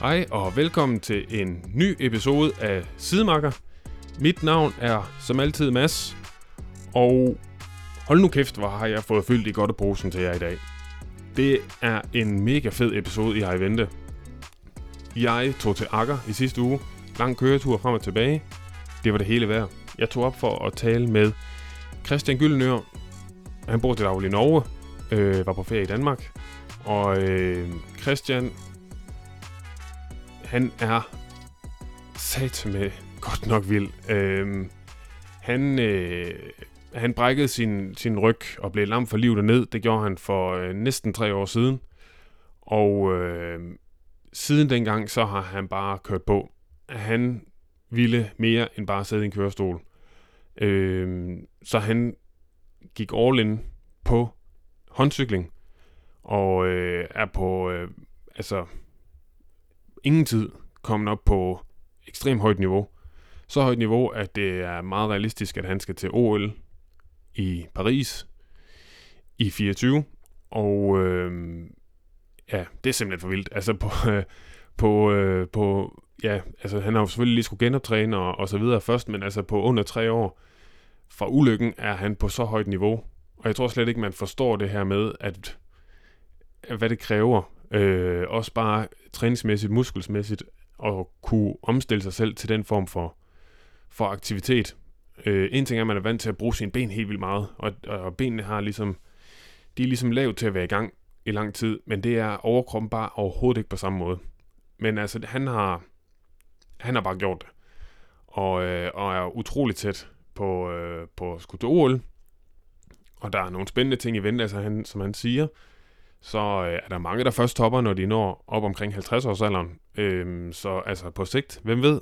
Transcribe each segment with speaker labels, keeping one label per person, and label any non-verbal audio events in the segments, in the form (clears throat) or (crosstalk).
Speaker 1: Hej og velkommen til en ny episode af Sidemakker. Mit navn er som altid Mads, og hold nu kæft, hvor har jeg fået fyldt i godt posen til jer i dag. Det er en mega fed episode, I har i vente. Jeg tog til Akker i sidste uge. Lang køretur frem og tilbage. Det var det hele værd. Jeg tog op for at tale med Christian Gyllenør. Han bor til daglig i Norge. Øh, var på ferie i Danmark. Og øh, Christian han er sat med godt nok vild. Øhm, han, øh, han brækkede sin, sin ryg og blev lam for livet og ned. Det gjorde han for øh, næsten tre år siden. Og øh, siden dengang, så har han bare kørt på. Han ville mere end bare sidde i en kørestol. Øh, så han gik all in på håndcykling. Og øh, er på, øh, altså ingen tid kommet op på ekstremt højt niveau. Så højt niveau, at det er meget realistisk, at han skal til OL i Paris i 24. Og øh, ja, det er simpelthen for vildt. Altså på, øh, på, øh, på ja, altså han har jo selvfølgelig lige skulle genoptræne og, og så videre først, men altså på under tre år fra ulykken er han på så højt niveau. Og jeg tror slet ikke, man forstår det her med, at hvad det kræver, øh, også bare træningsmæssigt, muskelsmæssigt, at kunne omstille sig selv til den form for, for aktivitet. Øh, en ting er, at man er vant til at bruge sine ben helt vildt meget, og, og benene har ligesom, de er ligesom lavt til at være i gang i lang tid, men det er overkroppen bare overhovedet ikke på samme måde. Men altså, han har, han har bare gjort det, og, øh, og er utrolig tæt på, øh, på at skulle til OL, og der er nogle spændende ting i vente, altså han, som han siger, så øh, er der mange, der først topper, når de når op omkring 50-årsalderen. Øhm, så altså på sigt, hvem ved,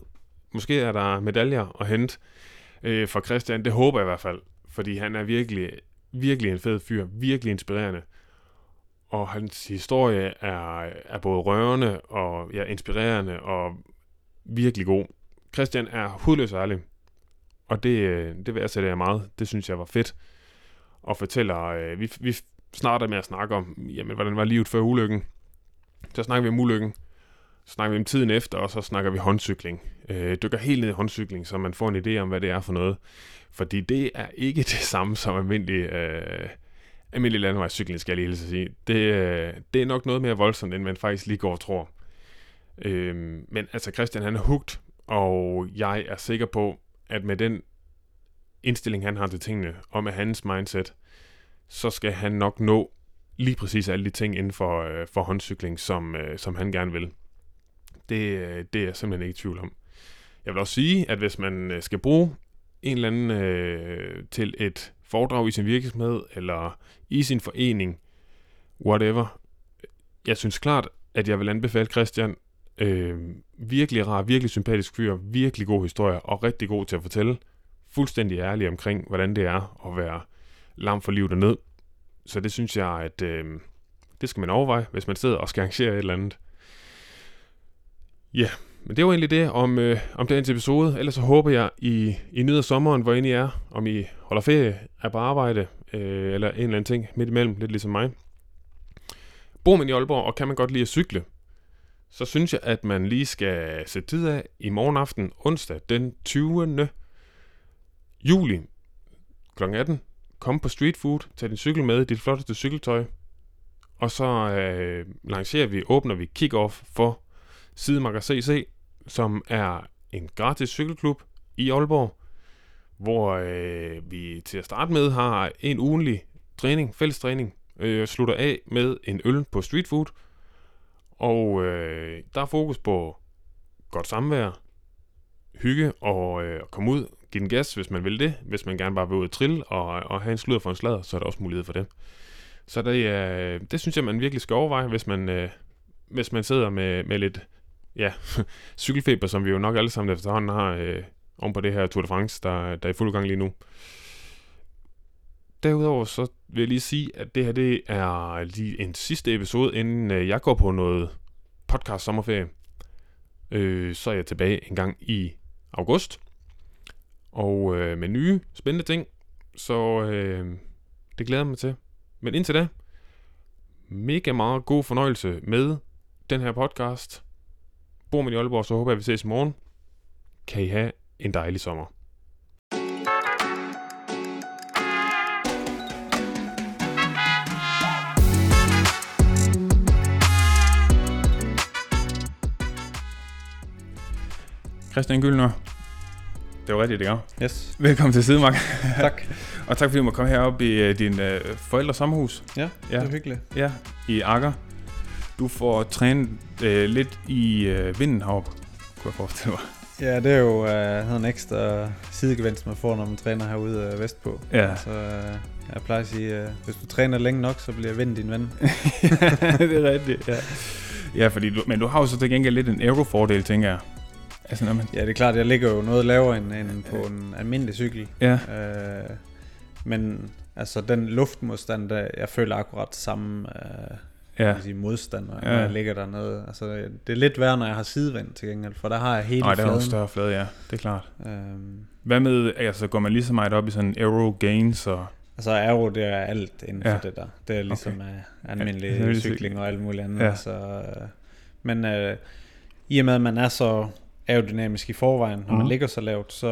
Speaker 1: måske er der medaljer at hente øh, for Christian. Det håber jeg i hvert fald, fordi han er virkelig, virkelig en fed fyr, virkelig inspirerende. Og hans historie er, er både rørende og ja, inspirerende og virkelig god. Christian er hudløs ærlig, og det, øh, det værdsætter jeg meget. Det synes jeg var fedt. Og fortæller, øh, vi, vi starter med at snakke om, jamen, hvordan var livet før ulykken. Så snakker vi om ulykken, så snakker vi om tiden efter, og så snakker vi håndcykling. Øh, dykker helt ned i håndcykling, så man får en idé om, hvad det er for noget. Fordi det er ikke (laughs) det samme som almindelig, øh, almindelig landevejscykling, skal jeg lige hilse at sige. Det, øh, det er nok noget mere voldsomt, end man faktisk lige går og tror. Øh, men altså, Christian han er hugt, og jeg er sikker på, at med den indstilling, han har til tingene, og med hans mindset, så skal han nok nå lige præcis alle de ting inden for, øh, for håndcykling, som, øh, som han gerne vil. Det, øh, det er jeg simpelthen ikke i tvivl om. Jeg vil også sige, at hvis man øh, skal bruge en eller anden øh, til et foredrag i sin virksomhed, eller i sin forening, whatever, jeg synes klart, at jeg vil anbefale Christian. Øh, virkelig rar, virkelig sympatisk fyr, virkelig god historie, og rigtig god til at fortælle. Fuldstændig ærlig omkring, hvordan det er at være lam for livet og ned. Så det synes jeg, at øh, det skal man overveje, hvis man sidder og skal arrangere et eller andet. Ja, men det var egentlig det om, øh, om dagens episode. Ellers så håber jeg, I, I nyder sommeren, hvor end I er. Om I holder ferie, er på arbejde, øh, eller en eller anden ting midt imellem, lidt ligesom mig. Bor man i Aalborg, og kan man godt lide at cykle, så synes jeg, at man lige skal sætte tid af i morgen aften, onsdag den 20. juli kl. 18. Kom på street food, tag din cykel med, dit flotteste cykeltøj, og så øh, lancerer vi, åbner vi kick-off for Sidemarker CC, som er en gratis cykelklub i Aalborg, hvor øh, vi til at starte med har en ugenlig træning, fælles træning, øh, slutter af med en øl på street food, og øh, der er fokus på godt samvær, hygge og øh, at komme ud, give den gas, hvis man vil det. Hvis man gerne bare vil ud og trille og, og have en sludder for en sladder, så er der også mulighed for det. Så det, øh, det synes jeg, man virkelig skal overveje, hvis man, øh, hvis man sidder med, med lidt ja, (laughs) cykelfeber, som vi jo nok alle sammen efterhånden har øh, om på det her Tour de France, der, der er i fuld gang lige nu. Derudover så vil jeg lige sige, at det her det er lige en sidste episode, inden øh, jeg går på noget podcast sommerferie. Øh, så er jeg tilbage en gang i august. Og øh, med nye spændende ting. Så øh, det glæder jeg mig til. Men indtil da, mega meget god fornøjelse med den her podcast. Bor man i Aalborg, så håber jeg, at vi ses i morgen. Kan I have en dejlig sommer.
Speaker 2: Christian Gyldner. Det var rigtigt, det gør.
Speaker 3: Yes,
Speaker 2: Velkommen til Sidemark,
Speaker 3: (laughs) tak.
Speaker 2: og tak fordi du måtte komme herop i øh, din øh, forældres sommerhus
Speaker 3: Ja,
Speaker 2: Ja.
Speaker 3: ja. det er hyggeligt.
Speaker 2: ja. i Akker. Du får trænet øh, lidt i øh, vinden heroppe, kunne jeg forestille
Speaker 3: (laughs)
Speaker 2: mig.
Speaker 3: Ja, det er jo øh, sådan en ekstra sidegevinst, man får, når man træner herude øh, vestpå.
Speaker 2: Ja.
Speaker 3: Så øh, jeg plejer at sige, øh, hvis du træner længe nok, så bliver vinden din ven.
Speaker 2: det er rigtigt, ja. Ja, fordi du, men du har jo så til gengæld lidt en aero-fordel, tænker jeg. Altså, når man,
Speaker 3: Ja, det er klart, jeg ligger jo noget lavere end, end på en almindelig cykel.
Speaker 2: ja,
Speaker 3: Øh, men altså den luftmodstand, der, jeg føler akkurat samme øh,
Speaker 2: ja.
Speaker 3: ja. sige, modstand, når
Speaker 2: Ja.
Speaker 3: ja. jeg ligger dernede. Altså, det er lidt værre, når jeg har sidevind til gengæld, for der har jeg hele
Speaker 2: Nej, der er jo en
Speaker 3: fladen.
Speaker 2: større flade, ja. Det er klart.
Speaker 3: Øhm,
Speaker 2: Hvad med, altså går man lige så meget op i sådan aero gains og...
Speaker 3: altså aero, det er alt inden for
Speaker 2: Ja.
Speaker 3: det der. Det er ligesom okay.
Speaker 2: Ja, det vil
Speaker 3: almindelig
Speaker 2: sige-
Speaker 3: cykling og alt muligt andet.
Speaker 2: Ja.
Speaker 3: Ja. Så, øh, men øh, i og med, at man er så aerodynamisk i forvejen, når man
Speaker 2: Mhm.
Speaker 3: ligger så lavt, så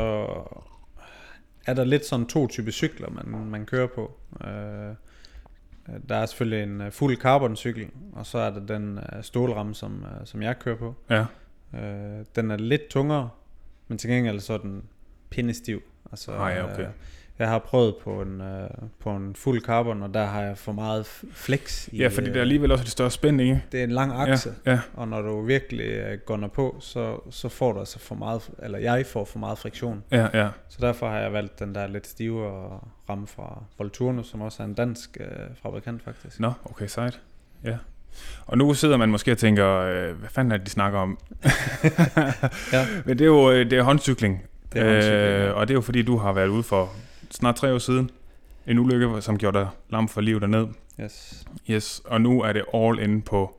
Speaker 3: er der lidt sådan to typer cykler, man, man kører på. Øh, der er selvfølgelig en øh, fuld carboncykel, og så er der den øh, stålramme, som, øh, som jeg kører på.
Speaker 2: Ja,
Speaker 3: Øh, den er lidt tungere, men til gengæld så er den pindestiv. Altså,
Speaker 2: Ah, ja, okay.
Speaker 3: øh, jeg har prøvet på en, øh, på en fuld carbon, og der har jeg for meget f- flex. I,
Speaker 2: ja fordi
Speaker 3: øh,
Speaker 2: der er alligevel også et større spænd, ikke?
Speaker 3: Det er en lang akse, ja.
Speaker 2: Ja, ja.
Speaker 3: og når du virkelig øh, gunner på, så, så får du altså for meget, eller jeg får for meget friktion.
Speaker 2: Ja, ja.
Speaker 3: Så derfor har jeg valgt den der lidt stivere ramme fra Volturno, som også er en dansk øh, fabrikant faktisk.
Speaker 2: Nå, okay, sejt. Ja. Og nu sidder man måske og tænker, øh, hvad fanden er det, de snakker om?
Speaker 3: Ja.
Speaker 2: Men det er jo øh, det er håndcykling. Øh,
Speaker 3: Det er håndcykling, ja.
Speaker 2: og det er jo fordi, du har været ude for snart tre år siden. En ulykke, som gjorde dig lam for livet derned.
Speaker 3: Yes.
Speaker 2: Yes, og nu er det all in på,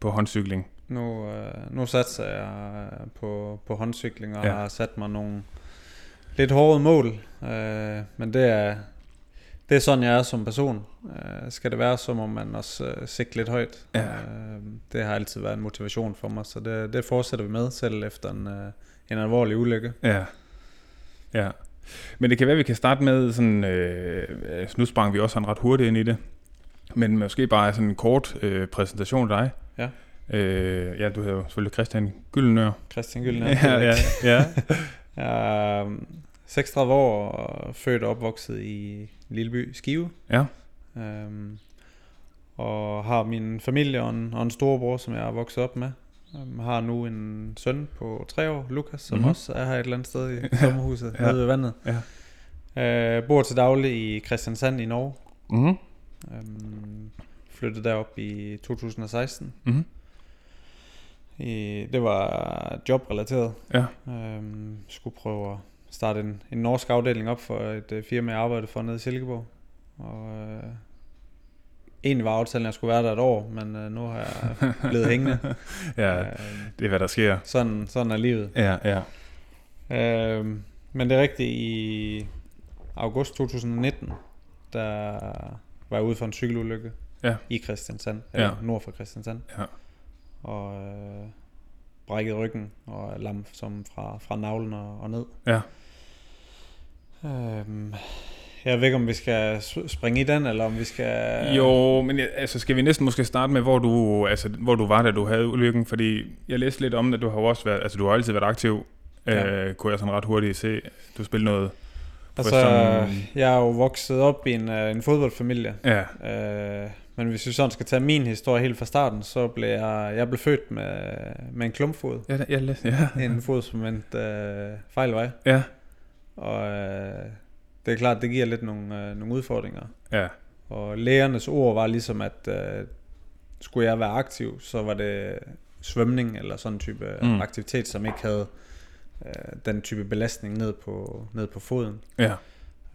Speaker 2: på håndcykling.
Speaker 3: Nu, øh, nu satser jeg øh, på, på håndcykling og
Speaker 2: Ja.
Speaker 3: ja. har sat mig nogle lidt hårde mål. Øh, men det er, det er sådan, jeg er som person. Øh, skal det være, så må man også øh, sigte lidt højt.
Speaker 2: Ja.
Speaker 3: Øh, det har altid været en motivation for mig, så det, det fortsætter vi med, selv efter en, øh, en alvorlig ulykke.
Speaker 2: Ja. Ja. Men det kan være, at vi kan starte med sådan... Øh, altså, nu sprang vi også sådan ret hurtigt ind i det. Men måske bare sådan en kort øh, præsentation af dig.
Speaker 3: Ja.
Speaker 2: Øh, ja, du hedder jo selvfølgelig Christian Gyllenør.
Speaker 3: Christian Gyldner.
Speaker 2: ja, ja, ja.
Speaker 3: Jeg er øh, 36 år og født og opvokset i en lille by Skive.
Speaker 2: ja.
Speaker 3: Øhm, og har min familie og en, og en storebror, som jeg er vokset op med. Øhm, har nu en søn på tre år, Lukas, som
Speaker 2: Mhm.
Speaker 3: mm-hmm. også er her et eller andet sted i
Speaker 2: (laughs)
Speaker 3: sommerhuset
Speaker 2: Ja.
Speaker 3: ja. nede ved vandet.
Speaker 2: Ja.
Speaker 3: Øh, bor til daglig i Christiansand i Norge.
Speaker 2: Mm-hmm.
Speaker 3: Øhm, flyttede derop i 2016.
Speaker 2: Mm-hmm.
Speaker 3: I, det var jobrelateret.
Speaker 2: Ja.
Speaker 3: Øhm, skulle prøve at starte en, en norsk afdeling op for et øh, firma, jeg arbejdede for nede i Silkeborg. Og øh, egentlig var aftalen, at jeg skulle være der et år, men øh, nu har
Speaker 2: (laughs)
Speaker 3: jeg blevet hængende.
Speaker 2: Ja,
Speaker 3: Øhm,
Speaker 2: det er, hvad der sker.
Speaker 3: sådan, sådan er livet.
Speaker 2: Ja, ja.
Speaker 3: Øhm, men det er rigtigt, i august 2019, der var jeg ude for en cykelulykke
Speaker 2: Ja.
Speaker 3: i Christiansand, eller
Speaker 2: Ja.
Speaker 3: ja. nord for Christiansand.
Speaker 2: Ja.
Speaker 3: Og øh, brækkede ryggen og er lam som fra, fra navlen og, og ned.
Speaker 2: Ja.
Speaker 3: Øhm, jeg ved ikke, om vi skal s- springe i den, eller om vi skal...
Speaker 2: Jo, men jeg- altså, skal vi næsten måske starte med, hvor du, altså, hvor du var, da du havde ulykken? Fordi jeg læste lidt om det, du har jo også været, altså, du har altid været aktiv, ja.
Speaker 3: Ja.
Speaker 2: øh, kunne jeg sådan ret hurtigt se. Du spillede noget...
Speaker 3: Altså,
Speaker 2: sådan-
Speaker 3: jeg er jo vokset op i en, øh, en fodboldfamilie,
Speaker 2: Ja,
Speaker 3: Øh, men hvis vi sådan skal tage min historie helt fra starten, så blev jeg, jeg blev født med, med en klumpfod.
Speaker 2: Ja, jeg læste, ja.
Speaker 3: En fod, som vendte øh, fejl vej.
Speaker 2: Ja,
Speaker 3: Og øh, det er klart, det giver lidt nogle, øh, nogle udfordringer.
Speaker 2: ja,
Speaker 3: Og lægernes ord var ligesom, at øh, skulle jeg være aktiv, så var det svømning eller sådan en type
Speaker 2: Mm.
Speaker 3: mm. aktivitet, som ikke havde øh, den type belastning ned på, ned på foden.
Speaker 2: ja,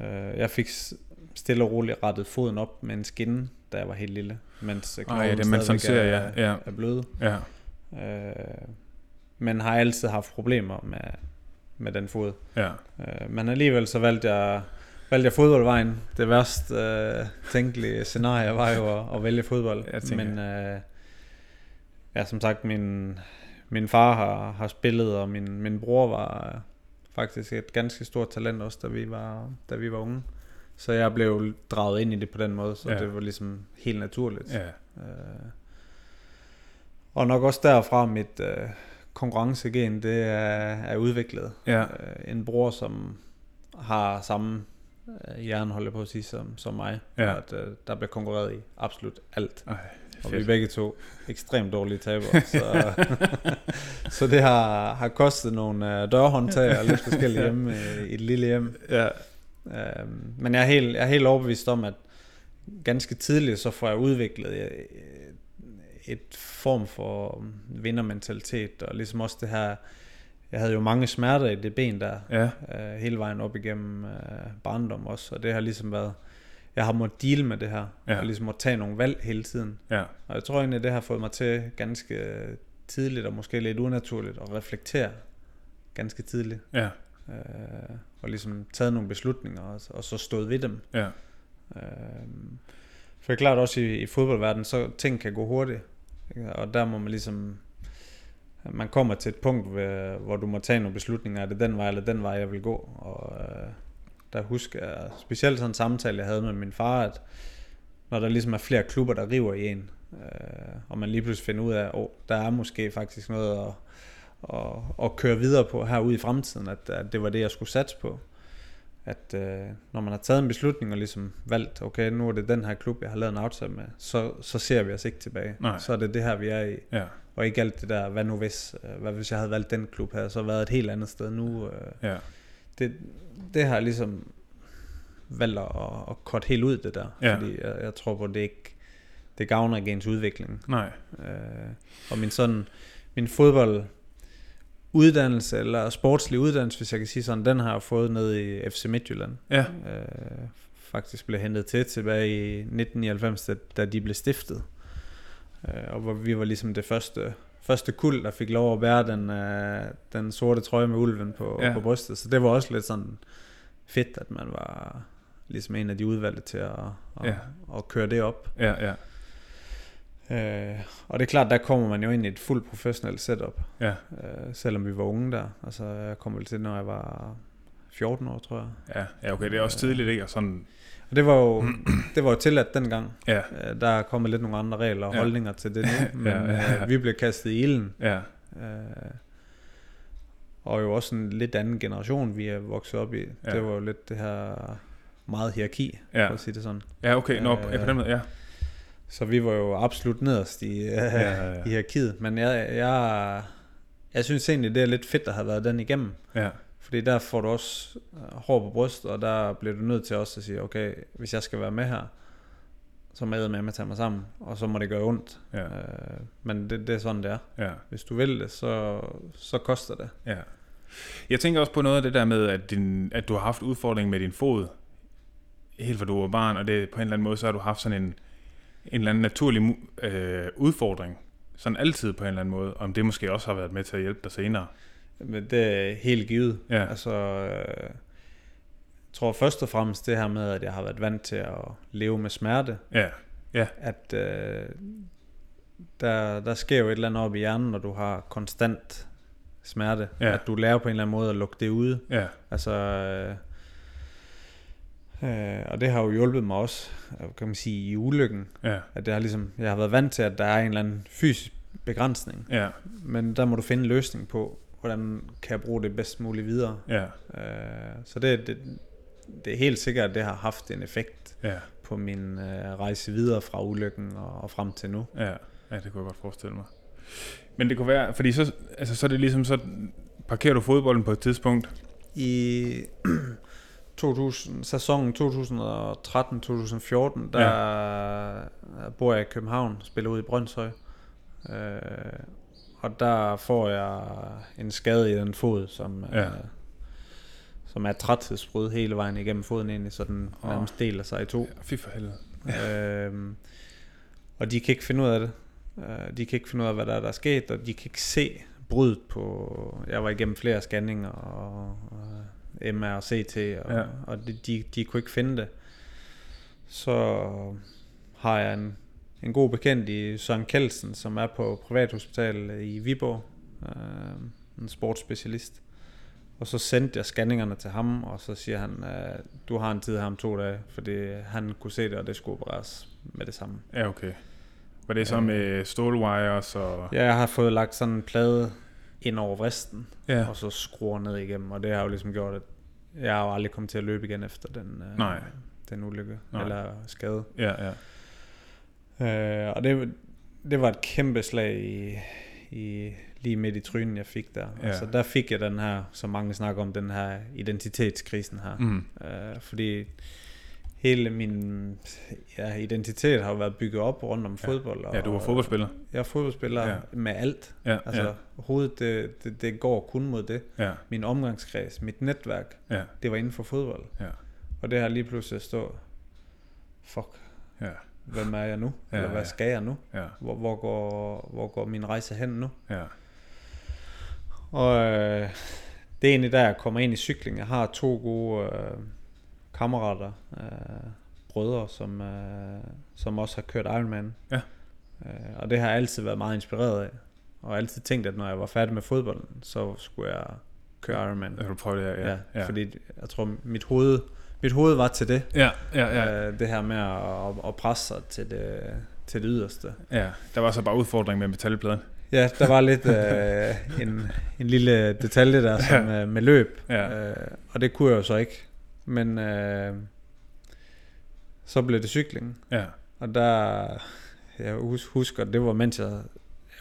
Speaker 3: Øh, jeg fik s- stille og roligt rettet foden op med en skinne, da jeg var helt lille. Mens øh,
Speaker 2: Ej, ja,
Speaker 3: knoglen
Speaker 2: det man sådan ser,
Speaker 3: stadigvæk
Speaker 2: ja, ja,
Speaker 3: er bløde.
Speaker 2: ja,
Speaker 3: Øh, men har altid haft problemer med, med den fod.
Speaker 2: ja,
Speaker 3: Øh, men alligevel så valgte jeg, valgte jeg fodboldvejen. Det værst øh, tænkelige scenarie var jo at, at vælge fodbold.
Speaker 2: Jeg tænker-
Speaker 3: men øh, ja, som sagt, min, min far har, har spillet, og min, min bror var øh, faktisk et ganske stort talent også, da vi var, da vi var unge. Så jeg blev draget ind i det på den måde, så
Speaker 2: Ja.
Speaker 3: ja. det var ligesom helt naturligt.
Speaker 2: Ja,
Speaker 3: Øh, og nok også derfra mit øh, konkurrencegen, det er, er udviklet.
Speaker 2: ja,
Speaker 3: Øh, en bror, som har samme øh, hjerne, holder jeg på at sige, som, som mig.
Speaker 2: Ja.
Speaker 3: Og At, øh, der bliver konkurreret i absolut alt.
Speaker 2: Ej,
Speaker 3: og vi er
Speaker 2: fedt.
Speaker 3: begge to ekstremt dårlige
Speaker 2: (laughs)
Speaker 3: tabere. så, (laughs) så det har, har kostet nogle øh, dørhåndtag og lidt
Speaker 2: (laughs)
Speaker 3: forskellige hjemme øh, i et lille hjem.
Speaker 2: ja,
Speaker 3: Øh, men jeg er, helt, jeg er helt overbevist om, at ganske tidligt så får jeg udviklet øh, et form for vindermentalitet, og ligesom også det her, jeg havde jo mange smerter i det ben der,
Speaker 2: ja,
Speaker 3: øh, hele vejen op igennem øh, barndom også, og det har ligesom været, jeg har måttet deal med det her,
Speaker 2: Ja.
Speaker 3: ja. og ligesom måttet tage nogle valg hele tiden,
Speaker 2: ja,
Speaker 3: og jeg tror egentlig, det har fået mig til ganske tidligt, og måske lidt unaturligt, at reflektere ganske tidligt
Speaker 2: ja,
Speaker 3: øh, og ligesom taget nogle beslutninger, og, og så stået ved dem.
Speaker 2: ja,
Speaker 3: Øh, for det er klart også i, i fodboldverdenen, så ting kan gå hurtigt, ikke? og der må man ligesom, man kommer til et punkt, hvor, hvor du må tage nogle beslutninger, er det den vej eller den vej, jeg vil gå, og øh, der husker jeg, specielt sådan en samtale, jeg havde med min far, at når der ligesom er flere klubber, der river i en, øh, og man lige pludselig finder ud af, at oh, der er måske faktisk noget at, at, at køre videre på herude i fremtiden, at, at det var det, jeg skulle satse på. At øh, når man har taget en beslutning og ligesom valgt, okay, nu er det den her klub, jeg har lavet en aftale med, så, så ser vi os ikke tilbage.
Speaker 2: Nej.
Speaker 3: Så er det det her, vi er i.
Speaker 2: ja,
Speaker 3: Og ikke alt det der, hvad nu hvis, øh, hvad hvis jeg havde valgt den klub her, så været et helt andet sted nu. Øh,
Speaker 2: ja,
Speaker 3: det, det har jeg ligesom valgt at, at cut helt ud det der,
Speaker 2: Ja.
Speaker 3: fordi jeg, jeg tror på, det ikke det gavner ikke ens udvikling.
Speaker 2: nej,
Speaker 3: Øh, og min sådan, min fodbold uddannelse eller sportslig uddannelse, hvis jeg kan sige sådan, den har jeg fået ned i FC Midtjylland.
Speaker 2: ja,
Speaker 3: Øh, faktisk blev hentet til tilbage i 1999, da, da de blev stiftet. Øh, og hvor vi var ligesom det første, første kul, der fik lov at bære den, øh, den sorte trøje med ulven på,
Speaker 2: Ja.
Speaker 3: ja. på brystet. Så det var også lidt sådan fedt, at man var ligesom en af de udvalgte til at, at,
Speaker 2: Ja.
Speaker 3: ja. at køre det op.
Speaker 2: ja, ja,
Speaker 3: Øh, og det er klart, der kommer man jo ind i et fuldt professionelt setup,
Speaker 2: ja,
Speaker 3: øh, selvom vi var unge der. Altså, jeg kom vel til, når jeg var 14 år, tror jeg.
Speaker 2: ja, ja, okay, det er også tidligt, ikke? Og sådan,
Speaker 3: Og det var
Speaker 2: (clears throat)
Speaker 3: jo, det var jo tilladt dengang.
Speaker 2: ja,
Speaker 3: Øh, Der er kommet lidt nogle andre regler og
Speaker 2: Ja.
Speaker 3: holdninger til det nu, men
Speaker 2: (laughs) Ja, ja.
Speaker 3: øh, vi blev kastet i ilden.
Speaker 2: ja,
Speaker 3: øh, Og jo også en lidt anden generation, vi er vokset op i.
Speaker 2: Ja.
Speaker 3: Det var jo lidt det her meget hierarki,
Speaker 2: Ja.
Speaker 3: for at sige det sådan.
Speaker 2: ja, okay, nå, ja, på den måde, ja,
Speaker 3: Så vi var jo absolut nederst i, ja.
Speaker 2: ja, ja,
Speaker 3: i hierarkiet, men jeg, jeg, jeg synes egentlig, det er lidt fedt at have været den igennem.
Speaker 2: ja,
Speaker 3: Fordi der får du også øh, hår på bryst, og der bliver du nødt til også at sige, okay, hvis jeg skal være med her, så må jeg med at tage mig sammen, og så må det gøre ondt.
Speaker 2: ja,
Speaker 3: Øh, men det, det er sådan, det er.
Speaker 2: ja.
Speaker 3: Hvis du vil det, så, så koster det.
Speaker 2: Ja. Jeg tænker også på noget af det der med, at, din, at du har haft udfordring med din fod, helt fra du var barn, og det, på en eller anden måde, så har du haft sådan en, en eller anden naturlig mu- øh, udfordring, sådan altid på en eller anden måde, om det måske også har været med til at hjælpe dig senere.
Speaker 3: Men det er helt givet.
Speaker 2: Ja.
Speaker 3: Altså, øh, jeg tror først og fremmest det her med, at jeg har været vant til at leve med smerte,
Speaker 2: Ja,
Speaker 3: at øh, der, der sker jo et eller andet op i hjernen, når du har konstant smerte.
Speaker 2: Ja.
Speaker 3: At du lærer på en eller anden måde at lukke det ude.
Speaker 2: ja,
Speaker 3: Altså, øh, øh, og det har jo hjulpet mig også, øh, kan man sige, i ulykken.
Speaker 2: ja,
Speaker 3: At jeg har, ligesom, jeg har været vant til, at der er en eller anden fysisk begrænsning.
Speaker 2: ja,
Speaker 3: Men der må du finde en løsning på, hvordan kan jeg bruge det bedst muligt videre.
Speaker 2: ja,
Speaker 3: Øh, så det, det, det er helt sikkert, at det har haft en effekt
Speaker 2: ja,
Speaker 3: på min øh, rejse videre fra ulykken og, og frem til nu.
Speaker 2: ja, ja, det kunne jeg godt forestille mig. Men det kunne være, fordi så, altså, så er det ligesom, så parkerer du fodbolden på et tidspunkt.
Speaker 3: I (clears throat) 2000, sæsonen 2013-2014, der ja. bor jeg i København, spiller ud i Brøndshøj. Øh, og der får jeg en skade i den fod, som,
Speaker 2: Ja.
Speaker 3: ja. øh, som er træthedsbrud hele vejen igennem foden egentlig, så den
Speaker 2: Åh.
Speaker 3: nærmest deler sig i to.
Speaker 2: Fy for helvede.
Speaker 3: Øhm, og de kan ikke finde ud af det. Øh, de kan ikke finde ud af, hvad der er, der er sket, og de kan ikke se bruddet på... Jeg var igennem flere scanninger, og, og MR og CT, og,
Speaker 2: Ja.
Speaker 3: ja. og de, de, de kunne ikke finde det. Så har jeg en, en god bekendt i Søren Kelsen, som er på privathospitalet i Viborg, øh, en sportsspecialist. Og så sendte jeg scanningerne til ham, og så siger han, øh, du har en tid her om to dage, fordi han kunne se det, og det skulle opereres med det samme.
Speaker 2: Ja, okay. Var det så med stålwires og...
Speaker 3: Ja, jeg har fået lagt sådan en plade ind over vristen,
Speaker 2: Ja.
Speaker 3: og så skruer ned igennem, og det har jo ligesom gjort, at jeg har jo aldrig kommet til at løbe igen efter den, øh,
Speaker 2: Nej.
Speaker 3: den ulykke
Speaker 2: Nej.
Speaker 3: Nej. eller skade.
Speaker 2: Ja, ja.
Speaker 3: Øh, og det, det var et kæmpe slag i, i, lige midt i trynen, jeg fik der.
Speaker 2: Ja.
Speaker 3: Ja. Altså, der fik jeg den her, som mange snakker om, den her identitetskrisen her.
Speaker 2: Mm.
Speaker 3: Øh, fordi hele min ja, identitet har jo været bygget op rundt om fodbold.
Speaker 2: Ja, du var fodboldspiller.
Speaker 3: Jeg er fodboldspiller
Speaker 2: Ja.
Speaker 3: ja. med alt.
Speaker 2: Ja,
Speaker 3: Altså,
Speaker 2: ja.
Speaker 3: ja. hovedet, det, det, det går kun mod det.
Speaker 2: Ja,
Speaker 3: Min omgangskreds, mit netværk,
Speaker 2: ja,
Speaker 3: det var inden for fodbold.
Speaker 2: ja,
Speaker 3: Og det her lige pludselig at stå, fuck,
Speaker 2: ja,
Speaker 3: hvem er jeg nu?
Speaker 2: Ja,
Speaker 3: Eller hvad
Speaker 2: ja.
Speaker 3: skal jeg nu?
Speaker 2: ja,
Speaker 3: Hvor, hvor, går, hvor går min rejse hen nu?
Speaker 2: ja.
Speaker 3: Og øh, det er egentlig der, jeg kommer ind i cykling. Jeg har to gode øh, kammerater, øh, brødre, som, øh, som også har kørt Ironman.
Speaker 2: Ja.
Speaker 3: Øh, og det har jeg altid været meget inspireret af. Og altid tænkt, at når jeg var færdig med fodbolden, så skulle jeg køre Ironman.
Speaker 2: Jeg vil prøve det her, ja. ja.
Speaker 3: Fordi jeg tror, mit hoved, mit hoved var til det.
Speaker 2: Ja, ja, ja,
Speaker 3: Øh, det her med at, at presse sig til det, til det yderste.
Speaker 2: ja. Der var så bare udfordring med metalpladen.
Speaker 3: Ja, der var lidt øh, en, en lille detalje der som, øh, med løb,
Speaker 2: Ja.
Speaker 3: øh, og det kunne jeg jo så ikke. Men øh, så blev det cykling,
Speaker 2: Ja,
Speaker 3: og der, jeg hus- husker, det var mens jeg,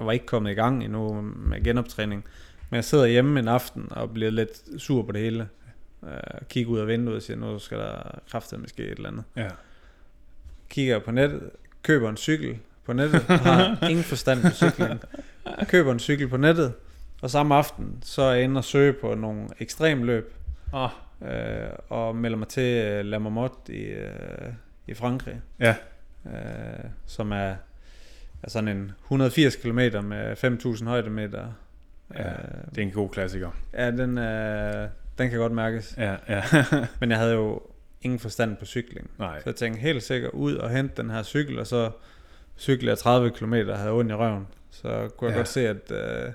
Speaker 3: jeg var ikke kommet i gang endnu med genoptræning, men jeg sidder hjemme en aften og bliver lidt sur på det hele, øh, kigger ud af vinduet og siger, nu skal der kraftedeme ske et eller andet
Speaker 2: ja,
Speaker 3: kigger på nettet, køber en cykel på nettet,
Speaker 2: (laughs)
Speaker 3: har ingen forstand på cykling, køber en cykel på nettet, og samme aften, så er jeg inde og søge på nogle ekstremløb,
Speaker 2: Ah.
Speaker 3: øh, og melder mig til øh, La Marmotte i, øh, i Frankrig,
Speaker 2: ja,
Speaker 3: øh, som er, er sådan en 180 km med 5.000 højdemeter.
Speaker 2: ja.
Speaker 3: Øh,
Speaker 2: Det er en god klassiker.
Speaker 3: ja den, øh, den kan godt
Speaker 2: (laughs)
Speaker 3: mærkes.
Speaker 2: Ja, ja.
Speaker 3: Men jeg havde jo ingen forstand på cykling.
Speaker 2: Nej,
Speaker 3: Så jeg tænkte helt sikkert ud og hente den her cykel, og så cyklede jeg 30 km og havde ondt i røven. Så
Speaker 2: Ja.
Speaker 3: kunne jeg ja. godt se, at øh,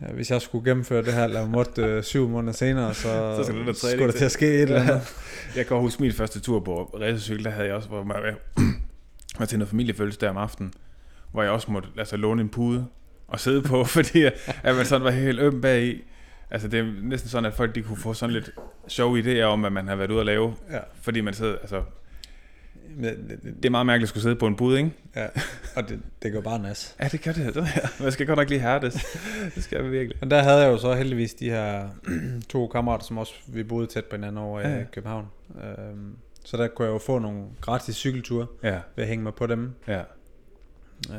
Speaker 3: ja, hvis jeg skulle gennemføre det her, lad mig øh, syv måneder senere, så,
Speaker 2: Så skal den der træning
Speaker 3: skulle der
Speaker 2: til.
Speaker 3: til at ske et eller andet.
Speaker 2: Jeg kan huske min første tur på racercykel, der havde jeg også, hvor jeg (clears throat) var til noget familiefødselsdag om aftenen, hvor jeg også måtte altså, låne en pude og sidde på, (laughs) fordi at at man sådan var helt øm bagi. Altså det er næsten sådan, at folk de kunne få sådan lidt sjove idéer om, hvad man har været ude at lave,
Speaker 3: Ja.
Speaker 2: fordi man sidder, altså
Speaker 3: Men det- det-
Speaker 2: det er meget mærkeligt at skulle sidde på en pude, ikke?
Speaker 3: ja. Og det, det går bare nas.
Speaker 2: Ja, det gør det. det er- Man skal godt nok lige have det. (laughs) Det skal jeg virkelig.
Speaker 3: Men der havde jeg jo så heldigvis de her (clears throat) to kammerater, som også vi boede tæt på hinanden over
Speaker 2: Ja,
Speaker 3: ja.
Speaker 2: ja.
Speaker 3: i København. Øhm, så der kunne jeg jo få nogle gratis cykelture
Speaker 2: Ja,
Speaker 3: ved at hænge mig på dem.
Speaker 2: ja,
Speaker 3: Øh,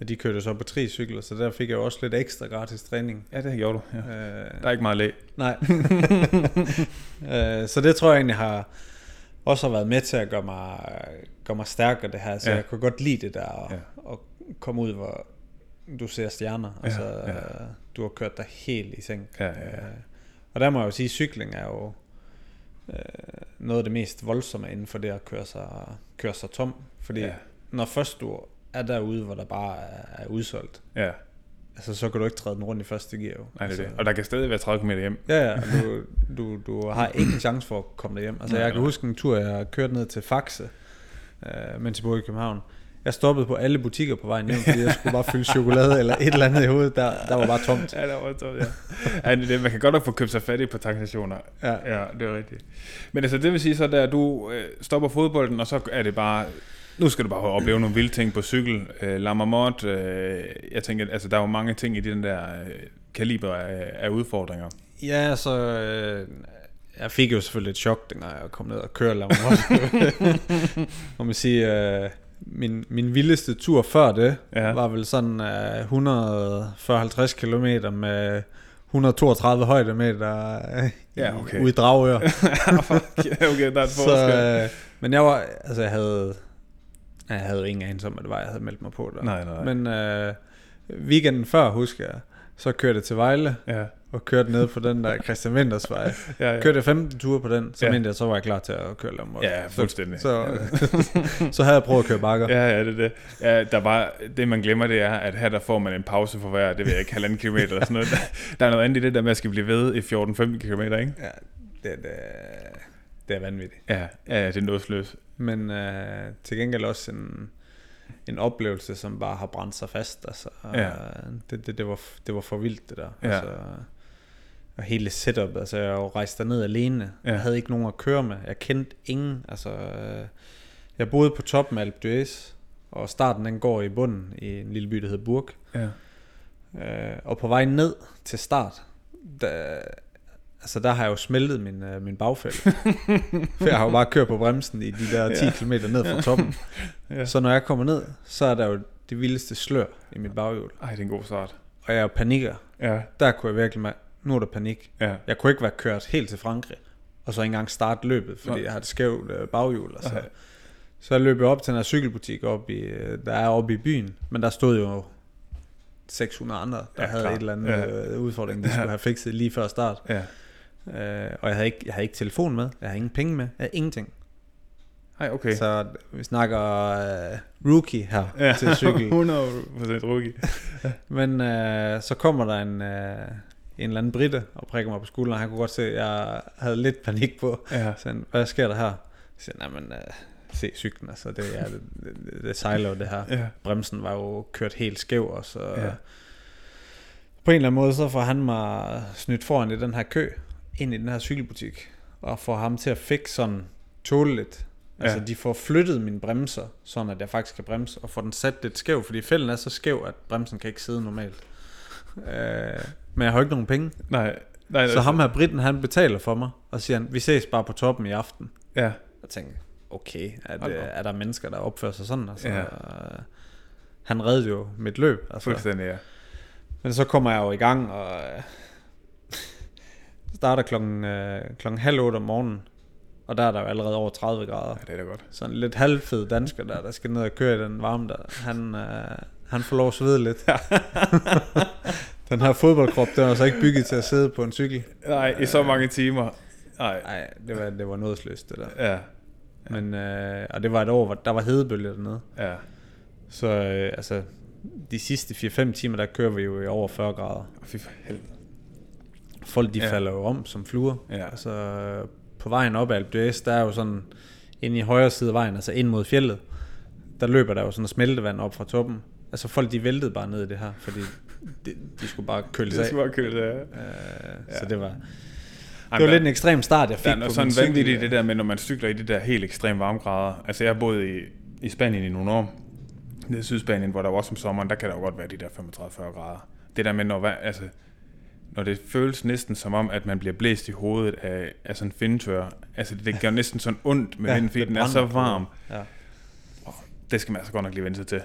Speaker 3: og de kørte jo så på tre cykler, så der fik jeg jo også lidt ekstra gratis træning.
Speaker 2: ja det gjorde du. Ja.
Speaker 3: Øh,
Speaker 2: Der er ikke meget læg.
Speaker 3: nej. (laughs) øh, så det tror jeg egentlig har også har været med til at gøre mig, gøre mig stærkere det her. Så
Speaker 2: Ja.
Speaker 3: ja. jeg kunne godt lide det der og,
Speaker 2: Ja.
Speaker 3: ja. og komme ud, hvor du ser stjerner. Altså,
Speaker 2: ja.
Speaker 3: ja, ja. du har kørt dig helt i seng.
Speaker 2: Ja, ja, ja.
Speaker 3: Øh, og der må jeg jo sige, at cykling er jo øh, noget af det mest voldsomme inden for det at køre sig, køre sig tom. Fordi
Speaker 2: Ja.
Speaker 3: ja. når først du er derude, hvor der bare er, er udsolgt,
Speaker 2: Ja,
Speaker 3: altså, så kan du ikke træde den rundt i første gear. jo.
Speaker 2: nej, det
Speaker 3: altså,
Speaker 2: er det. Og der kan stadig være 30 km hjem.
Speaker 3: Ja, ja, og du, du, du har ikke en chance for at komme hjem. Altså,
Speaker 2: Nej,
Speaker 3: jeg kan
Speaker 2: nej.
Speaker 3: huske en tur, jeg kørte ned til Faxe, øh, mens jeg boede i København. Jeg stoppede på alle butikker på vejen hjem, fordi jeg skulle bare fylde chokolade eller et eller andet i hovedet. Der, der var bare tomt.
Speaker 2: Ja, der var tomt, ja. ja det, er det. man kan godt nok få købt sig fattig på tankstationer.
Speaker 3: Ja.
Speaker 2: ja, det er rigtigt. Men altså, det vil sige så, at du øh, stopper fodbolden, og så er det bare... Nu skal du bare opleve nogle vilde ting på cykel. Øh, La Marmotte, øh, jeg tænker, altså, der er jo mange ting i den der øh, kaliber af, af udfordringer. (laughs)
Speaker 3: Ja, så øh, jeg fik jo selvfølgelig et chok, dengang jeg kom ned og kørte Lamborghini.
Speaker 2: (laughs)
Speaker 3: Må man sige, øh, min, min vildeste tur før det,
Speaker 2: Ja.
Speaker 3: ja. var vel sådan øh, 140-50 km med 132 højdemeter øh,
Speaker 2: (laughs) Ja, okay.
Speaker 3: ude i Dragør.
Speaker 2: ja, Ah, okay, der er et
Speaker 3: så,
Speaker 2: forskel.
Speaker 3: øh, men jeg var, altså jeg havde, jeg havde jo ingen anelse om, hvad det var, jeg havde meldt mig på der.
Speaker 2: Nej, nej, nej.
Speaker 3: Men øh, weekenden før, husker jeg, så kørte jeg til Vejle,
Speaker 2: Ja,
Speaker 3: og kørte ned på den der Christian Winters vej.
Speaker 2: Ja, ja.
Speaker 3: Kørte jeg 15 ture på den, så
Speaker 2: Ja.
Speaker 3: ja. mente jeg, så var jeg klar til at køre Lombok.
Speaker 2: Ja, fuldstændig.
Speaker 3: Så, (laughs) så, så havde jeg prøvet at køre bakker.
Speaker 2: Ja, ja, det er det. Ja, der var, det man glemmer, det er, at her der får man en pause for hver, det ved jeg ikke, halvanden kilometer eller sådan noget. (laughs) Der er noget andet i det der med, at skal blive ved i 14-15 kilometer, ikke?
Speaker 3: Ja, det, det, det er vanvittigt.
Speaker 2: Ja, ja, ja, det er nådsløst.
Speaker 3: Men øh, til gengæld også en, en oplevelse, som bare har brændt sig fast. Altså,
Speaker 2: Ja.
Speaker 3: øh, det, det, det, var, det var for vildt, det der.
Speaker 2: Ja.
Speaker 3: Altså, og hele setup, altså jeg er jo rejst derned alene.
Speaker 2: Ja.
Speaker 3: Ja. Jeg havde ikke nogen at køre med. Jeg kendte ingen. Altså, øh, jeg boede på toppen af Alpe d'Huez, og starten den går i bunden i en lille by, der hedder Burg.
Speaker 2: Ja.
Speaker 3: Øh, og på vej ned til start, der, altså der har jeg jo smeltet min, øh, min bagfælde. For jeg har jo bare kørt på bremsen i de der 10
Speaker 2: Ja.
Speaker 3: ja. km ned fra toppen.
Speaker 2: Ja.
Speaker 3: ja. Så når jeg kommer ned, så er der jo det vildeste slør i mit baghjul.
Speaker 2: Ej, det er en god start.
Speaker 3: Og jeg panikker.
Speaker 2: Ja,
Speaker 3: Der kunne jeg virkelig mærke, nu er der panik.
Speaker 2: ja.
Speaker 3: Jeg kunne ikke være kørt helt til Frankrig, og så ikke engang starte løbet, fordi
Speaker 2: Nej.
Speaker 3: jeg har et skævt øh, baghjul. Altså.
Speaker 2: Nej.
Speaker 3: Så jeg løb jeg op til den her cykelbutik, op i, øh, der er oppe i byen, men der stod jo 600 andre, der
Speaker 2: Ja,
Speaker 3: ja, havde
Speaker 2: klar.
Speaker 3: et eller andet
Speaker 2: Ja.
Speaker 3: ja. øh, udfordring, de skulle
Speaker 2: Ja.
Speaker 3: have fikset lige før start.
Speaker 2: Ja.
Speaker 3: Øh, og jeg havde, ikke, jeg havde ikke telefon med, jeg havde ingen penge med, jeg havde ingenting.
Speaker 2: Ej, okay.
Speaker 3: Så vi snakker øh, rookie her ja.
Speaker 2: (laughs)
Speaker 3: til cykel.
Speaker 2: 100% rookie.
Speaker 3: Men øh, så kommer der en, øh, en eller anden britte og prikker mig på skulderen, og han kunne godt se, at jeg havde lidt panik på.
Speaker 2: Ja.
Speaker 3: Så han, hvad sker der her? Så siger, jeg, nej, men øh, se cyklen, altså, det, er, det, det, det sejler jo det her.
Speaker 2: Ja.
Speaker 3: Bremsen var jo kørt helt skæv, og så
Speaker 2: Ja.
Speaker 3: ja. på en eller anden måde, så får han mig snydt foran i den her kø, ind i den her cykelbutik, og får ham til at fikse sådan tåligt. Altså,
Speaker 2: Ja.
Speaker 3: ja. de får flyttet mine bremser, sådan at jeg faktisk kan bremse, og får den sat lidt skæv, fordi fælden er så skæv, at bremsen kan ikke sidde normalt. Øh, men jeg har jo ikke nogen penge.
Speaker 2: Nej, nej,
Speaker 3: Så
Speaker 2: nej.
Speaker 3: ham her Britten, han betaler for mig, og siger han, vi ses bare på toppen i aften.
Speaker 2: Ja,
Speaker 3: Jeg tænkte, okay, er,
Speaker 2: Hold op.
Speaker 3: det, er der mennesker, der opfører sig sådan? Altså,
Speaker 2: Ja.
Speaker 3: ja. Han reddede jo mit løb. Altså.
Speaker 2: fuldstændig, ja.
Speaker 3: Men så kommer jeg jo i gang, og øh, (laughs) starter klokken, øh, klokken halv otte om morgenen, og der er der jo allerede over 30 grader.
Speaker 2: Ja, det er da godt.
Speaker 3: Sådan en lidt halvfed dansker der, der skal ned og køre i den varme der. Han, øh, han får lov at svede lidt. (laughs) den her fodboldkrop, den er altså ikke bygget til at sidde på en cykel.
Speaker 2: Nej, i så mange timer. Nej,
Speaker 3: Nej, det var, det var nådesløst det der.
Speaker 2: ja,
Speaker 3: Men, øh, og det var et år, hvor der var hedebølge dernede.
Speaker 2: ja.
Speaker 3: Så øh, altså, de sidste 4-5 timer, der kører vi jo i over 40 grader.
Speaker 2: Fy for helvede.
Speaker 3: Folk de
Speaker 2: Ja.
Speaker 3: ja. falder jo om som fluer.
Speaker 2: Ja.
Speaker 3: Altså, øh, på vejen op ad Alpe d'Huez, der er jo sådan, inde i højre side af vejen, altså ind mod fjellet, der løber der jo sådan smeltevand op fra toppen. Altså folk de væltede bare ned i det her, fordi de, de skulle bare køle sig
Speaker 2: Det
Speaker 3: af.
Speaker 2: skulle bare køle det af.
Speaker 3: Øh,
Speaker 2: Ja.
Speaker 3: Så det var,
Speaker 2: Ej,
Speaker 3: det var
Speaker 2: men-
Speaker 3: lidt en ekstrem start, jeg fik
Speaker 2: Der er
Speaker 3: på
Speaker 2: noget
Speaker 3: min
Speaker 2: sådan
Speaker 3: cykel.
Speaker 2: vanvittigt i det der med, når man cykler i de der helt ekstreme varmegrader. Altså jeg har boet i, i Spanien i nogle år, nede i Sydspanien, hvor der jo også om sommeren, der kan der jo godt være de der 35-40 grader. Det der med, når, va- altså, når det føles næsten som om, at man bliver blæst i hovedet af, af sådan en findtør. Altså det gør næsten sådan ondt med ja, den, fordi
Speaker 3: det
Speaker 2: den er så
Speaker 3: brænder på.
Speaker 2: varm.
Speaker 3: Ja.
Speaker 2: Det skal man altså godt nok lige vente sig til.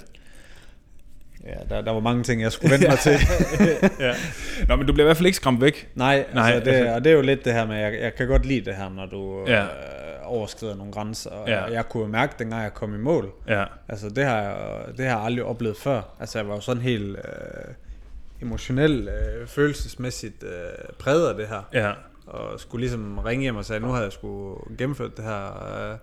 Speaker 3: Ja, der, der var mange ting,
Speaker 2: (laughs)
Speaker 3: jeg skulle vente mig til.
Speaker 2: ja. Nå, men du bliver i hvert fald ikke skræmt væk.
Speaker 3: Nej,
Speaker 2: Nej,
Speaker 3: Nej altså det,
Speaker 2: altså-
Speaker 3: altså... og det er jo lidt det her med, jeg, jeg kan godt lide det her, når du
Speaker 2: Ja.
Speaker 3: ja. øh, overskrider nogle grænser. Og
Speaker 2: Ja.
Speaker 3: ja. jeg kunne jo mærke, dengang jeg kom i mål,
Speaker 2: Ja,
Speaker 3: altså det har jeg, det har jeg aldrig oplevet før. Altså jeg var jo sådan helt øh, emotionel, øh, følelsesmæssigt øh, præget af det her.
Speaker 2: ja,
Speaker 3: Og skulle ligesom ringe hjem og sagde, nu havde jeg skulle gennemført det her øh,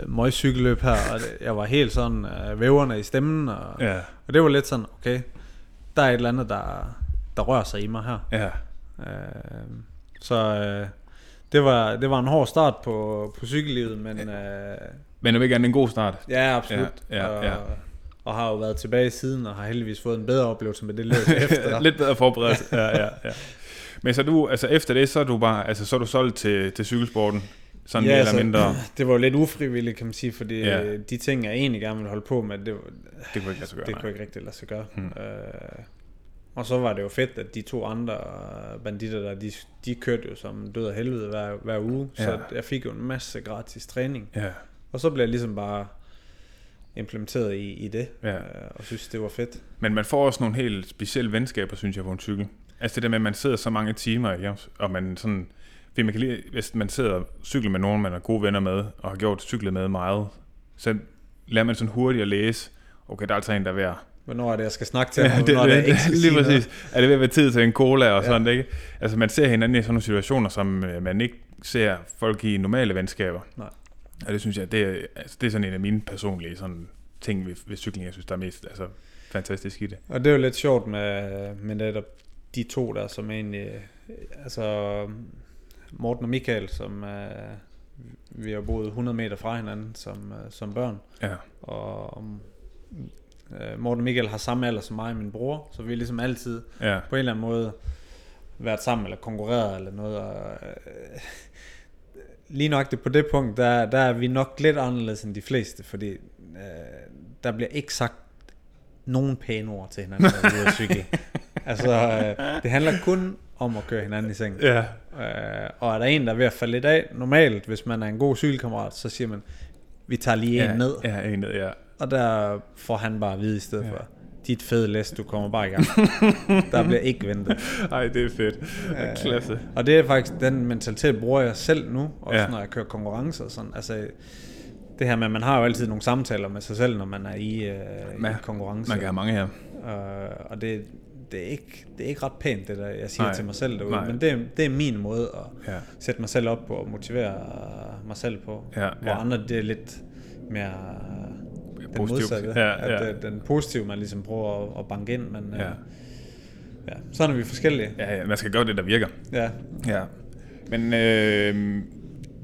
Speaker 3: øh, møgcykelløb her. Og det, jeg var helt sådan øh, væverne i stemmen. Og, ja.
Speaker 2: ja,
Speaker 3: og det var lidt sådan, okay, der er et eller andet, der, der rører sig i mig her.
Speaker 2: ja.
Speaker 3: Øh, så øh, det, var, det var en hård start på, på cykellivet, men øh,
Speaker 2: Men om ikke andet en god start.
Speaker 3: ja, absolut.
Speaker 2: Ja, ja,
Speaker 3: og,
Speaker 2: ja.
Speaker 3: og har jo været tilbage siden, og har heldigvis fået en bedre oplevelse med
Speaker 2: (laughs)
Speaker 3: det løb (laughs) efter.
Speaker 2: Lidt bedre forberedt. ja, ja, ja. Men så du, altså efter det, så er du bare, altså så er du solgt til, til cykelsporten, sådan ja, mere
Speaker 3: altså,
Speaker 2: eller
Speaker 3: (clears throat)
Speaker 2: mindre.
Speaker 3: (laughs) det var jo lidt ufrivilligt, kan man sige, fordi
Speaker 2: Ja.
Speaker 3: ja. de ting, jeg egentlig gerne ville holde på med, det, var-
Speaker 2: Det kunne ikke lade sig gøre,
Speaker 3: det
Speaker 2: nej.
Speaker 3: kunne ikke rigtig lade sig gøre.
Speaker 2: Hmm.
Speaker 3: Hmm. Øh, og så var det jo fedt, at de to andre øh, banditter der, de, de kørte jo som død og helvede hver, hver uge, ja.
Speaker 2: Ja.
Speaker 3: så jeg fik jo en masse gratis træning.
Speaker 2: Ja,
Speaker 3: Og så blev jeg ligesom bare implementeret i, i det,
Speaker 2: Ja.
Speaker 3: øh, og synes, det var fedt.
Speaker 2: men man får også nogle helt specielle venskaber, synes jeg, på en cykel. Altså det der med, at man sidder så mange timer, ja, og man sådan, fordi man kan lide, hvis man sidder og cykler med nogen, man er gode venner med, og har gjort cyklet med meget, så lærer man sådan hurtigt at læse, okay, der er altså en, der er ved at
Speaker 3: Hvornår er det, jeg skal snakke til
Speaker 2: Ja,
Speaker 3: ham,
Speaker 2: det,
Speaker 3: og hvornår er det, jeg
Speaker 2: det,
Speaker 3: ikke skal
Speaker 2: (laughs) lige
Speaker 3: sige noget?
Speaker 2: præcis. Er det ved at være tid til en cola og
Speaker 3: Ja.
Speaker 2: sådan, ikke? Altså, man ser hinanden i sådan nogle situationer, som øh, man ikke ser folk i normale venskaber.
Speaker 3: Nej.
Speaker 2: Og det synes jeg, det er, altså, det er sådan en af mine personlige sådan, ting ved, ved cykling, jeg synes, der er mest altså, fantastisk i det.
Speaker 3: Og det er jo lidt sjovt med, med netop de to der, som egentlig... Altså, Morten og Michael, som øh, vi har boet 100 meter fra hinanden som, øh, som børn.
Speaker 2: Ja.
Speaker 3: Og øh, Morten og Michael har samme alder som mig og min bror, så vi har ligesom altid
Speaker 2: Ja.
Speaker 3: på en eller anden måde været sammen eller konkurreret eller noget. Og, øh, lige nok det på det punkt, der, der er vi nok lidt anderledes end de fleste, fordi øh, der bliver ikke sagt nogen pæne ord til hinanden, når vi er ude at cykle.
Speaker 2: (laughs)
Speaker 3: altså, øh, det handler kun om at køre hinanden i seng.
Speaker 2: Ja.
Speaker 3: Øh, og er der en, der er ved at falde lidt af, normalt, hvis man er en god cykelkammerat, så siger man, vi tager lige en
Speaker 2: ja,
Speaker 3: ned.
Speaker 2: Ja, en ned, ja.
Speaker 3: Og der får han bare at vide i stedet
Speaker 2: Ja.
Speaker 3: ja. for, dit fede læs, du kommer bare i
Speaker 2: (laughs)
Speaker 3: gang. der bliver ikke ventet.
Speaker 2: Ej, det er fedt. Ja, klasse.
Speaker 3: Og det er faktisk den mentalitet, bruger jeg selv nu, også
Speaker 2: Ja.
Speaker 3: ja. når jeg kører konkurrencer og sådan. Altså, det her med, at man har jo altid nogle samtaler med sig selv, når man er i, øh,
Speaker 2: Ja,
Speaker 3: i konkurrence.
Speaker 2: Man kan have mange her.
Speaker 3: Øh, og det, det, er ikke, det er ikke ret pænt, det der, jeg siger
Speaker 2: Nej.
Speaker 3: Nej. til mig selv derude.
Speaker 2: Nej.
Speaker 3: Nej. Men det, er- det er min måde at
Speaker 2: Ja.
Speaker 3: ja. sætte mig selv op på og motivere mig selv på.
Speaker 2: Ja,
Speaker 3: hvor
Speaker 2: ja.
Speaker 3: andre, det er lidt mere den
Speaker 2: Positivt.
Speaker 3: modsatte.
Speaker 2: Ja,
Speaker 3: at
Speaker 2: ja.
Speaker 3: det er den positive, man ligesom prøver at, at banke ind. Men ja.
Speaker 2: Ja.
Speaker 3: Øh, ja, sådan er vi forskellige.
Speaker 2: Ja, ja, man skal gøre det, der virker.
Speaker 3: Ja.
Speaker 2: Ja. Men øh,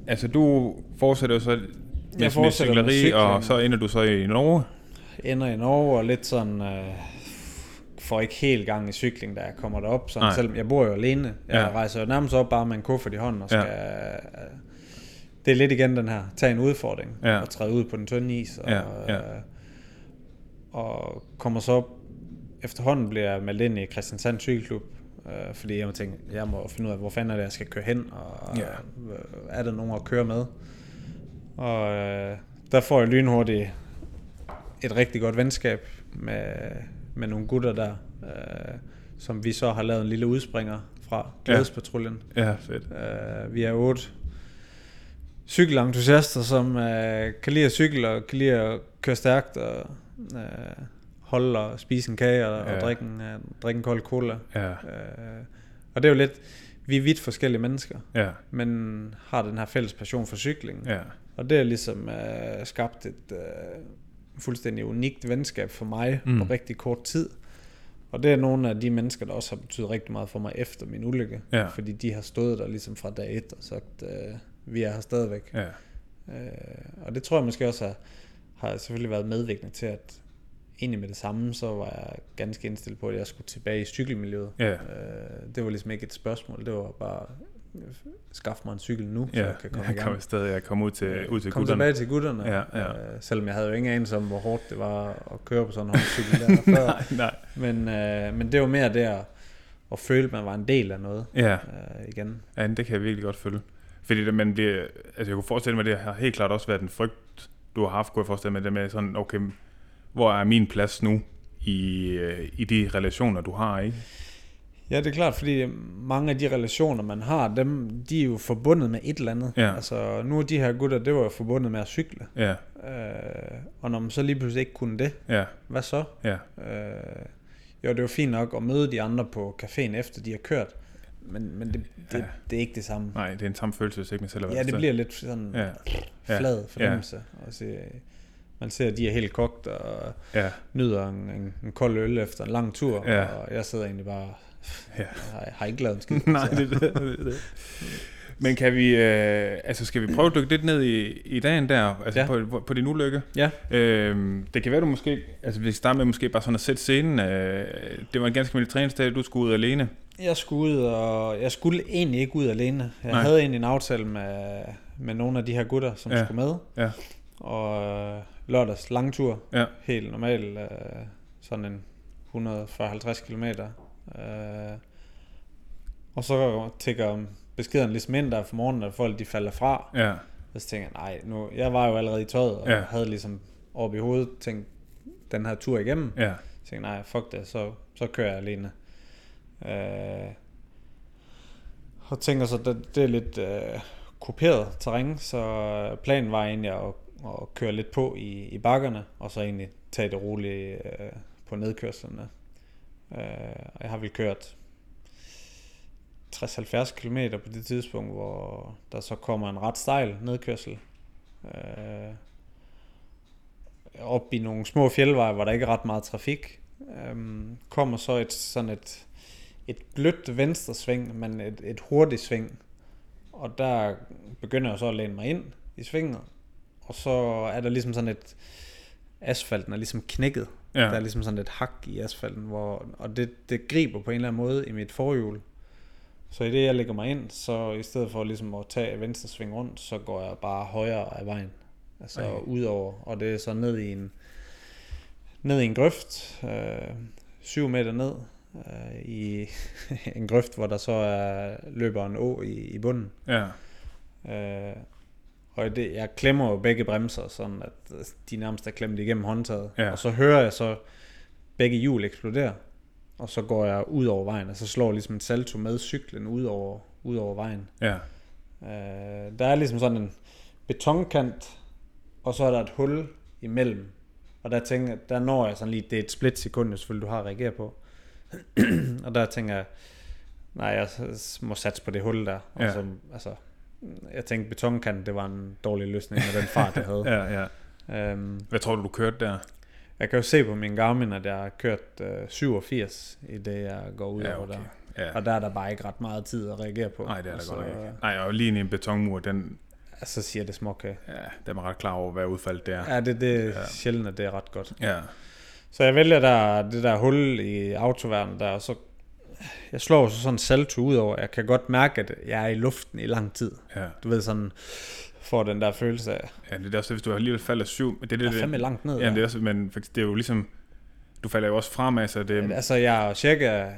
Speaker 2: altså, du fortsætter jo så med, med
Speaker 3: fortsætter med
Speaker 2: cykleri, og så
Speaker 3: cykling.
Speaker 2: ender du så i Norge.
Speaker 3: ender i Norge og lidt sådan øh, får ikke helt gang i cykling, da jeg kommer derop. Sådan,
Speaker 2: Nej.
Speaker 3: selvom jeg bor jo alene. Jeg
Speaker 2: Ja.
Speaker 3: ja. rejser jo nærmest op bare med en kuffert i hånden og
Speaker 2: Ja.
Speaker 3: skal... Ja. Øh, det er lidt igen den her, tag en udfordring
Speaker 2: Ja.
Speaker 3: og træde ud på den tynde is. Og,
Speaker 2: Ja, ja.
Speaker 3: Øh, og kommer så op, efterhånden bliver jeg meldt ind i Christiansand Cykelklub, øh, fordi jeg må tænke, jeg må finde ud af, hvor fanden er det, jeg skal køre hen, og
Speaker 2: Ja.
Speaker 3: øh, er der nogen at køre med? Og øh, der får jeg lynhurtigt et rigtig godt venskab med, med nogle gutter der, øh, som vi så har lavet en lille udspringer fra
Speaker 2: Ja.
Speaker 3: Glædespatruljen.
Speaker 2: Ja, fedt.
Speaker 3: Øh, vi er otte cykelentusiaster, som øh, kan lide at cykle og kan lide at køre stærkt og øh, holde og spise en kage og, ja.
Speaker 2: Ja.
Speaker 3: og drikke, en, øh, drikke en kold cola.
Speaker 2: Ja,
Speaker 3: Øh, og det er jo lidt, vi er vidt forskellige mennesker,
Speaker 2: ja,
Speaker 3: men har den her fælles passion for cykling.
Speaker 2: ja,
Speaker 3: Og det har ligesom øh, skabt et øh, fuldstændig unikt venskab for mig
Speaker 2: Mm.
Speaker 3: mm. på rigtig kort tid. Og det er nogle af de mennesker, der også har betydet rigtig meget for mig efter min ulykke.
Speaker 2: Ja.
Speaker 3: Fordi de har stået der ligesom fra dag et og sagt, øh, vi er her stadigvæk.
Speaker 2: ja.
Speaker 3: Øh, og det tror jeg måske også har, har selvfølgelig været medvirkende til, at egentlig med det samme, så var jeg ganske indstillet på, at jeg skulle tilbage i cykelmiljøet.
Speaker 2: Ja.
Speaker 3: Øh, det var ligesom ikke et spørgsmål, det var bare, øh, skaff mig en cykel nu, så
Speaker 2: Ja,
Speaker 3: jeg kan komme
Speaker 2: jeg
Speaker 3: i gang. Øh,
Speaker 2: kom afsted, jeg kom ud til, Øh, ud til
Speaker 3: kom
Speaker 2: gutterne.
Speaker 3: tilbage til gutterne.
Speaker 2: Ja, ja.
Speaker 3: Øh, selvom jeg havde jo ingen anelse om, hvor hårdt det var at køre på sådan en håndcykel
Speaker 2: (laughs)
Speaker 3: der før.
Speaker 2: Nej,
Speaker 3: Men, øh, men det var mere der at føle, at man var en del af noget
Speaker 2: ja,
Speaker 3: øh, igen.
Speaker 2: ja, det kan jeg virkelig godt følge. Fordi det, man bliver, altså jeg kunne forestille mig, det har helt klart også været en frygt, du har haft, kunne jeg forestille mig, det med sådan, okay, hvor er min plads nu i, øh, i de relationer, du har, ikke?
Speaker 3: Ja, det er klart, fordi mange af de relationer, man har, dem, de er jo forbundet med et eller andet.
Speaker 2: Ja.
Speaker 3: Altså, nu er de her gutter, det var jo forbundet med at cykle.
Speaker 2: Ja,
Speaker 3: Øh, og når man så lige pludselig ikke kunne det,
Speaker 2: ja,
Speaker 3: hvad så?
Speaker 2: ja,
Speaker 3: Øh, jo, det var fint nok at møde de andre på caféen efter, de har kørt. Men, men det,
Speaker 2: Ja.
Speaker 3: det, ja. det er ikke det samme.
Speaker 2: nej, det er en samme følelse, hvis ikke man selv har været
Speaker 3: Ja, det
Speaker 2: afsted.
Speaker 3: bliver lidt sådan
Speaker 2: Ja.
Speaker 3: ja.
Speaker 2: Ja.
Speaker 3: flad fornemmelse. Ja. Se, man ser, at de er helt kogt og
Speaker 2: Ja,
Speaker 3: nyder en, en, en kold øl efter en lang tur,
Speaker 2: Ja.
Speaker 3: og jeg sidder egentlig bare
Speaker 2: Ja.
Speaker 3: ja. har, har ikke lavet en skid.
Speaker 2: (laughs) Nej,
Speaker 3: så-
Speaker 2: det er det, det, er det. Men kan vi, øh, altså skal vi prøve at dykke lidt ned i, i dagen der, altså ja.
Speaker 3: Ja.
Speaker 2: på, på din ulykke?
Speaker 3: Ja.
Speaker 2: Øhm, det kan være, du måske, altså vi starter med måske bare sådan at sætte scenen. Øh, det var en ganske mild træningsdag, du skulle ud alene.
Speaker 3: Jeg skulle ud, og jeg skulle egentlig ikke ud alene. Jeg
Speaker 2: Nej.
Speaker 3: Nej. havde egentlig en aftale med, med nogle af de her gutter, som
Speaker 2: Ja.
Speaker 3: ja. skulle med.
Speaker 2: Ja.
Speaker 3: Og øh, lørdags langtur,
Speaker 2: Ja.
Speaker 3: helt normal, øh, sådan en 140-50 km. Øh, og så tækker beskeden ligesom ind der for morgenen, at folk de falder fra.
Speaker 2: Ja,
Speaker 3: Og så tænker jeg, nej, nu, jeg var jo allerede i tøjet, og
Speaker 2: Ja.
Speaker 3: ja. havde ligesom op i hovedet tænkt den her tur igennem.
Speaker 2: ja,
Speaker 3: Jeg tænkte, nej, fuck det, så, så kører jeg alene. Øh, og tænker så, det, det er lidt øh, kuperet terræn, så planen var egentlig at, at køre lidt på i, i bakkerne, og så egentlig tage det roligt øh, på nedkørslerne. Øh, og jeg har vel kørt 60-70 km på det tidspunkt, hvor der så kommer en ret stejl nedkørsel. Øh, op i nogle små fjeldveje, hvor der ikke er ret meget trafik. Øh, kommer så et sådan et, et blødt venstre sving, men et, et hurtigt sving. Og der begynder jeg så at læne mig ind i svinget. Og så er der ligesom sådan et... Asfalten er ligesom knækket.
Speaker 2: Ja.
Speaker 3: Ja. Der er ligesom sådan et hak i asfalten, hvor, og det, det griber på en eller anden måde i mit forhjul. Så i det, jeg lægger mig ind, så i stedet for ligesom at tage venstre sving rundt, så går jeg bare højere af vejen. Altså
Speaker 2: Ej.
Speaker 3: okay. udover, og det er så ned i en, ned i en grøft, øh, 7 meter ned, øh, i (laughs) en grøft, hvor der så er, løber en å i, i bunden.
Speaker 2: Ja.
Speaker 3: Øh, og det, jeg klemmer jo begge bremser, sådan at øh, de nærmest er klemt igennem håndtaget.
Speaker 2: Ja.
Speaker 3: Og så hører jeg så begge hjul eksplodere, og så går jeg ud over vejen, og så slår ligesom et salto med cyklen ud over, ud over vejen.
Speaker 2: Ja.
Speaker 3: Øh, der er ligesom sådan en betonkant, og så er der et hul imellem. Og der tænker jeg, der når jeg sådan lige, det er et split sekund, jo selvfølgelig, du har at reagere på. (clears throat) og der tænker jeg, nej, jeg s- må satse på det hul der. Og
Speaker 2: Ja.
Speaker 3: ja. så, altså, jeg tænkte, betonkanten, det var en dårlig løsning med den fart, jeg havde.
Speaker 2: (laughs) Ja, ja.
Speaker 3: ja. øhm,
Speaker 2: Hvad tror du, du kørte der?
Speaker 3: jeg kan jo se på min Garmin, at jeg har kørt øh, 87 i det, jeg går ud
Speaker 2: Ja,
Speaker 3: over
Speaker 2: okay.
Speaker 3: der.
Speaker 2: Ja.
Speaker 3: Og der er der bare ikke ret meget tid at reagere på.
Speaker 2: Nej, det er der
Speaker 3: og
Speaker 2: godt Altså, øh, nok
Speaker 3: så,
Speaker 2: ikke. Nej, og lige ind i en betonmur, den,
Speaker 3: øh, Så siger det småkage.
Speaker 2: ja, der er man ret klar over, hvad udfaldet det er.
Speaker 3: Ja, det, det er
Speaker 2: Ja.
Speaker 3: ja. sjældent, at det er ret godt.
Speaker 2: Ja.
Speaker 3: Så jeg vælger der, det der hul i autoværnet der, og så jeg slår så sådan en salto ud over. Jeg kan godt mærke, at jeg er i luften i lang tid.
Speaker 2: Ja.
Speaker 3: Du ved sådan, får den der følelse af,
Speaker 2: ja, det er også, hvis du alligevel falder syv. Det, det,
Speaker 3: jeg
Speaker 2: det,
Speaker 3: er fandme langt ned.
Speaker 2: ja, det er
Speaker 3: der.
Speaker 2: også, men faktisk, det er jo ligesom, du falder jo også fremad, så det,
Speaker 3: Altså, jeg er cirka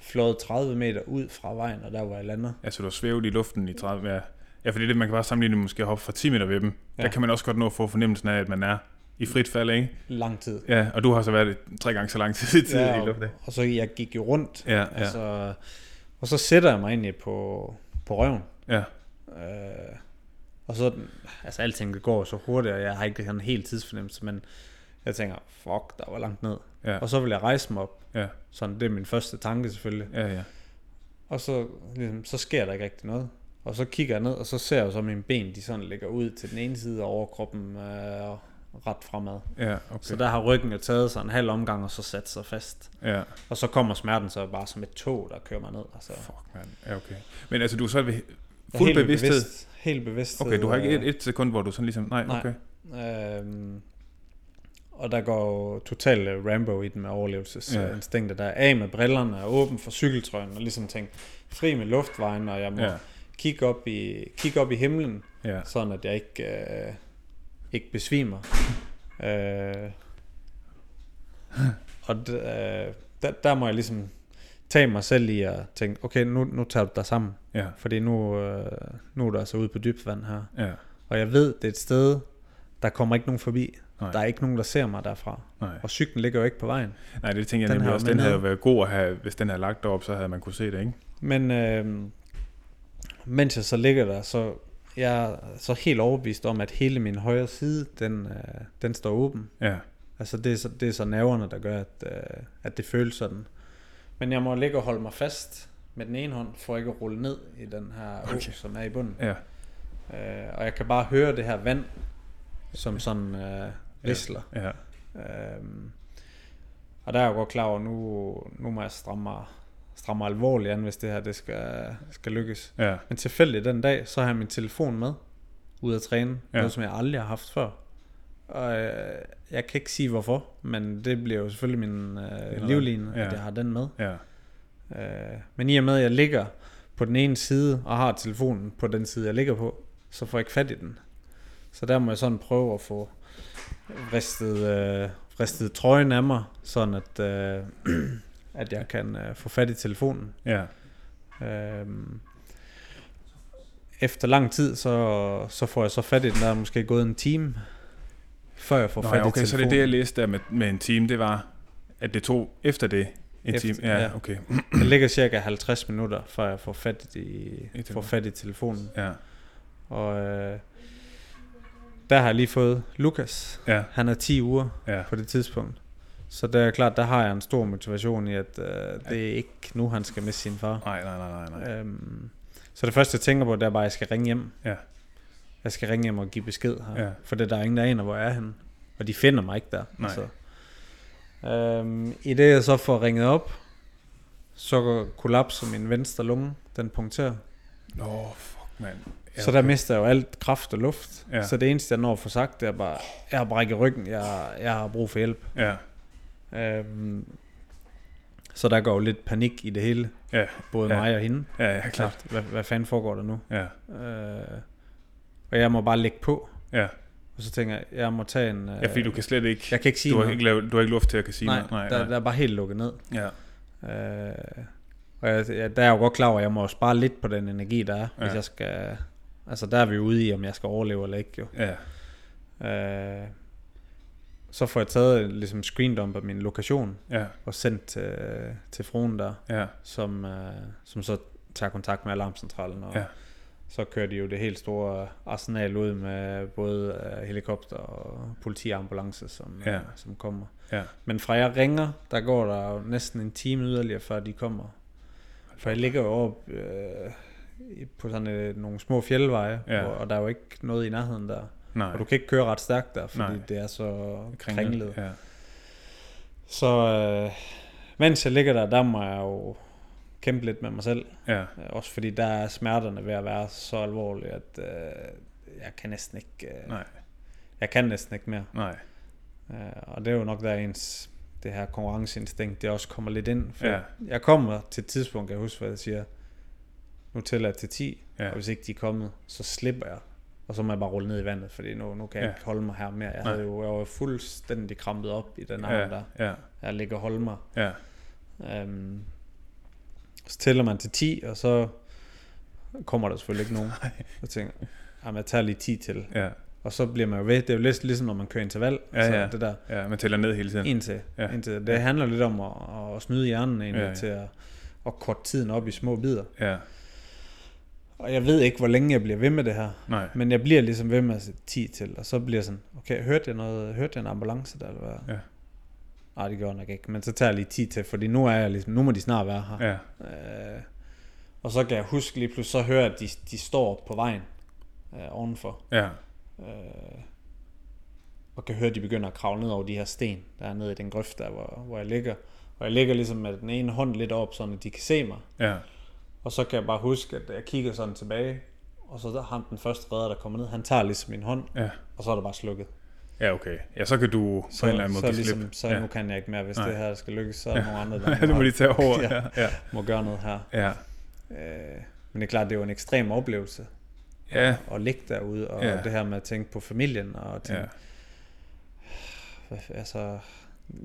Speaker 3: flået 30 meter ud fra vejen, og der hvor jeg lander.
Speaker 2: altså du har svævet i luften i 30, ja. ja fordi det, man kan bare sammenligne det måske at hoppe fra 10 meter ved dem. Ja.
Speaker 3: Ja.
Speaker 2: Der kan man også godt nå at få fornemmelsen af, at man er i frit fald, ikke?
Speaker 3: Lang tid.
Speaker 2: Ja, og du har så været tre gange så lang tid i tid ja, i
Speaker 3: og,
Speaker 2: luften.
Speaker 3: og så jeg gik jo rundt.
Speaker 2: Ja, ja, altså,
Speaker 3: Altså, og så sætter jeg mig egentlig på, på røven.
Speaker 2: ja,
Speaker 3: Øh, og så, altså alting det går jo så hurtigt, og jeg har ikke en helt tidsfornemmelse, men jeg tænker, fuck, der var langt ned.
Speaker 2: ja,
Speaker 3: Og så vil jeg rejse mig op.
Speaker 2: Ja.
Speaker 3: Sådan, det er min første tanke selvfølgelig.
Speaker 2: ja, ja.
Speaker 3: Og så, ligesom, så sker der ikke rigtig noget. Og så kigger jeg ned, og så ser jeg jo så mine ben, de sådan ligger ud til den ene side, og overkroppen øh, ret fremad. Okay.
Speaker 2: ja okay.
Speaker 3: Så der har ryggen jo taget sig en halv omgang, og så sat sig fast.
Speaker 2: ja.
Speaker 3: Og så kommer smerten så bare som et tog, der kører mig ned. Altså,
Speaker 2: Fuck, mand. Ja, okay. Men altså, du er så ved
Speaker 3: jeg er
Speaker 2: fuld
Speaker 3: helt i
Speaker 2: bevidsthed.
Speaker 3: Bevidst, helt bevidst. øh,
Speaker 2: Okay, du har ikke et, et sekund, hvor du sådan ligesom... Nej,
Speaker 3: Nej.
Speaker 2: okay.
Speaker 3: Øhm, og der går jo total øh, Rambo i den med overlevelsesinstinkter. Der er af med brillerne og åben for cykeltrøjen og ligesom tænke fri med luftvejen, og jeg må
Speaker 2: Ja,
Speaker 3: ja. kigge, op i, kigge op i himlen,
Speaker 2: ja.
Speaker 3: sådan at jeg ikke, øh, ikke
Speaker 2: (laughs)
Speaker 3: besvimer. øh, og d- øh, der, der må jeg ligesom tage mig selv i at tænke, okay, nu, nu tager du dig sammen,
Speaker 2: Ja,
Speaker 3: fordi nu, øh, nu er du altså ude på dybt vand her.
Speaker 2: ja,
Speaker 3: Og jeg ved, det er et sted, der kommer ikke nogen forbi.
Speaker 2: Nej.
Speaker 3: Nej. Der er ikke nogen, der ser mig derfra.
Speaker 2: nej.
Speaker 3: Og cyklen ligger jo ikke på vejen.
Speaker 2: Nej, det tænker jeg
Speaker 3: Den øh,
Speaker 2: nemlig
Speaker 3: har
Speaker 2: også.
Speaker 3: man
Speaker 2: Den havde jo
Speaker 3: nede.
Speaker 2: været god at have, hvis den havde lagt derop, så havde man kunne se det, ikke?
Speaker 3: Men øh, mens jeg så ligger der, så jeg er så helt overbevist om, at hele min højre side, den, øh, den står åben.
Speaker 2: Ja,
Speaker 3: Altså det er, så, det er så nerverne, der gør, at, øh, at det føles sådan. Men jeg må ligge og holde mig fast med den ene hånd, for ikke at rulle ned i den her okay.
Speaker 2: Okay.
Speaker 3: som er i bunden.
Speaker 2: ja,
Speaker 3: Øh, og jeg kan bare høre det her vand, som sådan øh, visler.
Speaker 2: ja,
Speaker 3: Øhm, og der er jeg jo godt klar over, nu, nu må jeg stramme mig, stramme mig alvorligt an, hvis det her det skal, skal lykkes.
Speaker 2: ja,
Speaker 3: Men tilfældigt den dag, så har jeg min telefon med, ude at træne,
Speaker 2: Ja.
Speaker 3: ja. noget som jeg aldrig har haft før. Og øh, jeg kan ikke sige hvorfor, men det bliver jo selvfølgelig min øh, livline,
Speaker 2: Ja.
Speaker 3: ja. at jeg har den med.
Speaker 2: ja,
Speaker 3: Øh, men i og med, at jeg ligger på den ene side, og har telefonen på den side, jeg ligger på, så får jeg ikke fat i den. Så der må jeg sådan prøve at få ristet, øh, ristet trøjen af mig, sådan at, øh, (clears throat) at jeg kan øh, få fat i telefonen.
Speaker 2: ja,
Speaker 3: Øh, efter lang tid, så, så får jeg så fat i den, der er måske gået en time, før jeg får
Speaker 2: Nå,
Speaker 3: fat
Speaker 2: ja.
Speaker 3: i
Speaker 2: okay, så det
Speaker 3: telefonen.
Speaker 2: er det, jeg læste der med, med en time, det var, at det tog efter det en
Speaker 3: Efter-
Speaker 2: time. Ja,
Speaker 3: ja.
Speaker 2: okay.
Speaker 3: jeg ligger cirka 50 minutter, før jeg får fat i,
Speaker 2: I
Speaker 3: får fat i telefonen.
Speaker 2: Ja,
Speaker 3: Og øh, der har jeg lige fået Lukas.
Speaker 2: ja,
Speaker 3: Han er 10 uger
Speaker 2: ja,
Speaker 3: på det tidspunkt. Så det er klart, der har jeg en stor motivation i, at øh, det er ikke nu, han skal miste sin far.
Speaker 2: Nej, nej, nej, nej. nej.
Speaker 3: Øhm, så det første, jeg tænker på, det er bare, at jeg skal ringe hjem.
Speaker 2: Ja.
Speaker 3: Jeg skal ringe hjem og give besked her.
Speaker 2: Ja.
Speaker 3: For det der er ingen, der aner, hvor jeg er henne. Og de finder mig ikke der. altså.
Speaker 2: Nej.
Speaker 3: Øhm, I det, jeg så får ringet op, så kollapser min venstre lunge. Den punkterer.
Speaker 2: Åh, oh, fuck, mand. Ja,
Speaker 3: Ja, så der mister jeg jo alt kraft og luft.
Speaker 2: Ja.
Speaker 3: Ja. Så det eneste, jeg når at få sagt, det er bare, jeg har brækket ryggen, jeg, jeg har brug for hjælp.
Speaker 2: Ja,
Speaker 3: Øhm, så der går jo lidt panik i det hele,
Speaker 2: ja,
Speaker 3: både
Speaker 2: Ja.
Speaker 3: ja. mig og hende.
Speaker 2: ja, ja, klart.
Speaker 3: Hvad, hvad fanden foregår der nu?
Speaker 2: Ja,
Speaker 3: Øh, og jeg må bare lægge på,
Speaker 2: ja.
Speaker 3: og så tænker jeg, jeg må tage en... Øh,
Speaker 2: Ja, fordi du kan slet ikke...
Speaker 3: jeg kan ikke sige
Speaker 2: Du har
Speaker 3: noget.
Speaker 2: ikke, lavet, du har ikke luft til at kan sige
Speaker 3: nej,
Speaker 2: noget. Nej,
Speaker 3: der,
Speaker 2: nej.
Speaker 3: der er bare helt lukket ned.
Speaker 2: Ja,
Speaker 3: Øh, og jeg, jeg, der er jeg jo godt klar over, at jeg må jo spare lidt på den energi, der er, ja.
Speaker 2: Ja.
Speaker 3: hvis jeg skal... Altså der er vi jo ude i, om jeg skal overleve eller ikke jo.
Speaker 2: ja,
Speaker 3: Øh, så får jeg taget øh, ligesom screendump af min lokation
Speaker 2: ja,
Speaker 3: og sendt til, til fruen der,
Speaker 2: ja,
Speaker 3: som, øh, som så tager kontakt med alarmcentralen. Og
Speaker 2: Ja.
Speaker 3: ja. så kører de jo det helt store arsenal ud med både øh, helikopter og politiambulance, som,
Speaker 2: Ja.
Speaker 3: øh, som kommer.
Speaker 2: ja.
Speaker 3: Men fra jeg ringer, der går der jo næsten en time yderligere, før de kommer. For jeg ligger jo op øh, i- på sådan øh, nogle små fjeldveje,
Speaker 2: Ja.
Speaker 3: ja. hvor, og der er jo ikke noget i nærheden der.
Speaker 2: Nej.
Speaker 3: Og du kan ikke køre ret stærkt der, fordi
Speaker 2: Nej.
Speaker 3: Nej. det er så
Speaker 2: Kringlet,
Speaker 3: kringlet. Ja.
Speaker 2: Ja,
Speaker 3: Så øh, mens jeg ligger der, der må jeg jo kæmpe lidt med mig selv.
Speaker 2: ja,
Speaker 3: Øh, Også fordi der er smerterne ved at være så alvorlige, at øh, jeg kan næsten ikke, øh,
Speaker 2: nej,
Speaker 3: jeg kan næsten ikke mere.
Speaker 2: nej.
Speaker 3: Øh, og det er jo nok der ens, det her konkurrenceinstinkt, det også kommer lidt ind. For
Speaker 2: Ja.
Speaker 3: Jeg kommer til et tidspunkt, kan jeg huske, hvad jeg siger, nu tæller jeg til 10,
Speaker 2: Ja.
Speaker 3: ja. og hvis ikke de er kommet, så slipper jeg. Og så må jeg bare rulle ned i vandet, fordi nu, nu kan jeg
Speaker 2: Ja.
Speaker 3: ja. ikke holde mig her mere. Jeg,
Speaker 2: Nej.
Speaker 3: havde jo, jeg var jo fuldstændig krampet op i den arm ja.
Speaker 2: Ja,
Speaker 3: der.
Speaker 2: ja,
Speaker 3: Jeg ligger og holder mig.
Speaker 2: ja,
Speaker 3: Øhm, så tæller man til 10, og så kommer der selvfølgelig ikke
Speaker 2: (laughs)
Speaker 3: nogen. Så tænker jeg, jamen jeg tager lige 10 til.
Speaker 2: ja,
Speaker 3: Og så bliver man jo ved. Det er jo lidt ligesom, når man kører interval.
Speaker 2: Ja,
Speaker 3: altså,
Speaker 2: ja.
Speaker 3: Det der,
Speaker 2: ja. Man tæller ned hele tiden.
Speaker 3: Indtil,
Speaker 2: Ja.
Speaker 3: ja. indtil. Det handler lidt om at, at snyde hjernen
Speaker 2: Ja,
Speaker 3: egentlig, ja,
Speaker 2: ja.
Speaker 3: ja. til at, at korte tiden op i små bidder.
Speaker 2: Ja,
Speaker 3: Og jeg ved ikke, hvor længe jeg bliver ved med det her.
Speaker 2: nej.
Speaker 3: Men jeg bliver ligesom ved med at sætte 10 til, og så bliver jeg sådan, okay, hørte jeg noget, hørte jeg en ambulance der, eller hvad?
Speaker 2: Ja.
Speaker 3: Nej, det gjorde jeg nok ikke, men så tager jeg lige 10 til, fordi nu er jeg ligesom, nu må de snart være her.
Speaker 2: Ja,
Speaker 3: Øh, og så kan jeg huske lige pludselig, så hører jeg, at de, de står på vejen øh, ovenfor.
Speaker 2: ja,
Speaker 3: Øh, og kan høre, at de begynder at kravle ned over de her sten, der er nede i den grøft, der hvor, hvor jeg ligger. Og jeg ligger ligesom med den ene hånd lidt op, sådan at de kan se mig.
Speaker 2: ja,
Speaker 3: Og så kan jeg bare huske, at jeg kigger sådan tilbage, og så der ham den første redder, der kommer ned, han tager ligesom min hånd,
Speaker 2: ja.
Speaker 3: og så er der bare slukket.
Speaker 2: Ja, okay. Ja, så kan du på
Speaker 3: Så,
Speaker 2: en eller anden måde
Speaker 3: så,
Speaker 2: give slip.
Speaker 3: ligesom, så
Speaker 2: ja.
Speaker 3: nu kan jeg ikke mere, hvis
Speaker 2: Nej.
Speaker 3: Nej. det her skal lykkes, så er der nogle
Speaker 2: (laughs)
Speaker 3: andre, der
Speaker 2: Ja, det må de tage over. ja,
Speaker 3: (laughs) Ja.
Speaker 2: ja,
Speaker 3: må gøre noget her.
Speaker 2: ja.
Speaker 3: Øh, men det er klart, det er jo en ekstrem oplevelse
Speaker 2: Ja,
Speaker 3: at ligge derude, og
Speaker 2: Ja.
Speaker 3: ja. det her med at tænke på familien, og tænke,
Speaker 2: ja.
Speaker 3: ja. altså,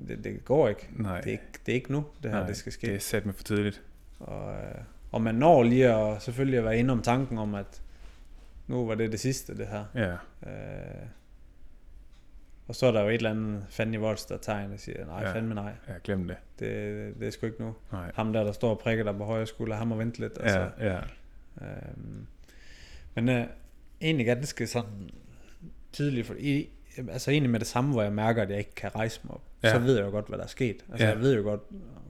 Speaker 3: det, det går ikke.
Speaker 2: Nej.
Speaker 3: Det er ikke, det er ikke nu, det her,
Speaker 2: nej,
Speaker 3: det skal ske.
Speaker 2: Det er sat med for tidligt.
Speaker 3: Og, øh, og man når lige at, selvfølgelig at være inde om tanken om, at nu var det det sidste, det her.
Speaker 2: Ja,
Speaker 3: Øh, og så er der jo et eller andet fandme volds, der tegner og siger, nej,
Speaker 2: Ja.
Speaker 3: ja. fandme nej,
Speaker 2: ja, glem det.
Speaker 3: det, det er sgu ikke nu.
Speaker 2: Nej.
Speaker 3: Ham der, der står og prikker dig på højre skulder, ham må vente lidt.
Speaker 2: Ja,
Speaker 3: Altså.
Speaker 2: ja,
Speaker 3: Øhm, men øh, egentlig er det skal sådan tidligt, for i, altså egentlig med det samme, hvor jeg mærker, at jeg ikke kan rejse mig op,
Speaker 2: Ja.
Speaker 3: ja. så ved jeg jo godt, hvad der er sket.
Speaker 2: Ja.
Speaker 3: Altså ja. jeg ved jo godt,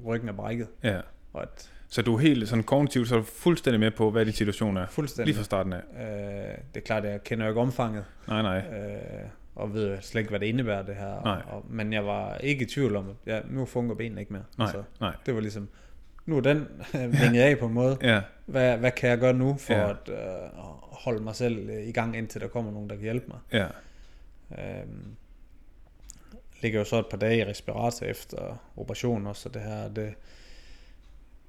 Speaker 3: ryggen er brækket,
Speaker 2: ja.
Speaker 3: og at
Speaker 2: Så du er helt sådan kognitivt, så er du fuldstændig med på, hvad din situation er.
Speaker 3: fuldstændig...
Speaker 2: Lige fra starten af.
Speaker 3: Øh, det er klart, at jeg kender jo ikke omfanget,
Speaker 2: Nej, nej.
Speaker 3: øh, og ved jo slet ikke, hvad det indebærer det her.
Speaker 2: Nej.
Speaker 3: Og, og, men jeg var ikke i tvivl om, at ja, nu fungerer benene ikke mere.
Speaker 2: Nej, nej.
Speaker 3: det var ligesom, nu er den øh, vinget af på en måde.
Speaker 2: (laughs) Ja,
Speaker 3: Hvad, hvad kan jeg gøre nu for
Speaker 2: Ja.
Speaker 3: ja. at øh, holde mig selv øh, i gang, indtil der kommer nogen, der kan hjælpe mig?
Speaker 2: ja,
Speaker 3: Øh, ligger jo så et par dage i respirator efter operationen også, og det her, det,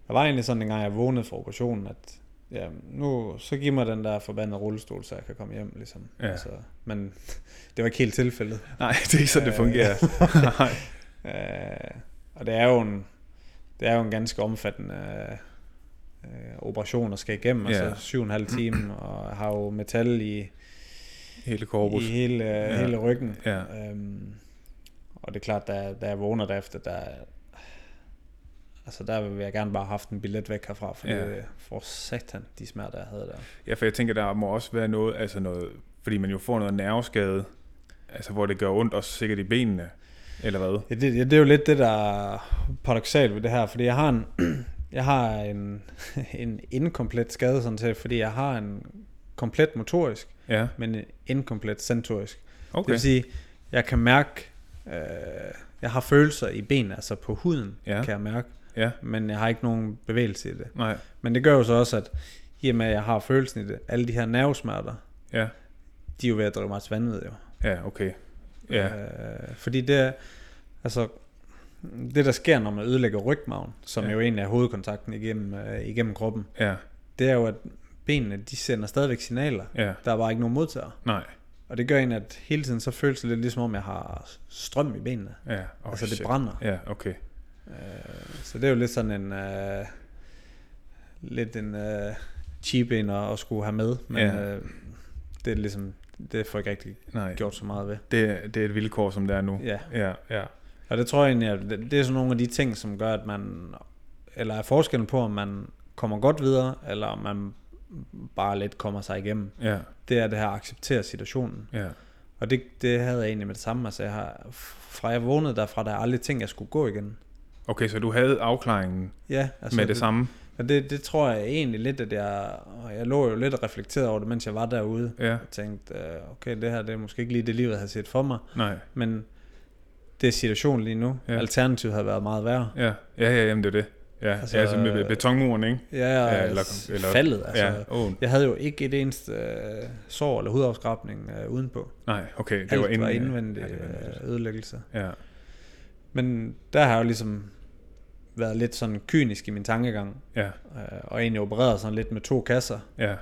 Speaker 3: der var egentlig sådan en gang, jeg vågnede fra operationen, at ja, nu, så giv mig den der forbandede rullestol, så jeg kan komme hjem, ligesom.
Speaker 2: Ja.
Speaker 3: men (laughs) det var ikke helt tilfældet.
Speaker 2: Nej, (laughs) det er ikke sådan, det
Speaker 3: Øh. (laughs)
Speaker 2: fungerer. Nej.
Speaker 3: Øh, og det er jo en, det er jo en ganske omfattende øh, øh, operation at skal igennem,
Speaker 2: Ja.
Speaker 3: ja. altså syv og en halv time, og har jo metal i,
Speaker 2: Hele korpus.
Speaker 3: i hele,
Speaker 2: Ja.
Speaker 3: ja. hele ryggen.
Speaker 2: Ja.
Speaker 3: Øhm, og det er klart, da, da jeg vågner derefter, der, altså der vil jeg gerne bare have haft en billet væk herfra, for
Speaker 2: Ja.
Speaker 3: ja. for satan, de smerter, jeg havde der.
Speaker 2: Ja, for jeg tænker, der må også være noget, altså noget, fordi man jo får noget nerveskade, altså hvor det gør ondt, også sikkert i benene. Eller hvad?
Speaker 3: Ja, det, ja, det er jo lidt det, der er paradoxalt ved det her, fordi jeg har en, (clears throat) jeg har en, (laughs) en inkomplet skade sådan set, fordi jeg har en komplet motorisk,
Speaker 2: Ja,
Speaker 3: men en inkomplet sensorisk. Okay. Det
Speaker 2: okay.
Speaker 3: vil sige, jeg kan mærke, øh, jeg har følelser i benene, altså på huden
Speaker 2: Ja.
Speaker 3: ja. kan jeg mærke,
Speaker 2: Ja,
Speaker 3: men jeg har ikke nogen bevægelse i det.
Speaker 2: nej.
Speaker 3: Men det gør jo så også, at i og med, at jeg har følelsen i det, alle de her nervesmerter,
Speaker 2: Ja,
Speaker 3: de er jo ved at drive mig til vanvid jo.
Speaker 2: ja okay. Ja,
Speaker 3: Øh, fordi det er, altså, det der sker, når man ødelægger rygmagen, som
Speaker 2: Ja.
Speaker 3: ja. jo egentlig er hovedkontakten igennem, øh, igennem kroppen,
Speaker 2: ja,
Speaker 3: det er jo, at benene, de sender stadigvæk signaler.
Speaker 2: ja.
Speaker 3: Der er bare ikke nogen modtager.
Speaker 2: Nej.
Speaker 3: Og det gør en, at hele tiden så føles det lidt ligesom om, jeg har strøm i benene.
Speaker 2: Ja,
Speaker 3: Oh,
Speaker 2: oh,
Speaker 3: altså, det
Speaker 2: shit.
Speaker 3: brænder.
Speaker 2: Ja, okay.
Speaker 3: Øh, så det er jo lidt sådan en... Øh, lidt en øh, cheap en at, at skulle have med. Men
Speaker 2: Ja.
Speaker 3: ja. øh, det er ligesom... Det får jeg ikke rigtig
Speaker 2: Nej,
Speaker 3: gjort så meget ved.
Speaker 2: det, det er et vilkår, som det er nu.
Speaker 3: Ja.
Speaker 2: Ja, ja.
Speaker 3: Og det tror jeg egentlig, at det, det er sådan nogle af de ting, som gør, at man... Eller er forskellen på, om man kommer godt videre, eller om man bare lidt kommer sig igennem.
Speaker 2: Ja,
Speaker 3: Det er det her at acceptere situationen.
Speaker 2: ja,
Speaker 3: Og det, det havde jeg egentlig med det samme. Altså, jeg har, fra jeg vågnede derfra, der er aldrig tænkt, at jeg skulle gå igen.
Speaker 2: Okay, så du havde afklaringen
Speaker 3: Ja,
Speaker 2: altså, med det, det samme?
Speaker 3: Og det, det tror jeg egentlig lidt, at jeg... Og jeg lå jo lidt og reflekterede over det, mens jeg var derude.
Speaker 2: Ja,
Speaker 3: Jeg tænkte, øh, okay, det her det er måske ikke lige det, livet havde set for mig.
Speaker 2: nej.
Speaker 3: Men det er situationen lige nu.
Speaker 2: Ja.
Speaker 3: Ja. Alternativet havde været meget værre.
Speaker 2: Ja, ja, ja jamen det er det. Ja, altså,
Speaker 3: Altså,
Speaker 2: altså med med betonmuren, ikke?
Speaker 3: Ja, ja
Speaker 2: eller-
Speaker 3: eller,
Speaker 2: eller-
Speaker 3: eller, faldet. Altså,
Speaker 2: ja, åh,
Speaker 3: Jeg havde jo ikke et eneste øh, sår eller hudafskrabning øh, udenpå.
Speaker 2: nej, okay. Det var,
Speaker 3: Alt var,
Speaker 2: inden,
Speaker 3: var indvendig
Speaker 2: Ja, det var
Speaker 3: ja,
Speaker 2: indvendigt.
Speaker 3: øh, ødelæggelse.
Speaker 2: ja,
Speaker 3: Men der har jeg jo ligesom været lidt sådan kynisk i min tankegang,
Speaker 2: ja,
Speaker 3: øh, og egentlig opereret sådan lidt med to kasser.
Speaker 2: ja,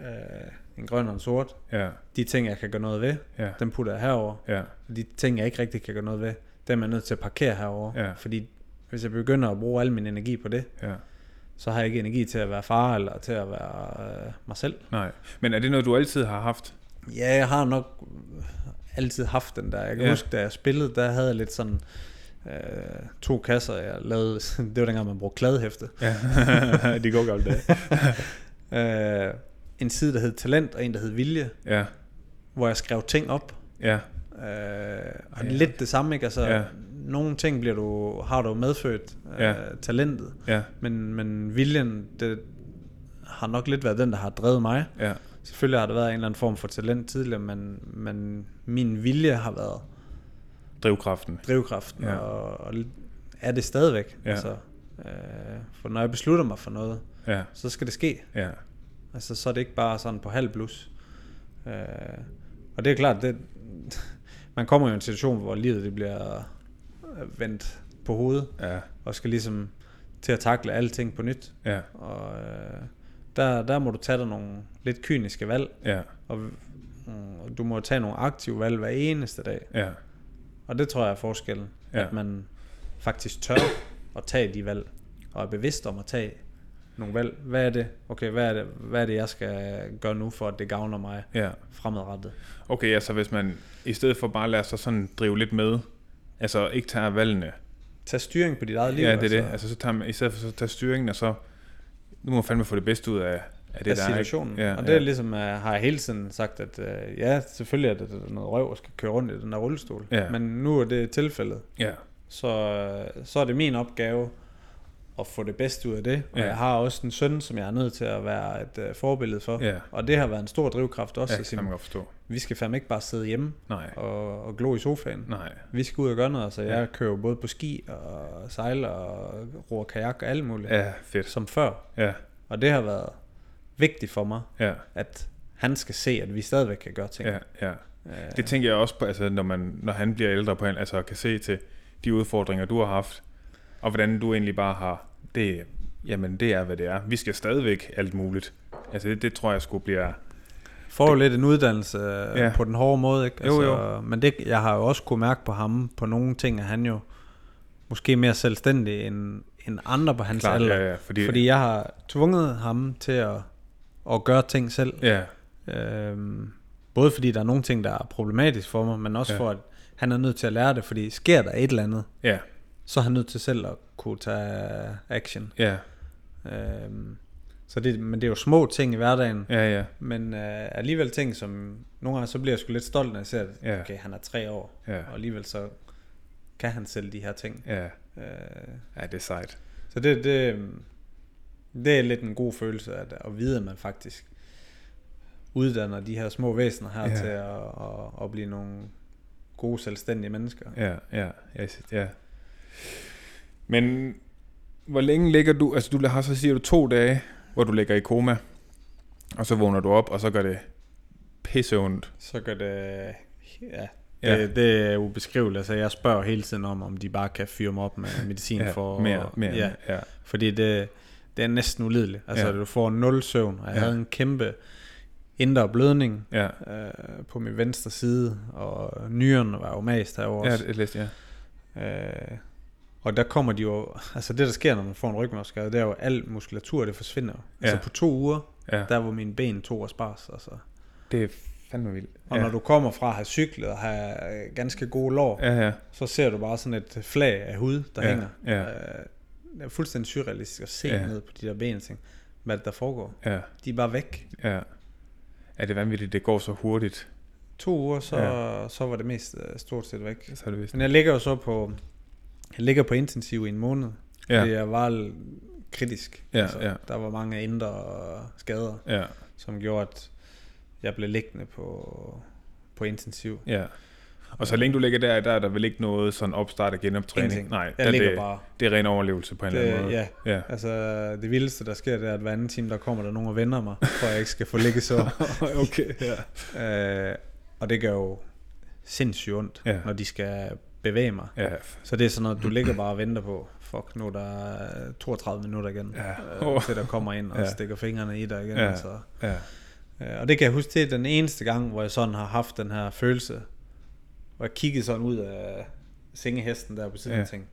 Speaker 3: Øh, en grøn og en sort.
Speaker 2: ja,
Speaker 3: De ting, jeg kan gøre noget ved,
Speaker 2: ja,
Speaker 3: dem putter jeg herover.
Speaker 2: ja,
Speaker 3: De ting, jeg ikke rigtig kan gøre noget ved, dem er jeg nødt til at parkere herover.
Speaker 2: Ja.
Speaker 3: Fordi hvis jeg begynder at bruge al min energi på det,
Speaker 2: ja.
Speaker 3: så har jeg ikke energi til at være far eller til at være øh, mig selv.
Speaker 2: Nej, men er det noget, du altid har haft?
Speaker 3: Ja, jeg har nok øh, altid haft den der. Jeg kan
Speaker 2: Ja.
Speaker 3: ja. huske, da jeg spillede, der havde jeg lidt sådan øh, to kasser, jeg lavede. (laughs) Det var dengang, man brugte
Speaker 2: (laughs)
Speaker 3: kladehæfte.
Speaker 2: Ja, det går godt det.
Speaker 3: Øh, en side, der hed Talent, og en, der hed Vilje,
Speaker 2: Ja,
Speaker 3: hvor jeg skrev ting op.
Speaker 2: ja,
Speaker 3: Øh, og
Speaker 2: Ja.
Speaker 3: ja. lidt det samme, ikke? Altså,
Speaker 2: Ja.
Speaker 3: ja. nogle ting bliver du, har du medfødt øh,
Speaker 2: Ja.
Speaker 3: talentet,
Speaker 2: ja,
Speaker 3: men, men viljen, det har nok lidt været den, der har drevet mig.
Speaker 2: ja,
Speaker 3: Selvfølgelig har der været en eller anden form for talent tidligere, men, men min vilje har været
Speaker 2: drivkraften.
Speaker 3: drivkraften,
Speaker 2: Ja.
Speaker 3: ja. og, og er det stadigvæk.
Speaker 2: Ja.
Speaker 3: Altså, øh, for når jeg beslutter mig for noget,
Speaker 2: Ja,
Speaker 3: så skal det ske.
Speaker 2: ja,
Speaker 3: Altså, så er det ikke bare sådan på halv blus. Øh, og det er klart, det, (laughs) man kommer jo i en situation, hvor livet det bliver øh, vendt på hovedet,
Speaker 2: ja,
Speaker 3: og skal ligesom til at takle alting på nyt.
Speaker 2: ja,
Speaker 3: Og øh, der, der må du tage dig nogle lidt kyniske valg,
Speaker 2: ja,
Speaker 3: og mm, du må tage nogle aktive valg hver eneste dag.
Speaker 2: ja,
Speaker 3: Og det tror jeg er forskellen.
Speaker 2: Ja.
Speaker 3: Ja. At man faktisk tør at tage de valg, og er bevidst om at tage nogle valg. Hvad er det, okay, hvad er det, hvad er det jeg skal gøre nu, for at det gavner mig
Speaker 2: ja.
Speaker 3: fremadrettet?
Speaker 2: Okay, altså hvis man i stedet for bare lader sig sådan drive lidt med, altså ikke tager valgene,
Speaker 3: Tag styring på dit eget liv.
Speaker 2: ja, det er altså. det.
Speaker 3: Altså,
Speaker 2: Altså, så tager man, i stedet for så tager styringen, og så... Nu må man fandme få det bedste ud af, af Altså, det,
Speaker 3: det
Speaker 2: der
Speaker 3: er situationen.
Speaker 2: Er, ikke?
Speaker 3: Ja, og det er ligesom, uh, har jeg hele tiden sagt, at uh, ja, selvfølgelig er det det er noget røv at skal køre rundt i den her rullestol.
Speaker 2: Ja.
Speaker 3: Men nu er det tilfældet.
Speaker 2: ja,
Speaker 3: Så, øh, så er det min opgave at få det bedste ud af det. Og
Speaker 2: Ja.
Speaker 3: ja. jeg har også en søn, som jeg er nødt til at være et uh, forbillede for.
Speaker 2: Ja.
Speaker 3: Og det har været en stor drivkraft også
Speaker 2: ja,
Speaker 3: ja,
Speaker 2: det
Speaker 3: at sige,
Speaker 2: kan man godt forstå.
Speaker 3: vi skal fandme ikke bare sidde hjemme
Speaker 2: Nej,
Speaker 3: og, og glo i sofaen.
Speaker 2: nej,
Speaker 3: Vi skal ud og gøre noget, så jeg
Speaker 2: Ja.
Speaker 3: ja. kører jo både på ski og sejler og roer kajak og alt muligt,
Speaker 2: ja, fedt.
Speaker 3: som før.
Speaker 2: Ja,
Speaker 3: Og det har været vigtigt for mig,
Speaker 2: ja,
Speaker 3: at han skal se, at vi stadigvæk kan gøre ting.
Speaker 2: ja, ja.
Speaker 3: Øh,
Speaker 2: Det tænker jeg også på, altså, når, man, når han bliver ældre på en, altså kan se til de udfordringer, du har haft, og hvordan du egentlig bare har, det, jamen det er, hvad det er. Vi skal stadigvæk alt muligt. Altså det, det tror jeg skulle blive...
Speaker 3: får jo lidt en uddannelse
Speaker 2: Ja.
Speaker 3: ja. på den hårde måde, ikke? Altså,
Speaker 2: Jo,
Speaker 3: Men det, jeg har jo også kunne mærke på ham, på nogle ting, at han jo måske mere selvstændig end, end andre på hans
Speaker 2: Klart,
Speaker 3: alder.
Speaker 2: ja, ja, fordi,
Speaker 3: Fordi jeg har tvunget ham til at, at gøre ting selv.
Speaker 2: ja,
Speaker 3: Øhm, både fordi der er nogle ting, der er problematisk for mig, men også
Speaker 2: Ja.
Speaker 3: ja. for, at han er nødt til at lære det, fordi sker der et eller andet,
Speaker 2: ja,
Speaker 3: så er han nødt til selv at kunne tage action.
Speaker 2: ja,
Speaker 3: Øhm, så det, men det er jo små ting i hverdagen,
Speaker 2: ja, ja,
Speaker 3: men øh, alligevel ting, som nogle gange så bliver jeg sgu lidt stolt, når jeg ser det.
Speaker 2: Ja.
Speaker 3: Okay, han er tre år,
Speaker 2: Ja.
Speaker 3: og alligevel så kan han sælge de her ting.
Speaker 2: Ja,
Speaker 3: Øh,
Speaker 2: ja det er sejt.
Speaker 3: så det, det, øhm, det er lidt en god følelse at, at vide, at man faktisk uddanner de her små væsener her
Speaker 2: Ja.
Speaker 3: ja. til at, at, at blive nogle gode, selvstændige mennesker.
Speaker 2: Ja, ja, ja, s- ja. Men hvor længe ligger du, altså du har så siger du to dage, hvor du ligger i koma, og så vågner du op, og så gør det pisseondt.
Speaker 3: Så gør det... Ja,
Speaker 2: Ja.
Speaker 3: det, ja. det er ubeskriveligt. Altså, jeg spørger hele tiden om, om de bare kan fyre mig
Speaker 2: (laughs)
Speaker 3: op med medicin
Speaker 2: Ja,
Speaker 3: for...
Speaker 2: mere, mere,
Speaker 3: ja,
Speaker 2: ja. ja.
Speaker 3: Fordi det, det er næsten ulideligt. Altså,
Speaker 2: Ja.
Speaker 3: ja. du får nul søvn, og jeg
Speaker 2: Ja.
Speaker 3: ja. havde en kæmpe indre blødning
Speaker 2: Ja,
Speaker 3: øh, på min venstre side, og nyren var jo mast herovre
Speaker 2: ja
Speaker 3: også.
Speaker 2: det læste jeg.
Speaker 3: Øh, og der kommer de jo... Altså, det der sker, når man får en rygmaskade, det er jo, at al muskulatur, det forsvinder. jo.
Speaker 2: Ja.
Speaker 3: Altså, på to uger,
Speaker 2: Ja.
Speaker 3: der hvor mine ben tog og spars, altså.
Speaker 2: Det er fandme vildt. ja.
Speaker 3: Og ja. når du kommer fra at have cyklet og have øh, ganske gode lår, ja.
Speaker 2: Ja, ja.
Speaker 3: så ser du bare sådan et flag af hud, der
Speaker 2: Ja,
Speaker 3: hænger.
Speaker 2: ja.
Speaker 3: Øh, det er fuldstændig surrealistisk at se
Speaker 2: Ja.
Speaker 3: ja. ned på de der ben og tænke, hvad er det, der foregår?
Speaker 2: Ja,
Speaker 3: De er bare væk.
Speaker 2: ja. Ja, det er vanvittigt, det går så hurtigt,
Speaker 3: To uger, så, ja. så var det mest øh, stort set væk.
Speaker 2: så er det vist.
Speaker 3: Men jeg ligger jo så på, jeg ligger på intensiv i en måned, ja. fordi
Speaker 2: Ja,
Speaker 3: jeg var l- kritisk. Altså,
Speaker 2: Ja, ja.
Speaker 3: Der var mange indre skader,
Speaker 2: ja,
Speaker 3: som gjorde, at jeg blev liggende på, på intensiv.
Speaker 2: ja. Og så længe du ligger der, der er der vel ikke noget sådan opstart og genoptræning?
Speaker 3: Ingenting.
Speaker 2: Nej,
Speaker 3: Jeg
Speaker 2: der,
Speaker 3: ligger
Speaker 2: det,
Speaker 3: bare.
Speaker 2: det er ren overlevelse på en eller anden
Speaker 3: Det,
Speaker 2: måde.
Speaker 3: ja, (laughs)
Speaker 2: ja.
Speaker 3: Altså, det vildeste, der sker, det er, at hver anden time, der kommer der nogen og vender mig, for at jeg ikke skal få ligge
Speaker 2: (laughs)
Speaker 3: så.
Speaker 2: okay, ja.
Speaker 3: øh, og det gør jo sindssygt ondt,
Speaker 2: Ja.
Speaker 3: ja. når de skal bevæge mig.
Speaker 2: Ja,
Speaker 3: Så det er sådan noget, du ligger bare og venter på. Fuck, nu er der øh, 32 minutter igen,
Speaker 2: Ja.
Speaker 3: øh, til der kommer ind og
Speaker 2: Ja.
Speaker 3: ja. stikker fingrene i dig igen.
Speaker 2: Ja.
Speaker 3: Ja. Altså.
Speaker 2: ja.
Speaker 3: Øh, og det kan jeg huske, det er den eneste gang, hvor jeg sådan har haft den her følelse, hvor jeg kiggede sådan ud af sengehesten der på siden ja.
Speaker 2: Ja.
Speaker 3: og tænkte,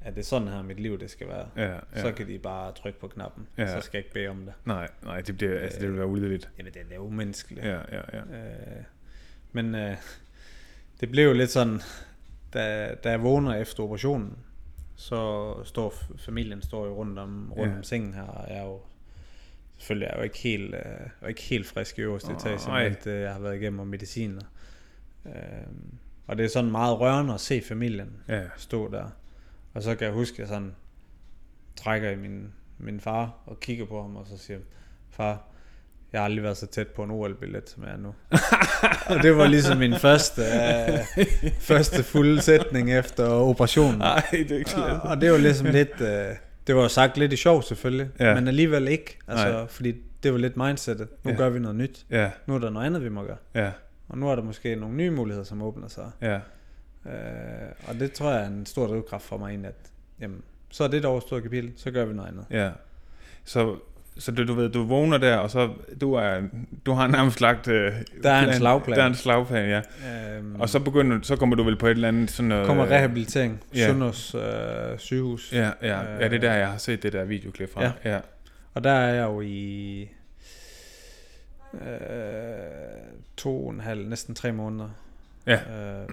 Speaker 3: at det er sådan her, mit liv det skal være.
Speaker 2: ja, ja.
Speaker 3: Ja. Så kan de bare trykke på knappen,
Speaker 2: Ja.
Speaker 3: ja. så skal jeg ikke bede om det.
Speaker 2: Nej, nej, det, bliver, altså, det vil være ulideligt.
Speaker 3: Jamen, det er jo umenneskeligt.
Speaker 2: Ja, ja, ja.
Speaker 3: Øh, men øh, det blev jo lidt sådan, da, da jeg vågner efter operationen, så står f- familien står jo rundt om, rundt
Speaker 2: Ja.
Speaker 3: ja. om sengen her, og jeg er jo selvfølgelig er jeg jo ikke helt, øh, jeg er ikke helt frisk i øverste
Speaker 2: Åh,
Speaker 3: etage,
Speaker 2: nej.
Speaker 3: med alt øh, jeg har været igennem og mediciner. Øh, og det er sådan meget rørende at se familien
Speaker 2: Ja,
Speaker 3: stå der. Og så kan jeg huske, at jeg sådan trækker i min, min far og kigger på ham, og så siger, far, jeg har aldrig været så tæt på en OL-billet, som
Speaker 2: (laughs)
Speaker 3: jeg er nu. og det var ligesom min første, øh, første fulde sætning efter operationen.
Speaker 2: Nej, Ah, det er ikke
Speaker 3: Og, og det var ligesom lidt, øh, det var jo sagt lidt i sjov selvfølgelig,
Speaker 2: Ja.
Speaker 3: ja. men alligevel ikke, altså,
Speaker 2: Nej.
Speaker 3: fordi det var lidt mindsetet.
Speaker 2: Ja.
Speaker 3: Nu ja. gør vi noget nyt.
Speaker 2: Ja,
Speaker 3: Nu er der noget andet, vi må gøre.
Speaker 2: ja,
Speaker 3: Og nu er der måske nogle nye muligheder, som åbner sig.
Speaker 2: ja.
Speaker 3: Øh, og det tror jeg er en stor drivkraft for mig egentlig, at jamen, så er det et overstået kapitel, så gør vi noget andet.
Speaker 2: Ja. Så, så du, du ved, du vågner der, og så du, er, du har nærmest lagt... Øh,
Speaker 3: Der er en slagplan.
Speaker 2: Der er en slagplan, ja.
Speaker 3: Øhm,
Speaker 2: Og så, begynder, du- så kommer du vel på et eller andet sådan noget...
Speaker 3: kommer rehabilitering,
Speaker 2: ja.
Speaker 3: ja. Sundheds øh, sygehus.
Speaker 2: Ja, ja, ja, det er der, jeg har set det der videoklip fra.
Speaker 3: Ja.
Speaker 2: ja.
Speaker 3: Og der er jeg jo i øh, to og en halv, næsten tre måneder.
Speaker 2: Ja.
Speaker 3: Øh,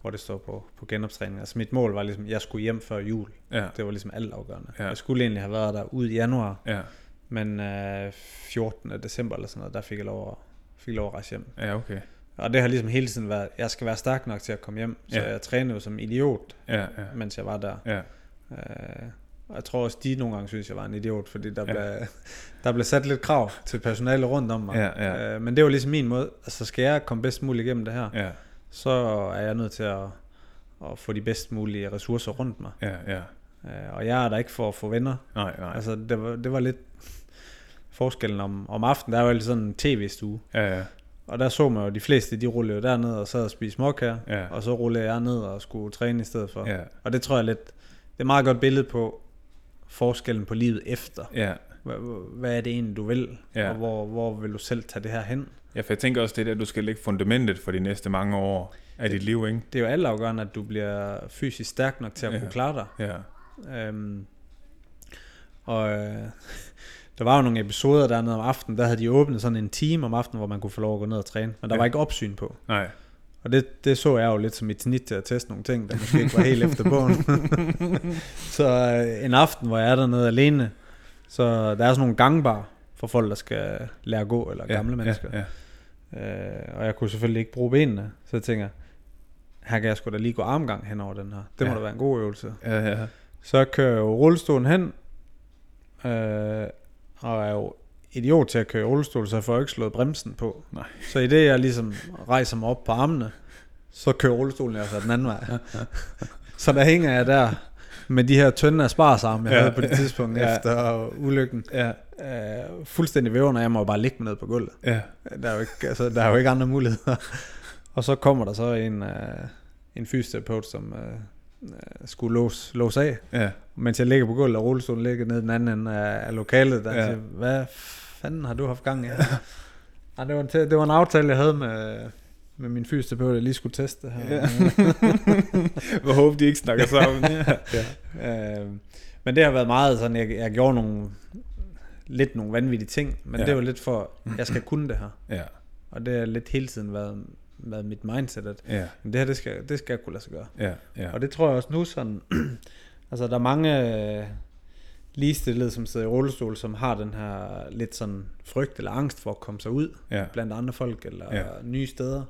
Speaker 3: hvor det står på, på genoptræning. Altså mit mål var ligesom, at jeg skulle hjem før jul.
Speaker 2: ja.
Speaker 3: Det var ligesom alt afgørende.
Speaker 2: Ja.
Speaker 3: Jeg skulle egentlig have været der ud i januar,
Speaker 2: Ja,
Speaker 3: men øh, 14. december eller sådan noget, der fik jeg lov at, fik jeg lov at rejse hjem.
Speaker 2: ja, okay.
Speaker 3: Og det har ligesom hele tiden været, jeg skal være stærk nok til at komme hjem, så
Speaker 2: Ja.
Speaker 3: ja. jeg trænede jo som idiot,
Speaker 2: Ja, ja,
Speaker 3: mens jeg var der.
Speaker 2: ja,
Speaker 3: Øh, og jeg tror også, de nogle gange synes, jeg var en idiot, fordi der,
Speaker 2: Ja.
Speaker 3: ja. blev, der blev sat lidt krav til personale rundt om mig.
Speaker 2: Ja, ja.
Speaker 3: Øh, men det var ligesom min måde, altså skal jeg komme bedst muligt igennem det her, ja.
Speaker 2: ja,
Speaker 3: så er jeg nødt til at, at få de bedst mulige ressourcer rundt mig.
Speaker 2: ja, ja.
Speaker 3: Øh, og jeg er der ikke for at få venner.
Speaker 2: Nej, nej.
Speaker 3: Altså det var, det var lidt forskellen om, om aftenen, der var jo sådan en tv-stue.
Speaker 2: Ja, ja,
Speaker 3: Og der så man jo, de fleste, de rullede jo derned og sad og spiste småkager,
Speaker 2: Ja.
Speaker 3: og så rullede jeg ned og skulle træne i stedet for.
Speaker 2: ja,
Speaker 3: Og det tror jeg lidt, det er et meget godt billede på forskellen på livet efter.
Speaker 2: ja.
Speaker 3: Hva- Hvad er det egentlig, du vil?
Speaker 2: Ja.
Speaker 3: Og hvor, hvor vil du selv tage det her hen?
Speaker 2: Ja, for jeg tænker også, det der, du skal lægge fundamentet for de næste mange år af dit liv, ikke?
Speaker 3: Det er jo altafgørende, at du bliver fysisk stærk nok til at
Speaker 2: Ja.
Speaker 3: ja. kunne klare dig.
Speaker 2: Ja,
Speaker 3: Øhm, og øh, (laughs) der var jo nogle episoder dernede om aftenen, der havde de åbnet sådan en time om aftenen, hvor man kunne få lov at gå ned og træne. Men der
Speaker 2: Ja.
Speaker 3: var ikke opsyn på.
Speaker 2: nej.
Speaker 3: Og det, det så jeg jo lidt som et snit til at teste nogle ting, der måske ikke var helt efter
Speaker 2: (laughs)
Speaker 3: bogen. så øh, en aften, hvor jeg er dernede alene, så der er sådan nogle gangbar for folk, der skal lære at gå, eller
Speaker 2: Ja,
Speaker 3: gamle mennesker.
Speaker 2: Ja, ja.
Speaker 3: Øh, og jeg kunne selvfølgelig ikke bruge benene, så jeg tænker, her kan jeg sgu da lige gå armgang hen over den her. Det ja.
Speaker 2: Ja.
Speaker 3: må da være en god øvelse.
Speaker 2: Ja, ja.
Speaker 3: Så kører jeg jo rullestolen hen, øh, og er jo idiot til at køre i rullestol, så jeg får jo ikke slået bremsen på.
Speaker 2: Nej.
Speaker 3: Så i det, jeg ligesom rejser mig op på armene, så kører rullestolen altså den anden
Speaker 2: (laughs)
Speaker 3: vej. så der hænger jeg der med de her tynde asparsarme, jeg
Speaker 2: Ja.
Speaker 3: havde på det tidspunkt
Speaker 2: Ja.
Speaker 3: efter ulykken.
Speaker 2: Ja,
Speaker 3: Øh, fuldstændig væver, når jeg må jo bare ligge mig ned på gulvet.
Speaker 2: ja.
Speaker 3: Der er jo ikke, altså, der er jo ikke andre muligheder. Og så kommer der så en, øh, en fysioterapeut, som øh, øh, skulle låse, låse af,
Speaker 2: ja.
Speaker 3: mens jeg ligger på gulvet, og rullestolen ligger nede i den anden ende af af lokalet. Der
Speaker 2: Ja.
Speaker 3: ja. siger, hvad fanden har du haft gang i? (laughs) Ej, det, var en, te- det var en aftale, jeg havde med, med min fysioterapeut, jeg lige skulle teste det her.
Speaker 2: Ja.
Speaker 3: (laughs)
Speaker 2: Jeg håber, de ikke snakker sammen. Ja. ja.
Speaker 3: Øh, men det har været meget sådan, jeg, jeg gjorde nogle, lidt nogle vanvittige ting, men
Speaker 2: Ja.
Speaker 3: ja. det var lidt for, jeg (laughs) skal kunne det her.
Speaker 2: ja.
Speaker 3: Og det har lidt hele tiden været, været mit mindset, at
Speaker 2: Ja,
Speaker 3: Jamen, det her, det skal, det skal jeg kunne lade sig gøre.
Speaker 2: ja, ja.
Speaker 3: Ja. Og det tror jeg også nu sådan... (clears throat) altså, der er mange øh, ligestillede, som sidder i rullestol, som har den her lidt sådan frygt eller angst for at komme sig ud
Speaker 2: ja.
Speaker 3: blandt andre folk eller
Speaker 2: Ja.
Speaker 3: ja. nye steder.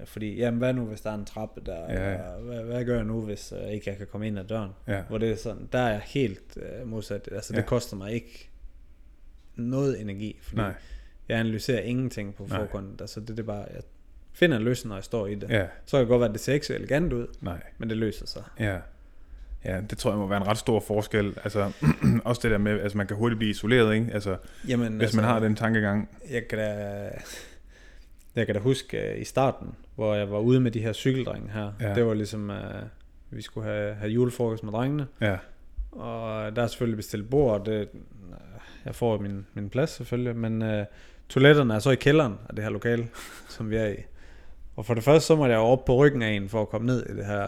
Speaker 3: Øh, Fordi, jamen hvad nu, hvis der er en trappe der?
Speaker 2: Ja, ja.
Speaker 3: Eller Hvad, hvad gør jeg nu, hvis øh, ikke jeg kan komme ind ad døren?
Speaker 2: Ja.
Speaker 3: Hvor det er sådan, der er jeg helt øh, modsat. Altså, det
Speaker 2: Ja.
Speaker 3: koster mig ikke noget energi, fordi
Speaker 2: Nej.
Speaker 3: jeg analyserer ingenting på
Speaker 2: Nej.
Speaker 3: forgrunden. Altså, det, det er bare, jeg finder en løsning, når jeg står i det.
Speaker 2: Ja,
Speaker 3: Så kan det godt være, at det ser ikke så elegant ud,
Speaker 2: nej.
Speaker 3: men det løser sig.
Speaker 2: Ja. Ja, det tror jeg må være en ret stor forskel. Altså, (clears throat) også det der med, altså man kan hurtigt blive isoleret, ikke? Altså,
Speaker 3: Jamen,
Speaker 2: hvis man har den tankegang.
Speaker 3: Jeg kan da, jeg kan da huske øh, i starten, hvor jeg var ude med de her cykeldrenge her.
Speaker 2: Ja.
Speaker 3: Ja. Det var ligesom, øh, vi skulle have, have julefrokost med drengene.
Speaker 2: Ja,
Speaker 3: Og der er selvfølgelig bestilt bord, og det, øh, jeg får min, min plads selvfølgelig. Men øh, toiletterne er så i kælderen af det her lokale, (laughs) som vi er i. Og for det første, så måtte jeg jo op på ryggen af en for at komme ned i det her,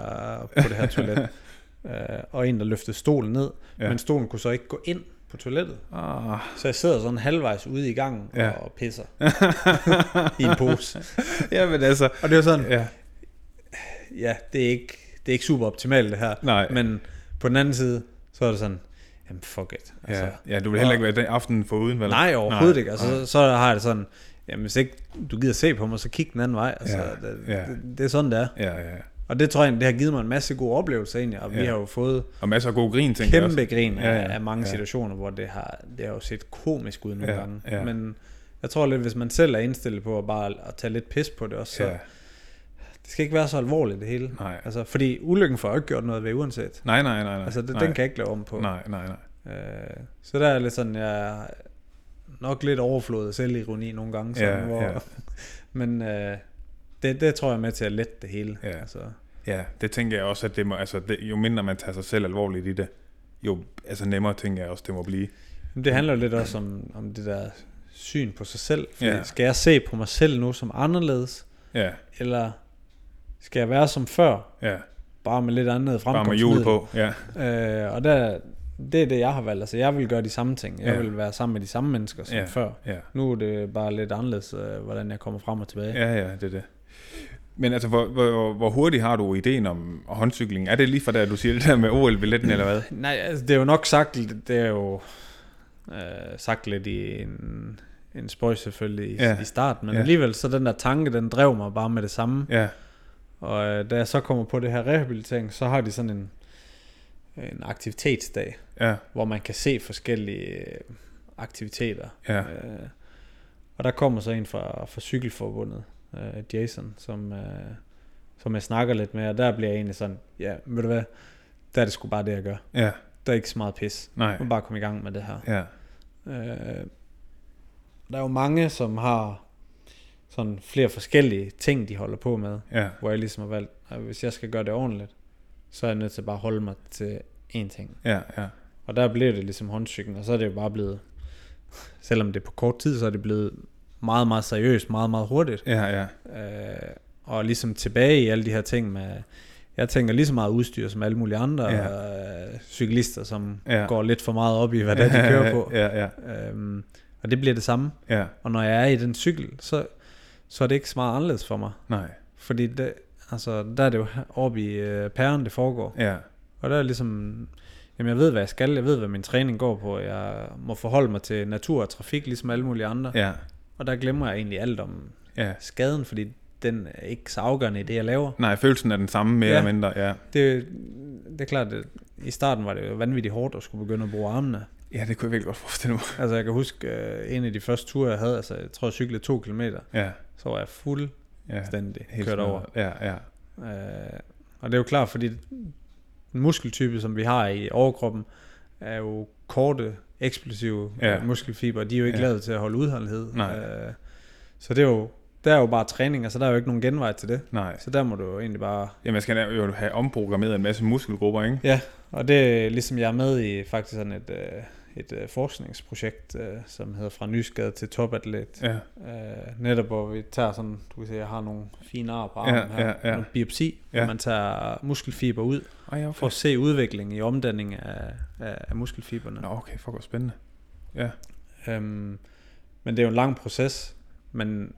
Speaker 3: på det her
Speaker 2: (laughs)
Speaker 3: toilet. øh, og en, der løftede stolen ned.
Speaker 2: Ja.
Speaker 3: Ja. Men stolen kunne så ikke gå ind på toilettet.
Speaker 2: ah,
Speaker 3: Så jeg sidder sådan halvvejs ude i gangen
Speaker 2: Ja.
Speaker 3: ja. og pisser (laughs) i en pose.
Speaker 2: ja men (laughs) altså,
Speaker 3: Og det er jo sådan,
Speaker 2: ja,
Speaker 3: Øh, ja, det er ikke, det er ikke super optimalt det her.
Speaker 2: nej.
Speaker 3: Men på den anden side, så er det sådan, jamen fuck it. Altså,
Speaker 2: Ja, ja, du vil heller ikke være den aften for uden, vel?
Speaker 3: Nej, overhovedet
Speaker 2: Nej,
Speaker 3: nej, ikke. Altså, så, så har jeg det sådan, jamen hvis ikke du gider se på mig, så kig den anden vej. Altså,
Speaker 2: Ja,
Speaker 3: ja, det,
Speaker 2: ja.
Speaker 3: Det, det, er sådan, det er.
Speaker 2: Ja, ja. ja.
Speaker 3: Og det tror jeg, egentlig, det har givet mig en masse gode oplevelser egentlig, og ja.
Speaker 2: Ja.
Speaker 3: vi har jo fået
Speaker 2: Og masser af god grin, tænker jeg også.
Speaker 3: kæmpe grin af,
Speaker 2: Ja,
Speaker 3: ja,
Speaker 2: ja,
Speaker 3: ja, af mange
Speaker 2: ja.
Speaker 3: ja. situationer, hvor det har, det har jo set komisk ud
Speaker 2: Ja,
Speaker 3: nogle ja, gange.
Speaker 2: ja.
Speaker 3: Ja. Men jeg tror lidt, hvis man selv er indstillet på at bare at tage lidt pis på det også, så
Speaker 2: Ja.
Speaker 3: ja. det skal ikke være så alvorligt det hele.
Speaker 2: Nej.
Speaker 3: Altså, fordi ulykken får jo ikke gjort noget ved uanset.
Speaker 2: Nej, nej, nej, nej.
Speaker 3: Altså, det,
Speaker 2: nej.
Speaker 3: den kan jeg ikke lave om på.
Speaker 2: Nej, nej, nej.
Speaker 3: Øh, så der er lidt sådan, jeg er nok lidt overflået af selvironi nogle gange. Sådan,
Speaker 2: Ja,
Speaker 3: ja, hvor,
Speaker 2: ja.
Speaker 3: ja. (laughs) men øh, det, det tror jeg er med til at lette det hele.
Speaker 2: Ja.
Speaker 3: Altså,
Speaker 2: Ja, det tænker jeg også, at det må, altså, det, jo mindre man tager sig selv alvorligt i det, jo altså, nemmere tænker jeg også, det må blive.
Speaker 3: Men Det handler jo lidt også om, om det der syn på sig selv. Fordi
Speaker 2: Ja.
Speaker 3: ja. Skal jeg se på mig selv nu som anderledes?
Speaker 2: Ja,
Speaker 3: Eller skal jeg være som før,
Speaker 2: ja.
Speaker 3: bare med lidt andet
Speaker 2: Bare med jul
Speaker 3: fremkomstmiddel?
Speaker 2: på. Ja,
Speaker 3: Øh, og der, det er det, jeg har valgt. Altså, jeg vil gøre de samme ting. Jeg
Speaker 2: Ja.
Speaker 3: ja. vil være sammen med de samme mennesker som
Speaker 2: Ja.
Speaker 3: ja. før.
Speaker 2: ja.
Speaker 3: Nu er det bare lidt anderledes, øh, hvordan jeg kommer frem og tilbage.
Speaker 2: Ja, ja, det er det. Men altså, hvor, hvor, hvor hurtigt har du ideen om håndcykling? Er det lige fra da du siger det der med OL-billetten, eller hvad?
Speaker 3: (clears throat) Nej, altså, det er jo nok sagt, det er jo øh, sagt lidt i en, en spøj selvfølgelig i,
Speaker 2: Ja.
Speaker 3: ja. i starten, men
Speaker 2: Ja.
Speaker 3: ja. alligevel så den der tanke, den drev mig bare med det samme.
Speaker 2: Ja,
Speaker 3: Og øh, da jeg så kommer på det her rehabilitering, så har de sådan en, en aktivitetsdag,
Speaker 2: ja,
Speaker 3: hvor man kan se forskellige øh, aktiviteter.
Speaker 2: ja,
Speaker 3: Øh, og der kommer så en fra, fra Cykelforbundet, øh, Jason, som, øh, som jeg snakker lidt med, og der bliver jeg egentlig sådan, ja, ved du hvad, der er det sgu bare det, jeg gør.
Speaker 2: ja,
Speaker 3: Der er ikke så meget pis.
Speaker 2: nej,
Speaker 3: Jeg må bare komme i gang med det her.
Speaker 2: ja,
Speaker 3: Øh, der er jo mange, som har sådan flere forskellige ting, de holder på med
Speaker 2: ja,
Speaker 3: hvor jeg ligesom har valgt, at hvis jeg skal gøre det ordentligt, så er jeg nødt til bare at holde mig til én ting.
Speaker 2: ja, ja,
Speaker 3: Og der blev det ligesom håndcyklen, og så er det jo bare blevet, (laughs) selvom det er på kort tid, så er det blevet meget, meget seriøst, meget, meget hurtigt.
Speaker 2: ja, ja,
Speaker 3: Øh, og ligesom tilbage i alle de her ting med, jeg tænker lige så meget udstyr som alle mulige andre øh, cyklister, som
Speaker 2: Ja.
Speaker 3: ja. går lidt for meget op i, hvad det er, de kører på.
Speaker 2: Ja, (laughs) ja,
Speaker 3: Øhm, og det bliver det samme.
Speaker 2: ja,
Speaker 3: Og når jeg er i den cykel, så, så er det ikke så meget anderledes for mig.
Speaker 2: nej,
Speaker 3: Fordi det, altså, der er det jo oppe i øh, pæren, det foregår.
Speaker 2: ja,
Speaker 3: Og der er ligesom... Jamen, jeg ved, hvad jeg skal. Jeg ved, hvad min træning går på. Jeg må forholde mig til natur og trafik, ligesom alle mulige andre. Ja.
Speaker 2: ja,
Speaker 3: Og der glemmer jeg egentlig alt om
Speaker 2: ja,
Speaker 3: skaden, fordi den er ikke så afgørende i det, jeg laver.
Speaker 2: Nej, følelsen er den samme, mere
Speaker 3: Ja.
Speaker 2: ja. eller mindre. Ja.
Speaker 3: Det, det er klart, at i starten var det jo vanvittigt hårdt at skulle begynde at bruge armene.
Speaker 2: ja, det kunne jeg virkelig godt forestille mig.
Speaker 3: Altså jeg kan huske, øh, en af de første ture, jeg havde, altså jeg tror jeg cyklede to kilometer,
Speaker 2: Ja,
Speaker 3: så var jeg fuldstændig
Speaker 2: ja.
Speaker 3: ja, kørt
Speaker 2: smadret.
Speaker 3: over.
Speaker 2: Ja, ja.
Speaker 3: Øh, og det er jo klart, fordi den muskeltype, som vi har i overkroppen, er jo korte, eksplosive
Speaker 2: Ja.
Speaker 3: ja. muskelfiber. De er jo ikke
Speaker 2: Ja.
Speaker 3: ja. lavet til at holde udholdenhed.
Speaker 2: Nej.
Speaker 3: Øh, så det er jo, der er jo bare træning, altså der er jo ikke nogen genvej til det.
Speaker 2: Nej.
Speaker 3: Så der må du jo egentlig bare...
Speaker 2: Jamen, jeg skal jo have omprogrammeret en masse muskelgrupper, ikke?
Speaker 3: Og det er ligesom jeg er med i faktisk sådan et, øh, et øh, forskningsprojekt, øh, som hedder Fra Nyskade til Topatlet.
Speaker 2: Ja,
Speaker 3: Øh, netop hvor vi tager sådan, du kan se, jeg har nogle fine ar på armen
Speaker 2: Ja,
Speaker 3: her.
Speaker 2: ja, ja.
Speaker 3: Noget biopsi,
Speaker 2: Ja.
Speaker 3: hvor man tager muskelfiber ud,
Speaker 2: Ej, okay.
Speaker 3: for at se udviklingen i omdanning af, af, af muskelfiberne.
Speaker 2: Nå, okay, fuck, hvor spændende.
Speaker 3: Øhm, men det er jo en lang proces, men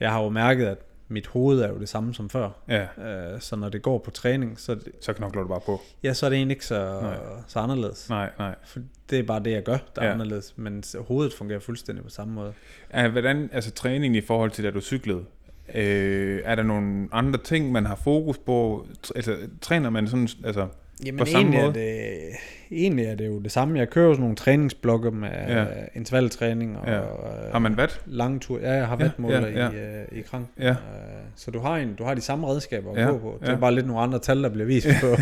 Speaker 3: jeg har jo mærket, at mit hoved er jo det samme som før.
Speaker 2: Ja,
Speaker 3: Øh, så når det går på træning, så, er det-
Speaker 2: så knokler du bare på.
Speaker 3: ja, så er det egentlig ikke så,
Speaker 2: Nej.
Speaker 3: så anderledes.
Speaker 2: Nej, nej.
Speaker 3: For det er bare det, jeg gør, der
Speaker 2: Ja.
Speaker 3: er ja. anderledes. Men s- hovedet fungerer fuldstændig på samme måde.
Speaker 2: Ja, hvordan, altså træningen i forhold til, da du cyklede, øh, er der nogle andre ting, man har fokus på? Tr- altså, træner man sådan, altså,
Speaker 3: Jamen
Speaker 2: På samme
Speaker 3: egentlig,
Speaker 2: måde?
Speaker 3: Er det, egentlig er det jo det samme. Jeg kører jo sådan nogle træningsblokke med
Speaker 2: Ja.
Speaker 3: ja. intervaltræning og
Speaker 2: Ja.
Speaker 3: øh,
Speaker 2: har man vat?
Speaker 3: lange tur. Ja, jeg har
Speaker 2: Ja,
Speaker 3: vatmåler
Speaker 2: ja,
Speaker 3: ja, ja. i, øh, i krank.
Speaker 2: (laughs) Ja.
Speaker 3: Øh, så du har, en, du har de samme redskaber at
Speaker 2: Ja,
Speaker 3: ja, gå på. Det er
Speaker 2: ja.
Speaker 3: bare lidt nogle andre tal, der bliver vist på,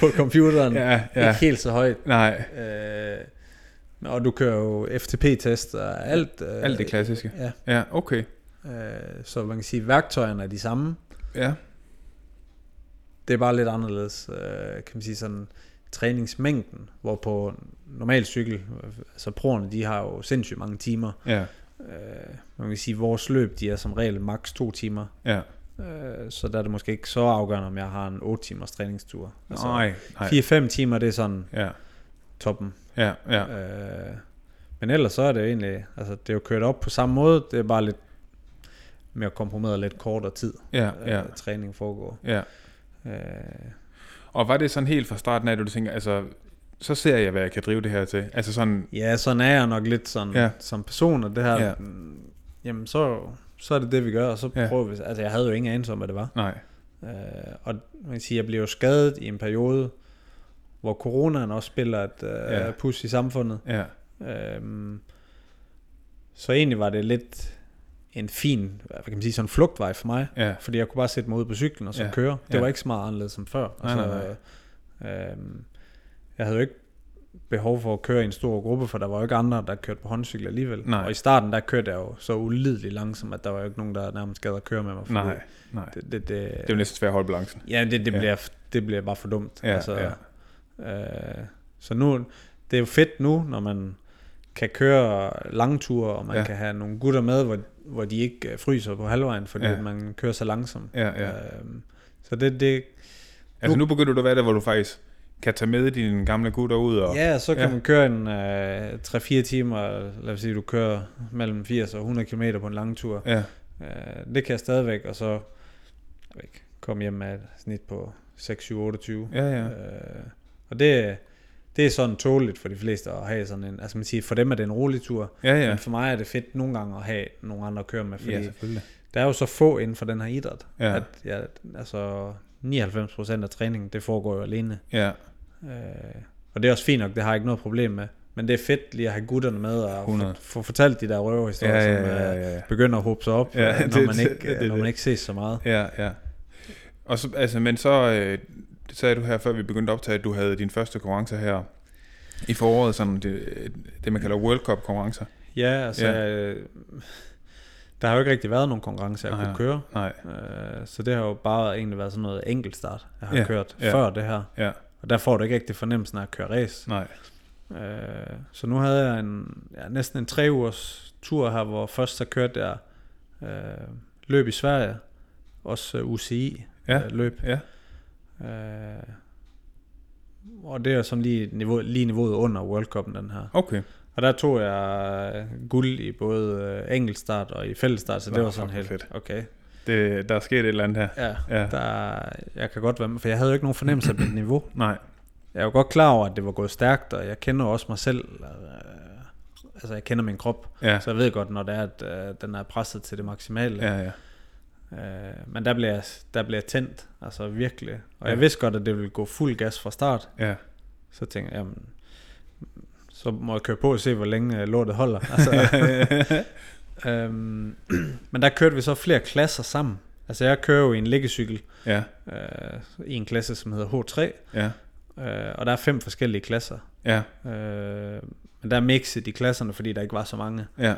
Speaker 3: på computeren.
Speaker 2: (laughs)
Speaker 3: Ja,
Speaker 2: Ja,
Speaker 3: ja.
Speaker 2: ja.
Speaker 3: Ikke helt så højt.
Speaker 2: Nej,
Speaker 3: Øh, og du kører jo FTP-test og alt. Øh,
Speaker 2: alt det klassiske.
Speaker 3: Ja,
Speaker 2: Ja, okay.
Speaker 3: øh, så man kan sige, at værktøjerne er de samme.
Speaker 2: Ja,
Speaker 3: Det er bare lidt anderledes, øh, kan man sige sådan træningsmængden, hvor på normal cykel, øh, altså proerne, de har jo sindssygt mange timer.
Speaker 2: ja,
Speaker 3: Øh, man kan sige, at vores løb, de er som regel maks to timer.
Speaker 2: ja.
Speaker 3: Øh, så der er det måske ikke så afgørende, om jeg har en 8 timers træningstur.
Speaker 2: Nej, nej.
Speaker 3: 4-5 timer, det er sådan
Speaker 2: Ja,
Speaker 3: toppen.
Speaker 2: ja, ja.
Speaker 3: Ja. Øh, men ellers så er det jo egentlig, altså det er jo kørt op på samme måde, det er bare lidt mere komprimeret, lidt kortere tid,
Speaker 2: Ja,
Speaker 3: øh,
Speaker 2: ja,
Speaker 3: træning foregår.
Speaker 2: ja.
Speaker 3: Øh,
Speaker 2: Og var det sådan helt fra starten af, at du tænker, altså, så ser jeg, hvad jeg kan drive det her til? Altså sådan,
Speaker 3: ja, sådan er jeg nok lidt sådan,
Speaker 2: Ja.
Speaker 3: ja. som person, og det her,
Speaker 2: Ja.
Speaker 3: ja. jamen så, så er det det, vi gør, og så
Speaker 2: Ja.
Speaker 3: ja. prøver vi, altså jeg havde jo ingen anelse om, hvad det var.
Speaker 2: nej.
Speaker 3: Øh, og man kan sige, jeg blev jo skadet i en periode, hvor coronaen også spiller et øh,
Speaker 2: Ja.
Speaker 3: ja. pus i samfundet.
Speaker 2: Ja,
Speaker 3: Øhm, så egentlig var det lidt en fin, hvad kan man sige, sådan en flugtvej for mig.
Speaker 2: ja,
Speaker 3: Fordi jeg kunne bare sætte mig ud på cyklen og så
Speaker 2: Ja,
Speaker 3: ja. køre. Det
Speaker 2: ja.
Speaker 3: var ikke så meget anderledes som før.
Speaker 2: Nej, nej,
Speaker 3: nej. Øhm, jeg havde jo ikke behov for at køre i en stor gruppe, for der var jo ikke andre, der kørte på håndcykel alligevel.
Speaker 2: Nej.
Speaker 3: Og i starten, der kørte jeg jo så ulideligt langsomt, at der var jo ikke nogen, der nærmest gad at køre med mig. fordi
Speaker 2: nej, nej.
Speaker 3: Det, det, det,
Speaker 2: Det er jo næsten svært at holde balancen.
Speaker 3: Ja, det, det,
Speaker 2: Ja.
Speaker 3: bliver, det bliver bare for dumt. altså,
Speaker 2: Ja, ja.
Speaker 3: Øh, så nu, det er jo fedt nu, når man kan køre lange ture, og man
Speaker 2: Ja.
Speaker 3: ja. kan have nogle gutter med, hvor, hvor de ikke øh, fryser på halvvejen, fordi
Speaker 2: Ja.
Speaker 3: ja. man kører så langsomt.
Speaker 2: Ja, ja.
Speaker 3: Øh, så det, det
Speaker 2: Altså nu begynder du at være der, hvor du faktisk kan tage med dine gamle gutter ud og...
Speaker 3: ja, så kan
Speaker 2: ja.
Speaker 3: ja. man køre en øh, 3-4 timer, lad os sige, du kører mellem 80 og 100 km på en lang tur.
Speaker 2: ja.
Speaker 3: Øh, det kan jeg stadigvæk, og så jeg ved ikke, komme hjem med et snit på 6, 7, 28.
Speaker 2: Ja, ja.
Speaker 3: Øh, og det, det er sådan tåligt for de fleste at have sådan en, altså man siger, for dem er det en rolig tur,
Speaker 2: Ja,
Speaker 3: ja.
Speaker 2: ja.
Speaker 3: men for mig er det fedt nogle gange at have nogle andre at køre med, fordi
Speaker 2: Ja,
Speaker 3: ja.
Speaker 2: selvfølgelig.
Speaker 3: der er jo så få inden for den her idræt,
Speaker 2: Ja.
Speaker 3: at jeg, altså 99% af træningen, det foregår jo alene.
Speaker 2: Ja,
Speaker 3: Øh, og det er også fint nok, det har jeg ikke noget problem med, men det er fedt lige at have gutterne med og
Speaker 2: 100.
Speaker 3: få, få fortalt de der
Speaker 2: ja,
Speaker 3: røverhistorier,
Speaker 2: ja,
Speaker 3: som
Speaker 2: ja,
Speaker 3: øh,
Speaker 2: ja, ja.
Speaker 3: begynder at håbe sig op,
Speaker 2: Ja,
Speaker 3: ja, når,
Speaker 2: det-
Speaker 3: man
Speaker 2: det-
Speaker 3: ikke,
Speaker 2: det- det-
Speaker 3: når man ikke ses så meget.
Speaker 2: Ja, ja. Og så, altså, men så øh, det sagde du her, før vi begyndte at optage, at du havde din første konkurrence her i foråret, sådan det, øh, det man kalder World Cup konkurrencer.
Speaker 3: Ja, altså,
Speaker 2: Ja.
Speaker 3: ja. der har jo ikke rigtig været nogen konkurrencer, jeg
Speaker 2: Nej,
Speaker 3: kunne køre.
Speaker 2: Nej,
Speaker 3: Øh, så det har jo bare egentlig været sådan noget enkeltstart, jeg har
Speaker 2: Ja,
Speaker 3: kørt
Speaker 2: ja.
Speaker 3: før det her.
Speaker 2: ja,
Speaker 3: Og der får du ikke rigtig fornemmelsen af at køre race.
Speaker 2: nej,
Speaker 3: Øh, så nu havde jeg en, ja, næsten en tre ugers tur her, hvor først så kørte jeg øh, løb i Sverige, også øh, UCI
Speaker 2: Ja.
Speaker 3: øh, løb.
Speaker 2: ja,
Speaker 3: Øh, og det er jo som lige, niveau, lige niveauet under World Cup'en, den her.
Speaker 2: okay.
Speaker 3: Og der tog jeg øh, guld i både øh, enkeltstart og i fællesstart, så
Speaker 2: Nå,
Speaker 3: det var sådan
Speaker 2: fuck,
Speaker 3: helt
Speaker 2: hvor fedt.
Speaker 3: okay.
Speaker 2: Det, der er sket et eller andet her.
Speaker 3: Ja,
Speaker 2: Ja,
Speaker 3: der, jeg kan godt være med, for jeg havde jo ikke nogen fornemmelse af mit (clears throat) niveau.
Speaker 2: nej,
Speaker 3: Jeg er jo godt klar over, at det var gået stærkt, og jeg kender jo også mig selv. Øh, altså, jeg kender min krop,
Speaker 2: ja,
Speaker 3: så jeg ved godt, når det er, at øh, den er presset til det maksimale.
Speaker 2: ja, ja,
Speaker 3: Øh, men der blev, jeg, der blev jeg tændt, altså virkelig. Og
Speaker 2: Ja.
Speaker 3: jeg vidste godt, at det ville gå fuld gas fra start. (laughs)
Speaker 2: Ja.
Speaker 3: Så tænkte jeg, jamen, så må jeg køre på og se, hvor længe øh, lortet
Speaker 2: (laughs)
Speaker 3: holder. Altså, øhm, (clears throat) men der kørte vi så flere klasser sammen. Altså jeg kører jo i en liggecykel
Speaker 2: ja,
Speaker 3: øh, i en klasse, som hedder H3.
Speaker 2: ja,
Speaker 3: Øh, og der er fem forskellige klasser.
Speaker 2: ja,
Speaker 3: Øh, men der er mixet i klasserne, fordi der ikke var så mange.
Speaker 2: ja,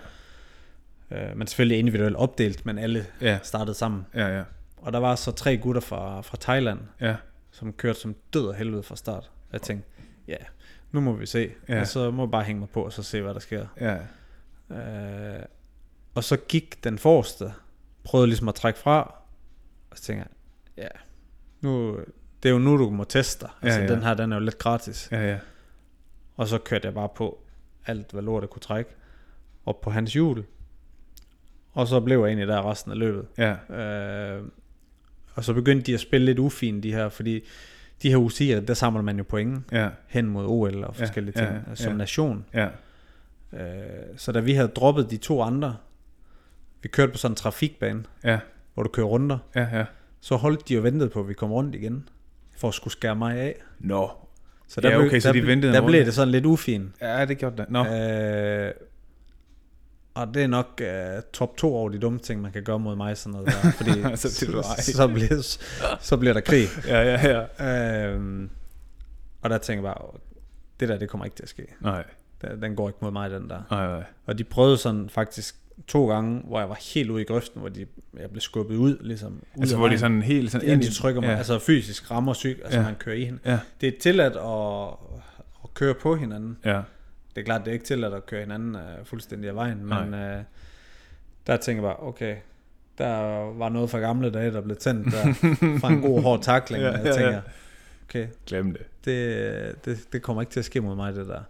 Speaker 3: Øh, men selvfølgelig individuelt opdelt, men alle
Speaker 2: ja,
Speaker 3: startede sammen.
Speaker 2: ja, ja,
Speaker 3: Og der var så tre gutter fra, fra Thailand,
Speaker 2: ja,
Speaker 3: som kørte som død af helvede fra start. Jeg tænkte, ja, nu må vi se.
Speaker 2: Ja.
Speaker 3: Ja. Og så må jeg bare hænge mig på, og så se, hvad der sker.
Speaker 2: ja,
Speaker 3: Øh, og så gik den forreste, prøvede ligesom at trække fra, og så tænkte jeg, ja, nu, det er jo nu, du må teste dig. Altså,
Speaker 2: Ja,
Speaker 3: ja,
Speaker 2: ja.
Speaker 3: ja. den her, den er jo lidt gratis.
Speaker 2: ja, ja.
Speaker 3: Og så kørte jeg bare på alt, hvad lortet kunne trække, op på hans hjul. Og så blev jeg egentlig der resten af løbet.
Speaker 2: ja.
Speaker 3: Øh, og så begyndte de at spille lidt ufint, de her, fordi de her UCI'er, der samler man jo point
Speaker 2: Ja,
Speaker 3: hen mod OL og forskellige
Speaker 2: ja,
Speaker 3: ting
Speaker 2: ja.
Speaker 3: ja, som nation.
Speaker 2: ja,
Speaker 3: Øh, så da vi havde droppet de to andre, vi kørte på sådan en trafikbane,
Speaker 2: ja,
Speaker 3: hvor du kører runder,
Speaker 2: ja, ja.
Speaker 3: så holdt de og ventede på, at vi kom rundt igen, for at skulle skære mig af.
Speaker 2: Nå.
Speaker 3: Så
Speaker 2: Ja,
Speaker 3: blev-
Speaker 2: okay, så
Speaker 3: der,
Speaker 2: de
Speaker 3: ble-
Speaker 2: ventede en
Speaker 3: Der
Speaker 2: runde.
Speaker 3: blev det sådan lidt ufint.
Speaker 2: Ja, det gjorde det. Nå,
Speaker 3: Øh, og det er nok øh, top 2 over de dumme ting, man kan gøre mod mig. Sådan noget
Speaker 2: (laughs)
Speaker 3: der, fordi
Speaker 2: Så bliver du ej.
Speaker 3: så, bliver, så bliver der krig.
Speaker 2: ja, ja, ja.
Speaker 3: Øhm, og der tænker jeg bare, det der, det kommer ikke til at ske.
Speaker 2: Nej,
Speaker 3: Den den går ikke mod mig, den der.
Speaker 2: nej, nej.
Speaker 3: Og de prøvede sådan faktisk to gange, hvor jeg var helt ude i grøften, hvor de, jeg blev skubbet ud, ligesom ud
Speaker 2: Altså,
Speaker 3: af
Speaker 2: hvor de
Speaker 3: vejen,
Speaker 2: sådan helt sådan...
Speaker 3: inden de trykker mig,
Speaker 2: Ja,
Speaker 3: ja. altså fysisk rammer syg, altså
Speaker 2: Ja.
Speaker 3: ja. man kører i hende.
Speaker 2: ja,
Speaker 3: Det er tilladt at, at køre på hinanden.
Speaker 2: ja, (laughs)
Speaker 3: Det er klart, det er ikke tilladt at køre hinanden øh, fuldstændig af vejen, men øh, der tænker jeg bare, okay, der var noget fra gamle dage, der blev tændt der, fra en god hård takling,
Speaker 2: (laughs) Ja,
Speaker 3: ja, og
Speaker 2: ja,
Speaker 3: jeg tænker,
Speaker 2: ja.
Speaker 3: okay,
Speaker 2: glem det.
Speaker 3: det, det, det kommer ikke til at ske mod mig, det der.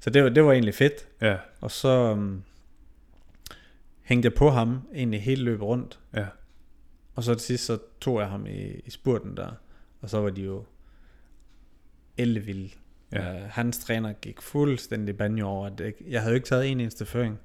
Speaker 3: Så det, var- det var egentlig fedt.
Speaker 2: Ja,
Speaker 3: Og så um, hængte jeg på ham egentlig hele løbet rundt.
Speaker 2: ja,
Speaker 3: Og så til sidst, så tog jeg ham i, i spurten der. Og så var de jo ellevilde.
Speaker 2: ja.
Speaker 3: Uh, hans træner gik fuldstændig banjo over, at det, jeg havde jo ikke taget en eneste føring.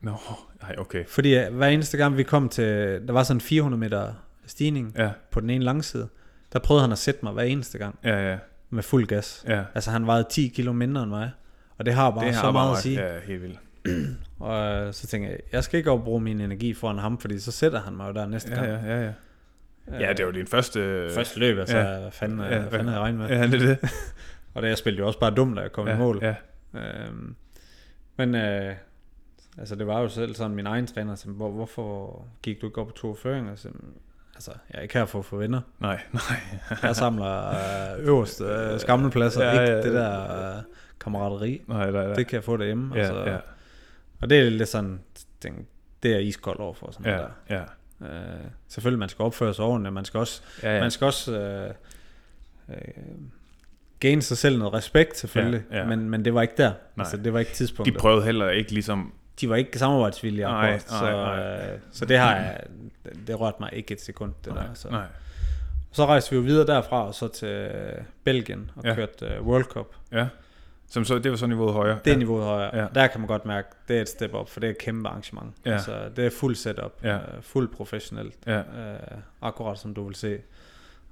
Speaker 2: Nå, nej, okay.
Speaker 3: Fordi øh, hver eneste gang vi kom til, der var sådan 400 meter stigning
Speaker 2: Ja,
Speaker 3: på den ene langside, der prøvede han at sætte mig hver eneste gang
Speaker 2: ja, ja,
Speaker 3: med fuld gas.
Speaker 2: ja.
Speaker 3: Altså han vejede 10 kilo mindre end mig. Og det har bare det så
Speaker 2: har
Speaker 3: meget
Speaker 2: bare-
Speaker 3: at sige. Ja.
Speaker 2: Ja, helt vildt.
Speaker 3: Og øh, så tænker jeg, jeg skal ikke overbruge min energi foran ham, fordi så sætter han mig jo der næste
Speaker 2: Ja,
Speaker 3: gang.
Speaker 2: ja, ja, ja. Ja, det var din første...
Speaker 3: Første løb, altså,
Speaker 2: Ja.
Speaker 3: ja. hvad fanden,
Speaker 2: Ja,
Speaker 3: ja, hvad
Speaker 2: hvad-
Speaker 3: fanden havde jeg regnet med? Ja.
Speaker 2: Ja, det er det.
Speaker 3: Og det, jeg spillede jo også bare dumt, da jeg kom ja,
Speaker 2: ja,
Speaker 3: i mål. Ja.
Speaker 2: Ja,
Speaker 3: Øhm, men øh, altså, det var jo selv sådan min egen træner, som, hvor, hvorfor gik du ikke op på to føringer? Så, altså, jeg er ikke her for at få venner.
Speaker 2: nej, nej.
Speaker 3: Jeg samler øh, øverste øh, skammelpladser,
Speaker 2: Ja,
Speaker 3: ja, ja,
Speaker 2: ja.
Speaker 3: ikke det der øh, kammerateri.
Speaker 2: Nej, nej, nej.
Speaker 3: Det kan jeg få derhjemme.
Speaker 2: ja,
Speaker 3: altså,
Speaker 2: ja,
Speaker 3: Og det er lidt sådan, den, det er jeg iskold over for. Sådan
Speaker 2: ja,
Speaker 3: ja. der.
Speaker 2: ja.
Speaker 3: Øh, selvfølgelig, man skal opføre sig ordentligt, man skal også,
Speaker 2: Ja,
Speaker 3: ja.
Speaker 2: ja.
Speaker 3: man skal også øh, øh, gain sig selv noget respekt, selvfølgelig.
Speaker 2: Ja, ja.
Speaker 3: Men, men det var ikke der.
Speaker 2: Nej.
Speaker 3: Altså, det var ikke
Speaker 2: De
Speaker 3: tidspunktet. De,
Speaker 2: prøvede heller ikke ligesom...
Speaker 3: de var ikke samarbejdsvillige.
Speaker 2: Nej,
Speaker 3: akkurat, så,
Speaker 2: nej,
Speaker 3: Øh, så det har jeg, det- det rørte mig ikke et sekund. Det
Speaker 2: nej,
Speaker 3: der, så.
Speaker 2: nej.
Speaker 3: så rejste vi jo videre derfra, og så til øh, Belgien, og
Speaker 2: Ja.
Speaker 3: ja. kørte øh, World Cup.
Speaker 2: Ja. Som så, det var så niveauet højere.
Speaker 3: Det er niveauet højere.
Speaker 2: Ja.
Speaker 3: Ja. Der kan man godt mærke, det er et step up, for det er et kæmpe arrangement.
Speaker 2: Ja.
Speaker 3: Altså, det er fuld setup,
Speaker 2: Ja.
Speaker 3: ja. øh, fuld professionelt.
Speaker 2: Ja,
Speaker 3: øh, akkurat som du vil se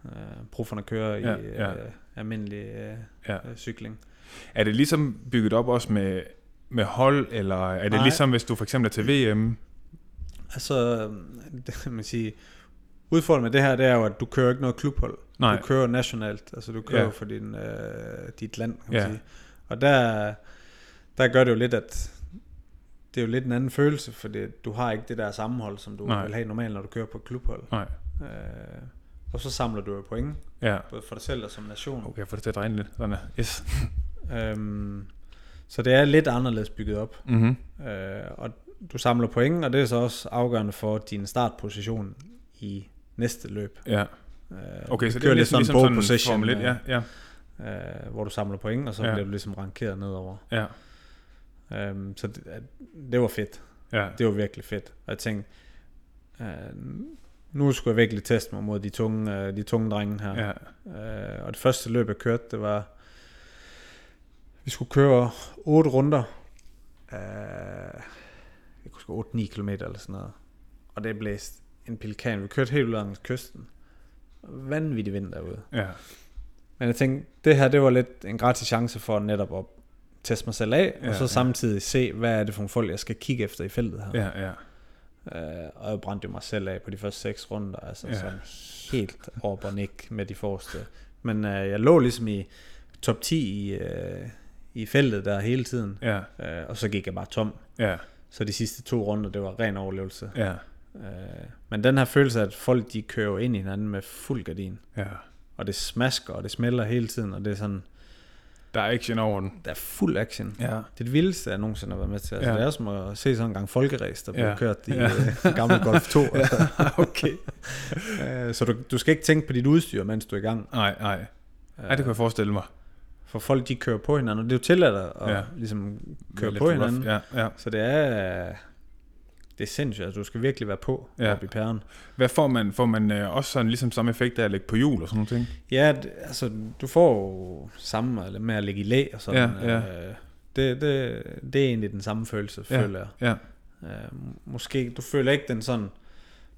Speaker 3: øh, profferne køre
Speaker 2: Ja,
Speaker 3: ja, i øh,
Speaker 2: ja.
Speaker 3: ja. almindelig øh,
Speaker 2: ja.
Speaker 3: øh, cykling.
Speaker 2: Er det ligesom bygget op også med, med hold, eller er det
Speaker 3: Nej.
Speaker 2: ligesom, hvis du for eksempel er til VM?
Speaker 3: Altså, (laughs) øh, det kan man sige, udfordringen med det her, det er jo, at du kører ikke noget klubhold.
Speaker 2: Nej.
Speaker 3: Du kører nationalt, altså du kører
Speaker 2: Ja.
Speaker 3: ja. for din, øh, dit land, kan man
Speaker 2: Ja.
Speaker 3: ja. sige. Og der, der gør det jo lidt, at det er jo lidt en anden følelse, fordi du har ikke det der sammenhold, som du
Speaker 2: Nej.
Speaker 3: Nej. vil have normalt, når du kører på et klubhold.
Speaker 2: Nej.
Speaker 3: Øh, og så samler du jo point,
Speaker 2: Ja.
Speaker 3: både for dig selv og som nation.
Speaker 2: Okay, jeg får det til at dreje lidt. Sådan er. Yes.
Speaker 3: Øhm, så det er lidt anderledes bygget op.
Speaker 2: Mm-hmm.
Speaker 3: Øh, og du samler point, og det er så også afgørende for din startposition i næste løb.
Speaker 2: Ja.
Speaker 3: Øh,
Speaker 2: Okay,
Speaker 3: du
Speaker 2: så det
Speaker 3: kører
Speaker 2: er
Speaker 3: lidt
Speaker 2: næsten ligesom
Speaker 3: pole
Speaker 2: sådan en Formel 1.
Speaker 3: øh,
Speaker 2: Ja, ja,
Speaker 3: øh, hvor du samler point, og så
Speaker 2: Ja.
Speaker 3: ja. bliver du ligesom rankeret nedover.
Speaker 2: ja,
Speaker 3: Øhm, så det, at- det var fedt.
Speaker 2: ja,
Speaker 3: Det var virkelig fedt. Og jeg tænkte, øh, nu skulle jeg virkelig teste mig mod de tunge, øh, de tunge drenge her.
Speaker 2: ja,
Speaker 3: Øh, og det første løb, jeg kørte, det var, vi skulle køre otte runder. Øh, jeg kunne sgu 8-9 km eller sådan noget. Og det blæste en pelikan. Vi kørte helt ud langs kysten. Vanvittig vind derude.
Speaker 2: Ja.
Speaker 3: Men jeg tænkte, det her, det var lidt en gratis chance for netop at teste mig selv af, ja,
Speaker 2: Ja,
Speaker 3: og så
Speaker 2: ja.
Speaker 3: samtidig se, hvad er det for nogle folk, jeg skal kigge efter i feltet her.
Speaker 2: Ja, ja.
Speaker 3: Øh, og jeg brændte jo mig selv af på de første seks runder, altså
Speaker 2: Ja.
Speaker 3: ja. sådan helt op og nik med de forreste. Men øh, jeg lå ligesom i top 10 i, øh, i feltet der hele tiden,
Speaker 2: Ja,
Speaker 3: øh, og så gik jeg bare tom.
Speaker 2: ja,
Speaker 3: Så de sidste to runder, det var ren overlevelse.
Speaker 2: ja,
Speaker 3: Øh, men den her følelse af, at folk de kører jo ind i hinanden med fuld gardin,
Speaker 2: ja.
Speaker 3: og det smasker, og det smelter hele tiden, og det er sådan,
Speaker 2: Der er action over den.
Speaker 3: der er fuld action.
Speaker 2: Ja.
Speaker 3: Det er det vildeste, jeg nogensinde har været med til. Altså,
Speaker 2: Ja.
Speaker 3: ja. Det er som at se sådan en gang folkeræs, der bliver
Speaker 2: Ja.
Speaker 3: kørt i
Speaker 2: Ja.
Speaker 3: ja. en gammel Golf
Speaker 2: (laughs)
Speaker 3: 2. Altså.
Speaker 2: okay.
Speaker 3: Øh, så du, du skal ikke tænke på dit udstyr, mens du er i gang.
Speaker 2: Nej, nej. Ja, det
Speaker 3: Øh,
Speaker 2: kunne jeg forestille mig.
Speaker 3: For folk, de kører på hinanden, og det er jo tilladt at
Speaker 2: Ja.
Speaker 3: ja. ligesom
Speaker 2: Være
Speaker 3: køre
Speaker 2: lidt
Speaker 3: på
Speaker 2: rough.
Speaker 3: hinanden. Ja.
Speaker 2: Ja, ja.
Speaker 3: Så det er, øh, det er sindssygt. Altså, du skal virkelig være på
Speaker 2: Ja.
Speaker 3: ja. oppe i pæren.
Speaker 2: Hvad får man? Får man øh, også sådan ligesom samme effekt af at lægge på hjul og sådan nogle ting?
Speaker 3: Ja, det, altså, du får jo samme med at ligge i læ og sådan.
Speaker 2: Ja, ja.
Speaker 3: Øh, det, det, det er egentlig den samme følelse,
Speaker 2: Ja.
Speaker 3: ja. føler jeg.
Speaker 2: Ja,
Speaker 3: Øh, måske, du føler ikke den sådan,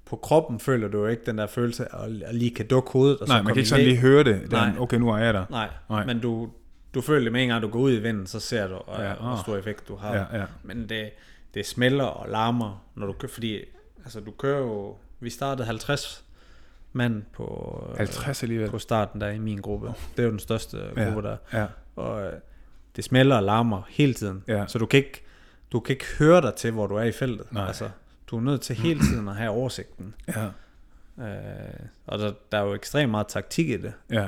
Speaker 3: på kroppen føler du jo ikke den der følelse af at, at lige kan dukke hovedet. Og
Speaker 2: nej, man
Speaker 3: så komme
Speaker 2: kan
Speaker 3: i
Speaker 2: ikke sådan
Speaker 3: læ.
Speaker 2: lige høre det. det er,
Speaker 3: Nej.
Speaker 2: okay, nu er jeg der.
Speaker 3: Nej,
Speaker 2: Nej.
Speaker 3: nej. men du, du føler det med en gang, du går ud i vinden, så ser du, og,
Speaker 2: Ja,
Speaker 3: ja, hvor
Speaker 2: ah.
Speaker 3: stor effekt du har.
Speaker 2: Ja, ja.
Speaker 3: Men det, det smelter og larmer, når du kører, fordi altså, du kører jo, vi startede 50 mand på, øh,
Speaker 2: 50 alligevel.
Speaker 3: på starten der i min gruppe. Det er jo den største
Speaker 2: Ja.
Speaker 3: gruppe der.
Speaker 2: Ja,
Speaker 3: Og øh, det smelter og larmer hele tiden.
Speaker 2: Ja.
Speaker 3: Så du kan, ikke, du kan ikke høre dig til, hvor du er i feltet.
Speaker 2: Nej.
Speaker 3: Altså, du er nødt til
Speaker 2: (clears throat)
Speaker 3: hele tiden at have oversigten.
Speaker 2: ja,
Speaker 3: Øh, og der, der er jo ekstremt meget taktik i det.
Speaker 2: ja.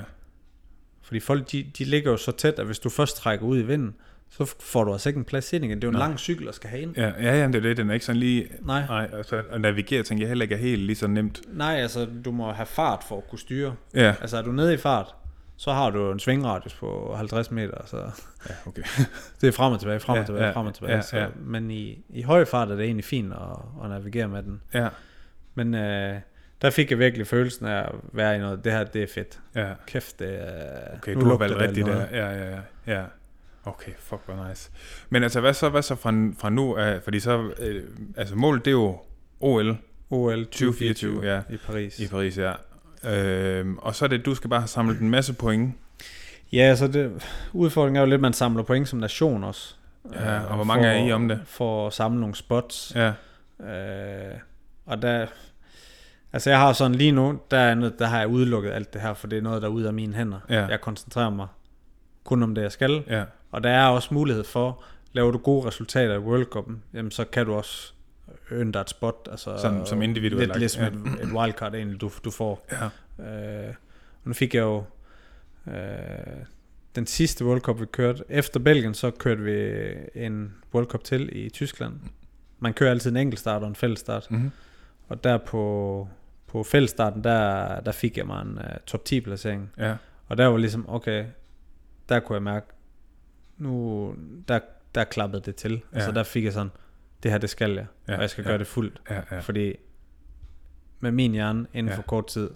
Speaker 3: Fordi folk, de, de ligger jo så tæt, at hvis du først trækker ud i vinden, så f- får du altså ikke en plads ind igen. Det er jo en
Speaker 2: Nej.
Speaker 3: lang cykel, der skal have ind.
Speaker 2: Ja, ja, jamen, det er det. Den er ikke sådan lige...
Speaker 3: Nej.
Speaker 2: Nej, altså at navigere, tænker jeg heller ikke er helt lige så nemt.
Speaker 3: Nej, altså du må have fart for at kunne styre.
Speaker 2: Ja,
Speaker 3: Altså er du nede i fart, så har du en svingradius på 50 meter, så
Speaker 2: ja okay.
Speaker 3: (laughs) det er frem og tilbage, frem og
Speaker 2: Ja,
Speaker 3: tilbage,
Speaker 2: ja,
Speaker 3: frem og tilbage.
Speaker 2: ja, ja.
Speaker 3: Så, men i, i høj fart er det egentlig fint at, at navigere med den.
Speaker 2: Ja,
Speaker 3: Men øh, der fik jeg virkelig følelsen af at være i noget, det her det er fedt.
Speaker 2: ja.
Speaker 3: Kæft, det er...
Speaker 2: Okay,
Speaker 3: nu
Speaker 2: du har
Speaker 3: lugter
Speaker 2: valgt
Speaker 3: det af
Speaker 2: rigtigt
Speaker 3: noget.
Speaker 2: der. Ja, ja, ja, ja. Okay, fuck, hvor nice. Men altså, hvad så, hvad så fra, fra nu af? Fordi så, øh, altså målet, det er jo OL
Speaker 3: OL
Speaker 2: 2024,
Speaker 3: 2024
Speaker 2: ja.
Speaker 3: i Paris.
Speaker 2: i Paris, ja. Øhm, og så er det, du skal bare have samlet en masse point.
Speaker 3: Ja, så det, udfordringen er jo lidt, at man samler point som nation også.
Speaker 2: Ja,
Speaker 3: Øh,
Speaker 2: og hvor mange
Speaker 3: for-
Speaker 2: er I om det?
Speaker 3: For at samle nogle spots.
Speaker 2: Ja,
Speaker 3: Ja. Øh, og der... Altså jeg har sådan lige nu, der, er noget, der har jeg udelukket alt det her, for det er noget, der er ud af mine hænder.
Speaker 2: Ja.
Speaker 3: Jeg koncentrerer mig kun om det, jeg skal.
Speaker 2: ja,
Speaker 3: Og der er også mulighed for, laver du gode resultater i World Cup'en, jamen så kan du også ønde dig et spot. Altså,
Speaker 2: Som- som individuel
Speaker 3: Lidt
Speaker 2: lag.
Speaker 3: ligesom et, et wildcard egentlig, du, du får.
Speaker 2: ja,
Speaker 3: Øh, og nu fik jeg jo øh, den sidste World Cup, vi kørte. Efter Belgien, så kørte vi en World Cup til i Tyskland. Man kører altid en enkeltstart og en fællesstart.
Speaker 2: Mhm.
Speaker 3: Og der på, på fællesstarten, der, der fik jeg mig en uh, top 10 placering.
Speaker 2: ja,
Speaker 3: Og der var ligesom, okay, der kunne jeg mærke, nu, der, der klappede det til. Ja. Altså
Speaker 2: Ja.
Speaker 3: der fik jeg sådan, det her det skal jeg,
Speaker 2: Ja,
Speaker 3: ja, og jeg skal
Speaker 2: ja.
Speaker 3: ja. gøre det fuldt.
Speaker 2: ja, ja.
Speaker 3: Fordi med min hjerne inden
Speaker 2: Ja.
Speaker 3: ja. for kort tid,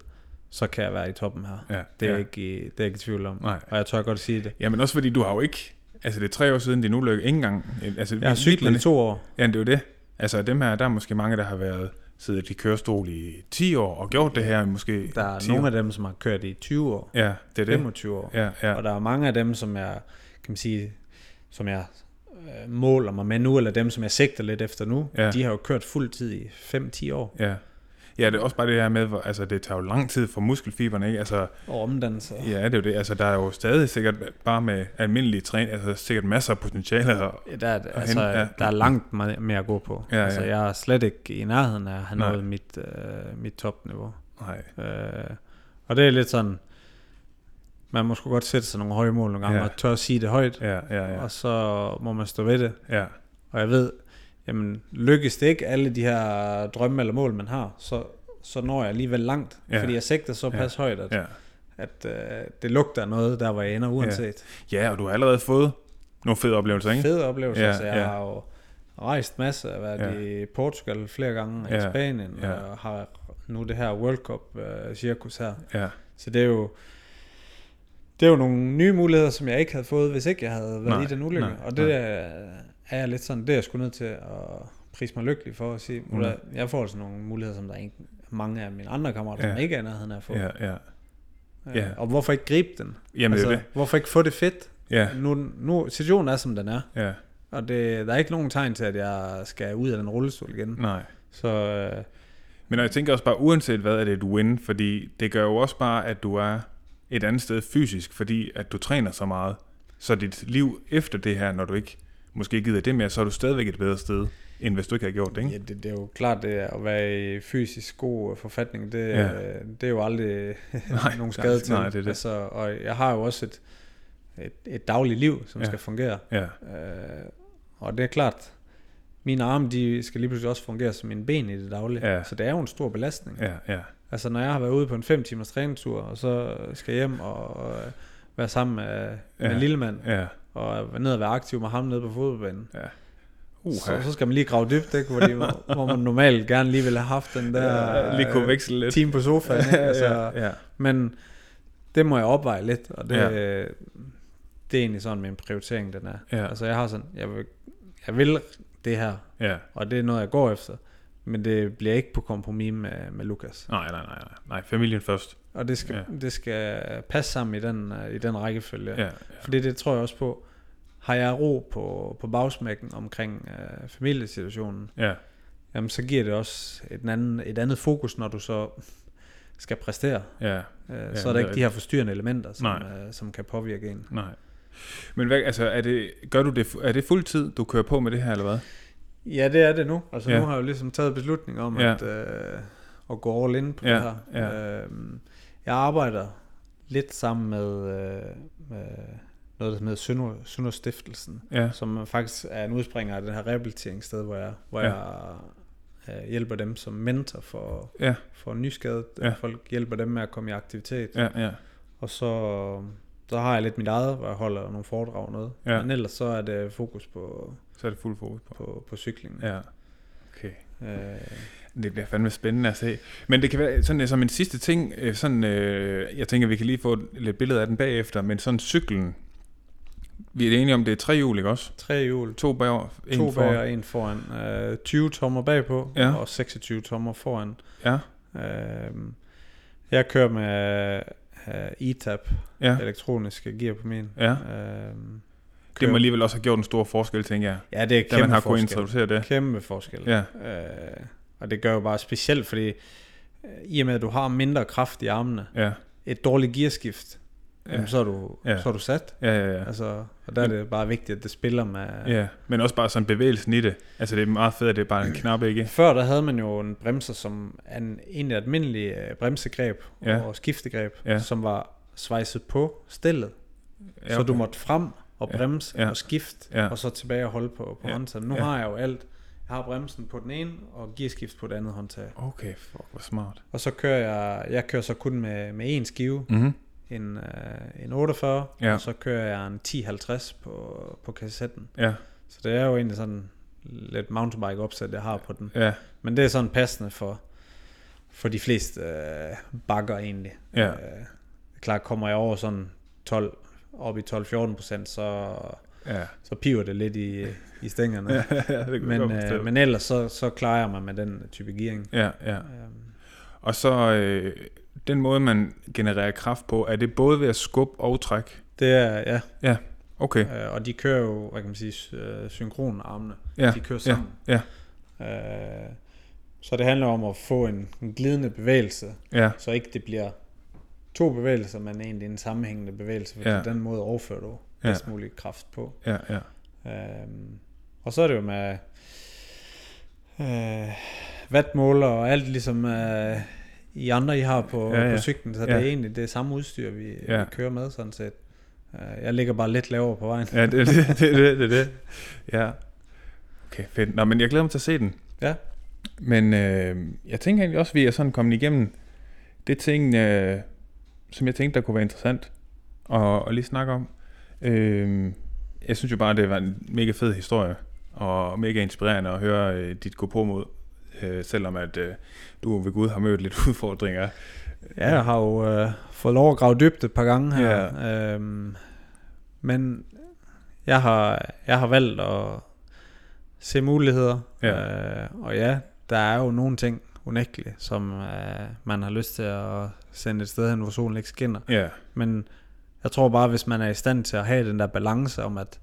Speaker 3: så kan jeg være i toppen her.
Speaker 2: Ja,
Speaker 3: det, er
Speaker 2: ja.
Speaker 3: ja. ikke, i- det er jeg ikke i tvivl om.
Speaker 2: Nej.
Speaker 3: Og jeg tør godt sige det.
Speaker 2: Jamen også fordi, du har jo ikke... Altså, det er tre år siden din ulykke, ikke engang... Altså,
Speaker 3: Jeg har cyklet i to år.
Speaker 2: Ja, det er jo det. Altså, dem her, der er måske mange, der har været siddet i kørestol i 10 år og gjort det her i måske
Speaker 3: Der er
Speaker 2: 10
Speaker 3: nogle
Speaker 2: år.
Speaker 3: af dem, som har kørt i 20 år,
Speaker 2: Ja, det er det.
Speaker 3: 25 år.
Speaker 2: Ja, ja,
Speaker 3: Og der er mange af dem, som jeg, kan man sige, som jeg øh, måler mig med nu, eller dem, som jeg sigter lidt efter nu,
Speaker 2: Ja.
Speaker 3: ja. de har jo kørt fuld tid i 5-10 år.
Speaker 2: ja. Ja, det er også bare det her med, hvor, altså det tager jo lang tid for muskelfiberne, ikke? Altså,
Speaker 3: Og omdanne sig.
Speaker 2: ja, det er jo det. Altså, der er jo stadig sikkert bare med almindelig træning, altså sikkert masser af potentiale. Og,
Speaker 3: Ja, Der, er,
Speaker 2: Og
Speaker 3: altså,
Speaker 2: hen- ja.
Speaker 3: ja. der er langt me- mere at gå på.
Speaker 2: Ja,
Speaker 3: altså,
Speaker 2: ja.
Speaker 3: Jeg er slet ikke i nærheden af at have
Speaker 2: Nej.
Speaker 3: nået mit, øh, mit topniveau.
Speaker 2: nej,
Speaker 3: Øh, og det er lidt sådan, man må sgu godt sætte sig nogle høje mål nogle gange,
Speaker 2: Ja.
Speaker 3: ja. og tør at sige det højt,
Speaker 2: ja, ja, ja.
Speaker 3: og så må man stå ved det.
Speaker 2: ja.
Speaker 3: Og jeg ved, jamen lykkes det ikke alle de her drømme eller mål, man har, så, så når jeg alligevel langt,
Speaker 2: Ja.
Speaker 3: ja. fordi jeg sigter så pas højt, at,
Speaker 2: Ja.
Speaker 3: at øh, det lugter af noget, der hvor jeg ender uanset.
Speaker 2: ja, og du har allerede fået nogle fede oplevelser, ikke?
Speaker 3: Fede oplevelser,
Speaker 2: Ja,
Speaker 3: ja, så Altså, jeg
Speaker 2: ja.
Speaker 3: ja. har jo rejst masser, jeg har været ja. i Portugal flere gange, og i
Speaker 2: Ja,
Speaker 3: Spanien,
Speaker 2: ja.
Speaker 3: og har nu det her World Cup-cirkus her.
Speaker 2: Ja,
Speaker 3: Så det er jo det er jo nogle nye muligheder, som jeg ikke havde fået, hvis ikke jeg havde været
Speaker 2: Nej,
Speaker 3: i den ulykke.
Speaker 2: nej,
Speaker 3: og det nej. er jeg lidt sådan, det er jeg sgu nødt til at prise mig lykkelig for at sige, mm. jeg får altså nogle muligheder, som der ikke mange af mine andre kammerater,
Speaker 2: Ja.
Speaker 3: ja. som ikke er i nærheden af at få.
Speaker 2: Ja, ja.
Speaker 3: Øh,
Speaker 2: ja.
Speaker 3: Og hvorfor ikke gribe den?
Speaker 2: Jamen, altså, det er det.
Speaker 3: hvorfor ikke få det fedt?
Speaker 2: Ja,
Speaker 3: Nu, nu, situationen er, som den er.
Speaker 2: ja.
Speaker 3: Og det, der er ikke nogen tegn til, at jeg skal ud af den rullestol igen.
Speaker 2: Nej.
Speaker 3: Så øh,
Speaker 2: Men jeg tænker også bare, uanset hvad, er det et win, fordi det gør jo også bare, at du er et andet sted fysisk, fordi at du træner så meget. Så dit liv efter det her, når du ikke måske ikke gider det mere, så er du stadigvæk et bedre sted, end hvis du ikke havde gjort det, ikke?
Speaker 3: ja, det, det er jo klart, det er at være i fysisk god øh, forfatning, det,
Speaker 2: Ja.
Speaker 3: ja. det er jo
Speaker 2: (laughs)
Speaker 3: aldrig (laughs)
Speaker 2: Nej,
Speaker 3: nej, nogen
Speaker 2: nej,
Speaker 3: skade til.
Speaker 2: nej, det er det.
Speaker 3: Altså, og jeg har jo også et, et, et dagligt liv, som
Speaker 2: Ja.
Speaker 3: ja. skal fungere.
Speaker 2: Ja,
Speaker 3: Øh, og det er klart, mine arme de skal lige pludselig også fungere som mine ben i det daglige.
Speaker 2: Ja.
Speaker 3: Så det er jo en stor belastning.
Speaker 2: ja, ja.
Speaker 3: Altså når jeg har været ude på en 5 timers træningstur, og så skal hjem og, og øh, være sammen med, med
Speaker 2: Ja.
Speaker 3: ja. lille mand,
Speaker 2: ja.
Speaker 3: og være ned og være aktiv med ham nede på fodboldbanen.
Speaker 2: Uh,
Speaker 3: Så, så skal man lige grave dybt, ikke?
Speaker 2: (laughs)
Speaker 3: Fordi, hvor, hvor man normalt gerne lige ville have haft den der
Speaker 2: ja, lige kunne veksle lidt.
Speaker 3: time på
Speaker 2: (laughs)
Speaker 3: sofaen. Ikke? Altså,
Speaker 2: ja, ja,
Speaker 3: Men det må jeg opveje lidt, og det, ja. det er egentlig sådan min prioritering, den er.
Speaker 2: Ja.
Speaker 3: Altså jeg har sådan, jeg vil, jeg vil det her,
Speaker 2: ja.
Speaker 3: og det er noget, jeg går efter. Men det bliver ikke på kompromis med, med Lukas.
Speaker 2: Nej, nej, nej, nej. Nej, familien først.
Speaker 3: Og det skal,
Speaker 2: Ja.
Speaker 3: ja. det skal passe sammen i den, øh, i den rækkefølge.
Speaker 2: Ja, ja.
Speaker 3: Fordi det tror jeg også på. Har jeg ro på, på bagsmækken omkring øh, familiesituationen,
Speaker 2: ja.
Speaker 3: jamen så giver det også et, anden, et andet fokus, når du så skal præstere.
Speaker 2: ja.
Speaker 3: Øh,
Speaker 2: det
Speaker 3: så
Speaker 2: er
Speaker 3: er der ikke
Speaker 2: rigtigt.
Speaker 3: de her forstyrrende elementer, som,
Speaker 2: Nej.
Speaker 3: øh, som kan påvirke en.
Speaker 2: Nej. Men hvad, altså, er det, gør du det, fu- er det fuld tid, du kører på med det her, eller hvad?
Speaker 3: Ja, det er det nu. Altså
Speaker 2: Ja.
Speaker 3: ja. nu har jeg jo ligesom taget beslutning om
Speaker 2: Ja.
Speaker 3: ja. at, øh, at gå all in på
Speaker 2: Ja,
Speaker 3: det her. Øh, jeg arbejder lidt sammen med, øh, med noget, der hedder Sønder, Sønderstiftelsen,
Speaker 2: Ja,
Speaker 3: som faktisk er en udspringer af det her rehabiliteringssted, hvor jeg, hvor
Speaker 2: Ja.
Speaker 3: ja. jeg øh, hjælper dem som mentor for,
Speaker 2: ja,
Speaker 3: for nyskadede
Speaker 2: Ja.
Speaker 3: ja. folk, hjælper dem med at komme i aktivitet.
Speaker 2: ja, ja.
Speaker 3: Og så, så har jeg lidt mit eget, hvor jeg holder nogle foredrag og noget.
Speaker 2: Ja.
Speaker 3: Ja. Men ellers så er det fokus på,
Speaker 2: Så er det fuld fokus på.
Speaker 3: på, på cyklingen.
Speaker 2: Ja. Okay.
Speaker 3: Øh,
Speaker 2: Det bliver fandme spændende at se. Men det kan være sådan, øh, som en sidste ting, øh, sådan, øh, jeg tænker, vi kan lige få et lidt billede af den bagefter, men sådan cyklen, vi er enige om, det er tre hjul, ikke også?
Speaker 3: tre hjul,
Speaker 2: To bager, en
Speaker 3: to
Speaker 2: for-
Speaker 3: bag og en foran. Øh, 20 tommer bagpå
Speaker 2: Ja.
Speaker 3: og 26 tommer foran.
Speaker 2: Ja,
Speaker 3: Øh, jeg kører med øh, ETAP,
Speaker 2: ja,
Speaker 3: elektroniske gear på min.
Speaker 2: ja.
Speaker 3: Øh,
Speaker 2: Det må alligevel også have gjort en stor forskel, tænker jeg,
Speaker 3: Ja, det er
Speaker 2: da man
Speaker 3: kæmpe
Speaker 2: har kunnet
Speaker 3: forskel.
Speaker 2: introducere det.
Speaker 3: Kæmpe forskel.
Speaker 2: Ja,
Speaker 3: Øh, og det gør jo bare specielt, fordi øh, i og med, at du har mindre kraft i armene,
Speaker 2: ja,
Speaker 3: et dårligt gearskift,
Speaker 2: Ja.
Speaker 3: ja. så, er du,
Speaker 2: Ja.
Speaker 3: ja. så er du sat.
Speaker 2: ja, ja, ja.
Speaker 3: Altså, og der er det bare vigtigt, at det spiller med...
Speaker 2: Ja, men også bare sådan bevægelsen i det. Altså det er meget fedt, at det er bare en knap, ikke?
Speaker 3: Før der havde man jo en bremser, som er en, egentlig et almindeligt øh, bremsegreb
Speaker 2: Ja.
Speaker 3: ja. og skiftegreb,
Speaker 2: Ja.
Speaker 3: ja. som var svejset på stillet,
Speaker 2: Ja,
Speaker 3: ja, okay. (clears throat) så du måtte frem og
Speaker 2: Ja.
Speaker 3: bremse
Speaker 2: Ja.
Speaker 3: ja. og skifte,
Speaker 2: Ja.
Speaker 3: ja. og så tilbage og holde på, på
Speaker 2: Ja.
Speaker 3: ja. håndtaget. Nu
Speaker 2: Ja.
Speaker 3: ja. har jeg jo alt. Jeg har bremsen på den ene, og gearskift på det andet håndtag.
Speaker 2: Okay, fuck, hvor smart.
Speaker 3: Og så kører jeg, jeg kører så kun med, med én skive,
Speaker 2: Mm-hmm.
Speaker 3: en, øh, en 48,
Speaker 2: Ja.
Speaker 3: ja. og så kører jeg en 1050 på, på kassetten.
Speaker 2: Ja,
Speaker 3: Så det er jo egentlig sådan lidt mountainbike opsæt, jeg har på den.
Speaker 2: ja,
Speaker 3: Men det er sådan passende for, for de fleste øh, bakker egentlig.
Speaker 2: Ja.
Speaker 3: Øh, klart kommer jeg over sådan 12, op i 12-14 procent, så,
Speaker 2: ja. (laughs)
Speaker 3: så piver det lidt i, i stængerne.
Speaker 2: ja det kan jeg godt
Speaker 3: men,
Speaker 2: forstå.
Speaker 3: øh, men ellers så, så klarer jeg mig med den type gearing.
Speaker 2: Ja, ja.
Speaker 3: Øhm,
Speaker 2: Og så øh, den måde, man genererer kraft på, er det både ved at skubbe og trække?
Speaker 3: Det er, ja,
Speaker 2: Okay,
Speaker 3: øh, og de kører jo, hvad kan man sige, sy- øh, synkronarmene.
Speaker 2: ja,
Speaker 3: De kører sammen.
Speaker 2: ja.
Speaker 3: Øh, så det handler om at få en, en glidende bevægelse,
Speaker 2: ja,
Speaker 3: så ikke det bliver to bevægelser, men egentlig en sammenhængende bevægelse, fordi
Speaker 2: Ja.
Speaker 3: ja. den måde overfører du
Speaker 2: Ja.
Speaker 3: bedst mulig kraft på.
Speaker 2: ja, ja.
Speaker 3: Øhm, og så er det jo med øh, vatmåler og alt ligesom øh, I andre, I har på,
Speaker 2: Ja,
Speaker 3: ja,
Speaker 2: ja.
Speaker 3: ja. på cyklen, så
Speaker 2: Ja.
Speaker 3: det er egentlig det samme udstyr, vi,
Speaker 2: Ja.
Speaker 3: ja. vi kører med sådan set. Øh, jeg ligger bare lidt lavere på vejen.
Speaker 2: Ja, det er det, (laughs) det, er det, det, er det. Ja. Okay, fedt. Nå, men jeg glæder mig til at se den.
Speaker 3: Ja.
Speaker 2: Men øh, jeg tænker egentlig også, at vi er sådan kommet igennem det ting, øh, som jeg tænkte, der kunne være interessant at, at lige snakke om. Øh, jeg synes jo bare, det var en mega fed historie, og mega inspirerende at høre øh, dit gå på mod, øh, selvom at øh, du ved Gud har mødt lidt (laughs) udfordringer.
Speaker 3: Ja, jeg har jo øh, fået lov at grave dybt et par gange her. Ja. Øhm, men jeg har, jeg har valgt at se muligheder.
Speaker 2: Ja.
Speaker 3: Øh, og ja, der er jo nogle ting, unægtelig, som øh, man har lyst til at sende et sted hen, hvor solen ikke skinner.
Speaker 2: Ja,
Speaker 3: Men jeg tror bare, hvis man er i stand til at have den der balance om, at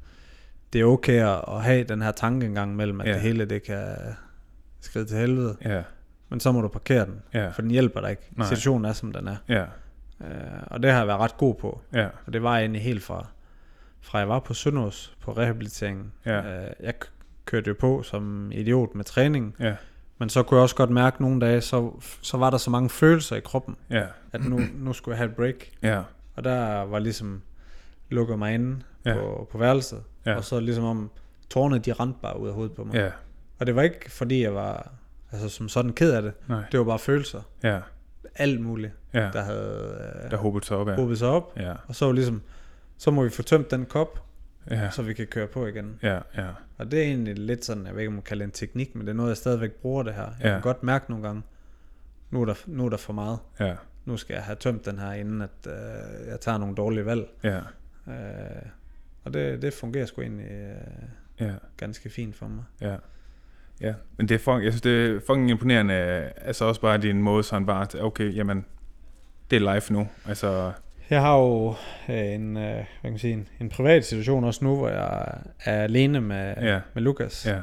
Speaker 3: det er okay at- at have den her tankegang mellem, at
Speaker 2: Ja.
Speaker 3: ja. det hele det kan skride til helvede,
Speaker 2: ja,
Speaker 3: men så må du parkere den,
Speaker 2: ja,
Speaker 3: for den hjælper dig ikke.
Speaker 2: Nej.
Speaker 3: Nej. Situationen er, som den er.
Speaker 2: ja,
Speaker 3: Øh, og det har jeg været ret god på.
Speaker 2: ja,
Speaker 3: Og det var jeg egentlig helt fra, fra jeg var på Sønderhus på rehabiliteringen.
Speaker 2: Ja.
Speaker 3: Øh, jeg k- kørte jo på som idiot med træning,
Speaker 2: ja,
Speaker 3: men så kunne jeg også godt mærke nogle dage, så, så var der så mange følelser i kroppen,
Speaker 2: ja,
Speaker 3: at nu,
Speaker 2: (clears throat)
Speaker 3: nu skulle jeg have et break.
Speaker 2: ja,
Speaker 3: Og der var ligesom lukket mig inde
Speaker 2: Ja.
Speaker 3: ja. på, på værelset.
Speaker 2: Ja.
Speaker 3: Ja. Og så ligesom om tårne, de rendte bare ud af hovedet på mig.
Speaker 2: ja,
Speaker 3: Og det var ikke fordi, jeg var altså, som sådan ked af det.
Speaker 2: nej,
Speaker 3: Det var bare følelser.
Speaker 2: ja,
Speaker 3: Alt muligt,
Speaker 2: ja,
Speaker 3: der havde øh,
Speaker 2: der håbet sig op af.
Speaker 3: hobet sig op.
Speaker 2: Ja,
Speaker 3: Og så var ligesom, så må vi få tømt den kop,
Speaker 2: ja,
Speaker 3: så vi kan køre på igen.
Speaker 2: ja, ja,
Speaker 3: Og det er egentlig lidt sådan, jeg ved ikke, om man kalder det en teknik, men det er noget, jeg stadigvæk bruger det her. Jeg
Speaker 2: Ja.
Speaker 3: kan godt mærke nogle gange, nu er, der, nu er der for meget.
Speaker 2: ja,
Speaker 3: Nu skal jeg have tømt den her, inden at øh, jeg tager nogle dårlige valg.
Speaker 2: ja,
Speaker 3: Øh, og det, det fungerer sgu egentlig øh,
Speaker 2: ja.
Speaker 3: ganske fint for mig.
Speaker 2: Ja. Ja, men det er fucking, jeg synes, det er fucking imponerende. Altså også bare din måde sådan bare, at okay, jamen, det er live nu. Altså,
Speaker 3: Jeg har jo øh, en, øh, hvad kan man sige, en, en privat situation også nu, hvor jeg er alene med,
Speaker 2: Ja.
Speaker 3: med Lukas.
Speaker 2: ja,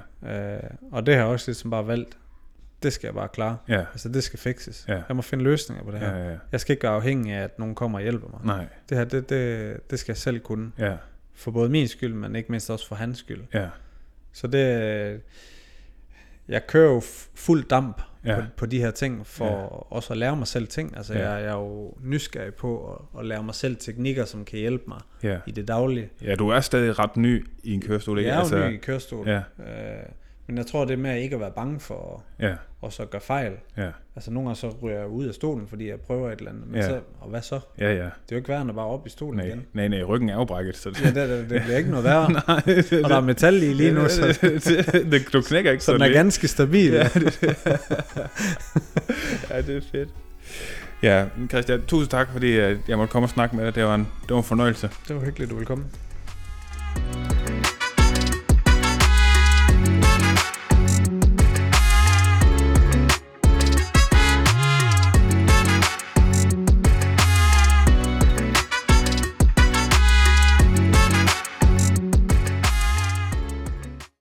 Speaker 3: Øh, og det har jeg også ligesom bare valgt. Det skal jeg bare klare.
Speaker 2: ja,
Speaker 3: Altså det skal fikses.
Speaker 2: Ja.
Speaker 3: Jeg må finde løsninger på det her.
Speaker 2: ja, ja, ja.
Speaker 3: Jeg skal ikke være afhængig af, at nogen kommer og hjælper mig.
Speaker 2: Nej,
Speaker 3: Det her, det, det, det skal jeg selv kunne.
Speaker 2: ja,
Speaker 3: For både min skyld, men ikke mindst også for hans skyld.
Speaker 2: ja,
Speaker 3: Så det... øh, Jeg kører jo f- fuld damp
Speaker 2: Ja.
Speaker 3: ja. på, på de her ting, for ja. også at lære mig selv ting. Altså,
Speaker 2: Ja.
Speaker 3: ja. jeg, jeg er jo nysgerrig på at, at lære mig selv teknikker, som kan hjælpe mig
Speaker 2: ja.
Speaker 3: i det daglige.
Speaker 2: Ja, du er stadig ret ny i en kørestol,
Speaker 3: Jeg
Speaker 2: ikke?
Speaker 3: er jo altså, ny i kørestol,
Speaker 2: Ja,
Speaker 3: øh, men jeg tror, det med at ikke at være bange for
Speaker 2: ja,
Speaker 3: at, at så gøre fejl.
Speaker 2: ja,
Speaker 3: Altså, nogle gange så ryger jeg ud af stolen, fordi jeg prøver et eller andet. Men
Speaker 2: Ja.
Speaker 3: ja. så, og hvad så?
Speaker 2: ja, ja.
Speaker 3: Det er jo ikke værre end at bare op i stolen
Speaker 2: Nej,
Speaker 3: igen.
Speaker 2: nej, nej, ryggen er jo brækket, så det... (laughs)
Speaker 3: Ja, det, det, det bliver ikke noget værre.
Speaker 2: nej, det,
Speaker 3: Og der er metal i lige nu, (laughs) så,
Speaker 2: (laughs) det, det, det, du knækker ikke
Speaker 3: så den
Speaker 2: sådan
Speaker 3: er
Speaker 2: lige.
Speaker 3: ganske stabil. Ja.
Speaker 2: ja, det er fedt. Ja, men Christian, tusind tak, fordi øh, jeg måtte komme og snakke med dig. Det var en, det var en fornøjelse.
Speaker 3: Det var hyggeligt, du ville komme.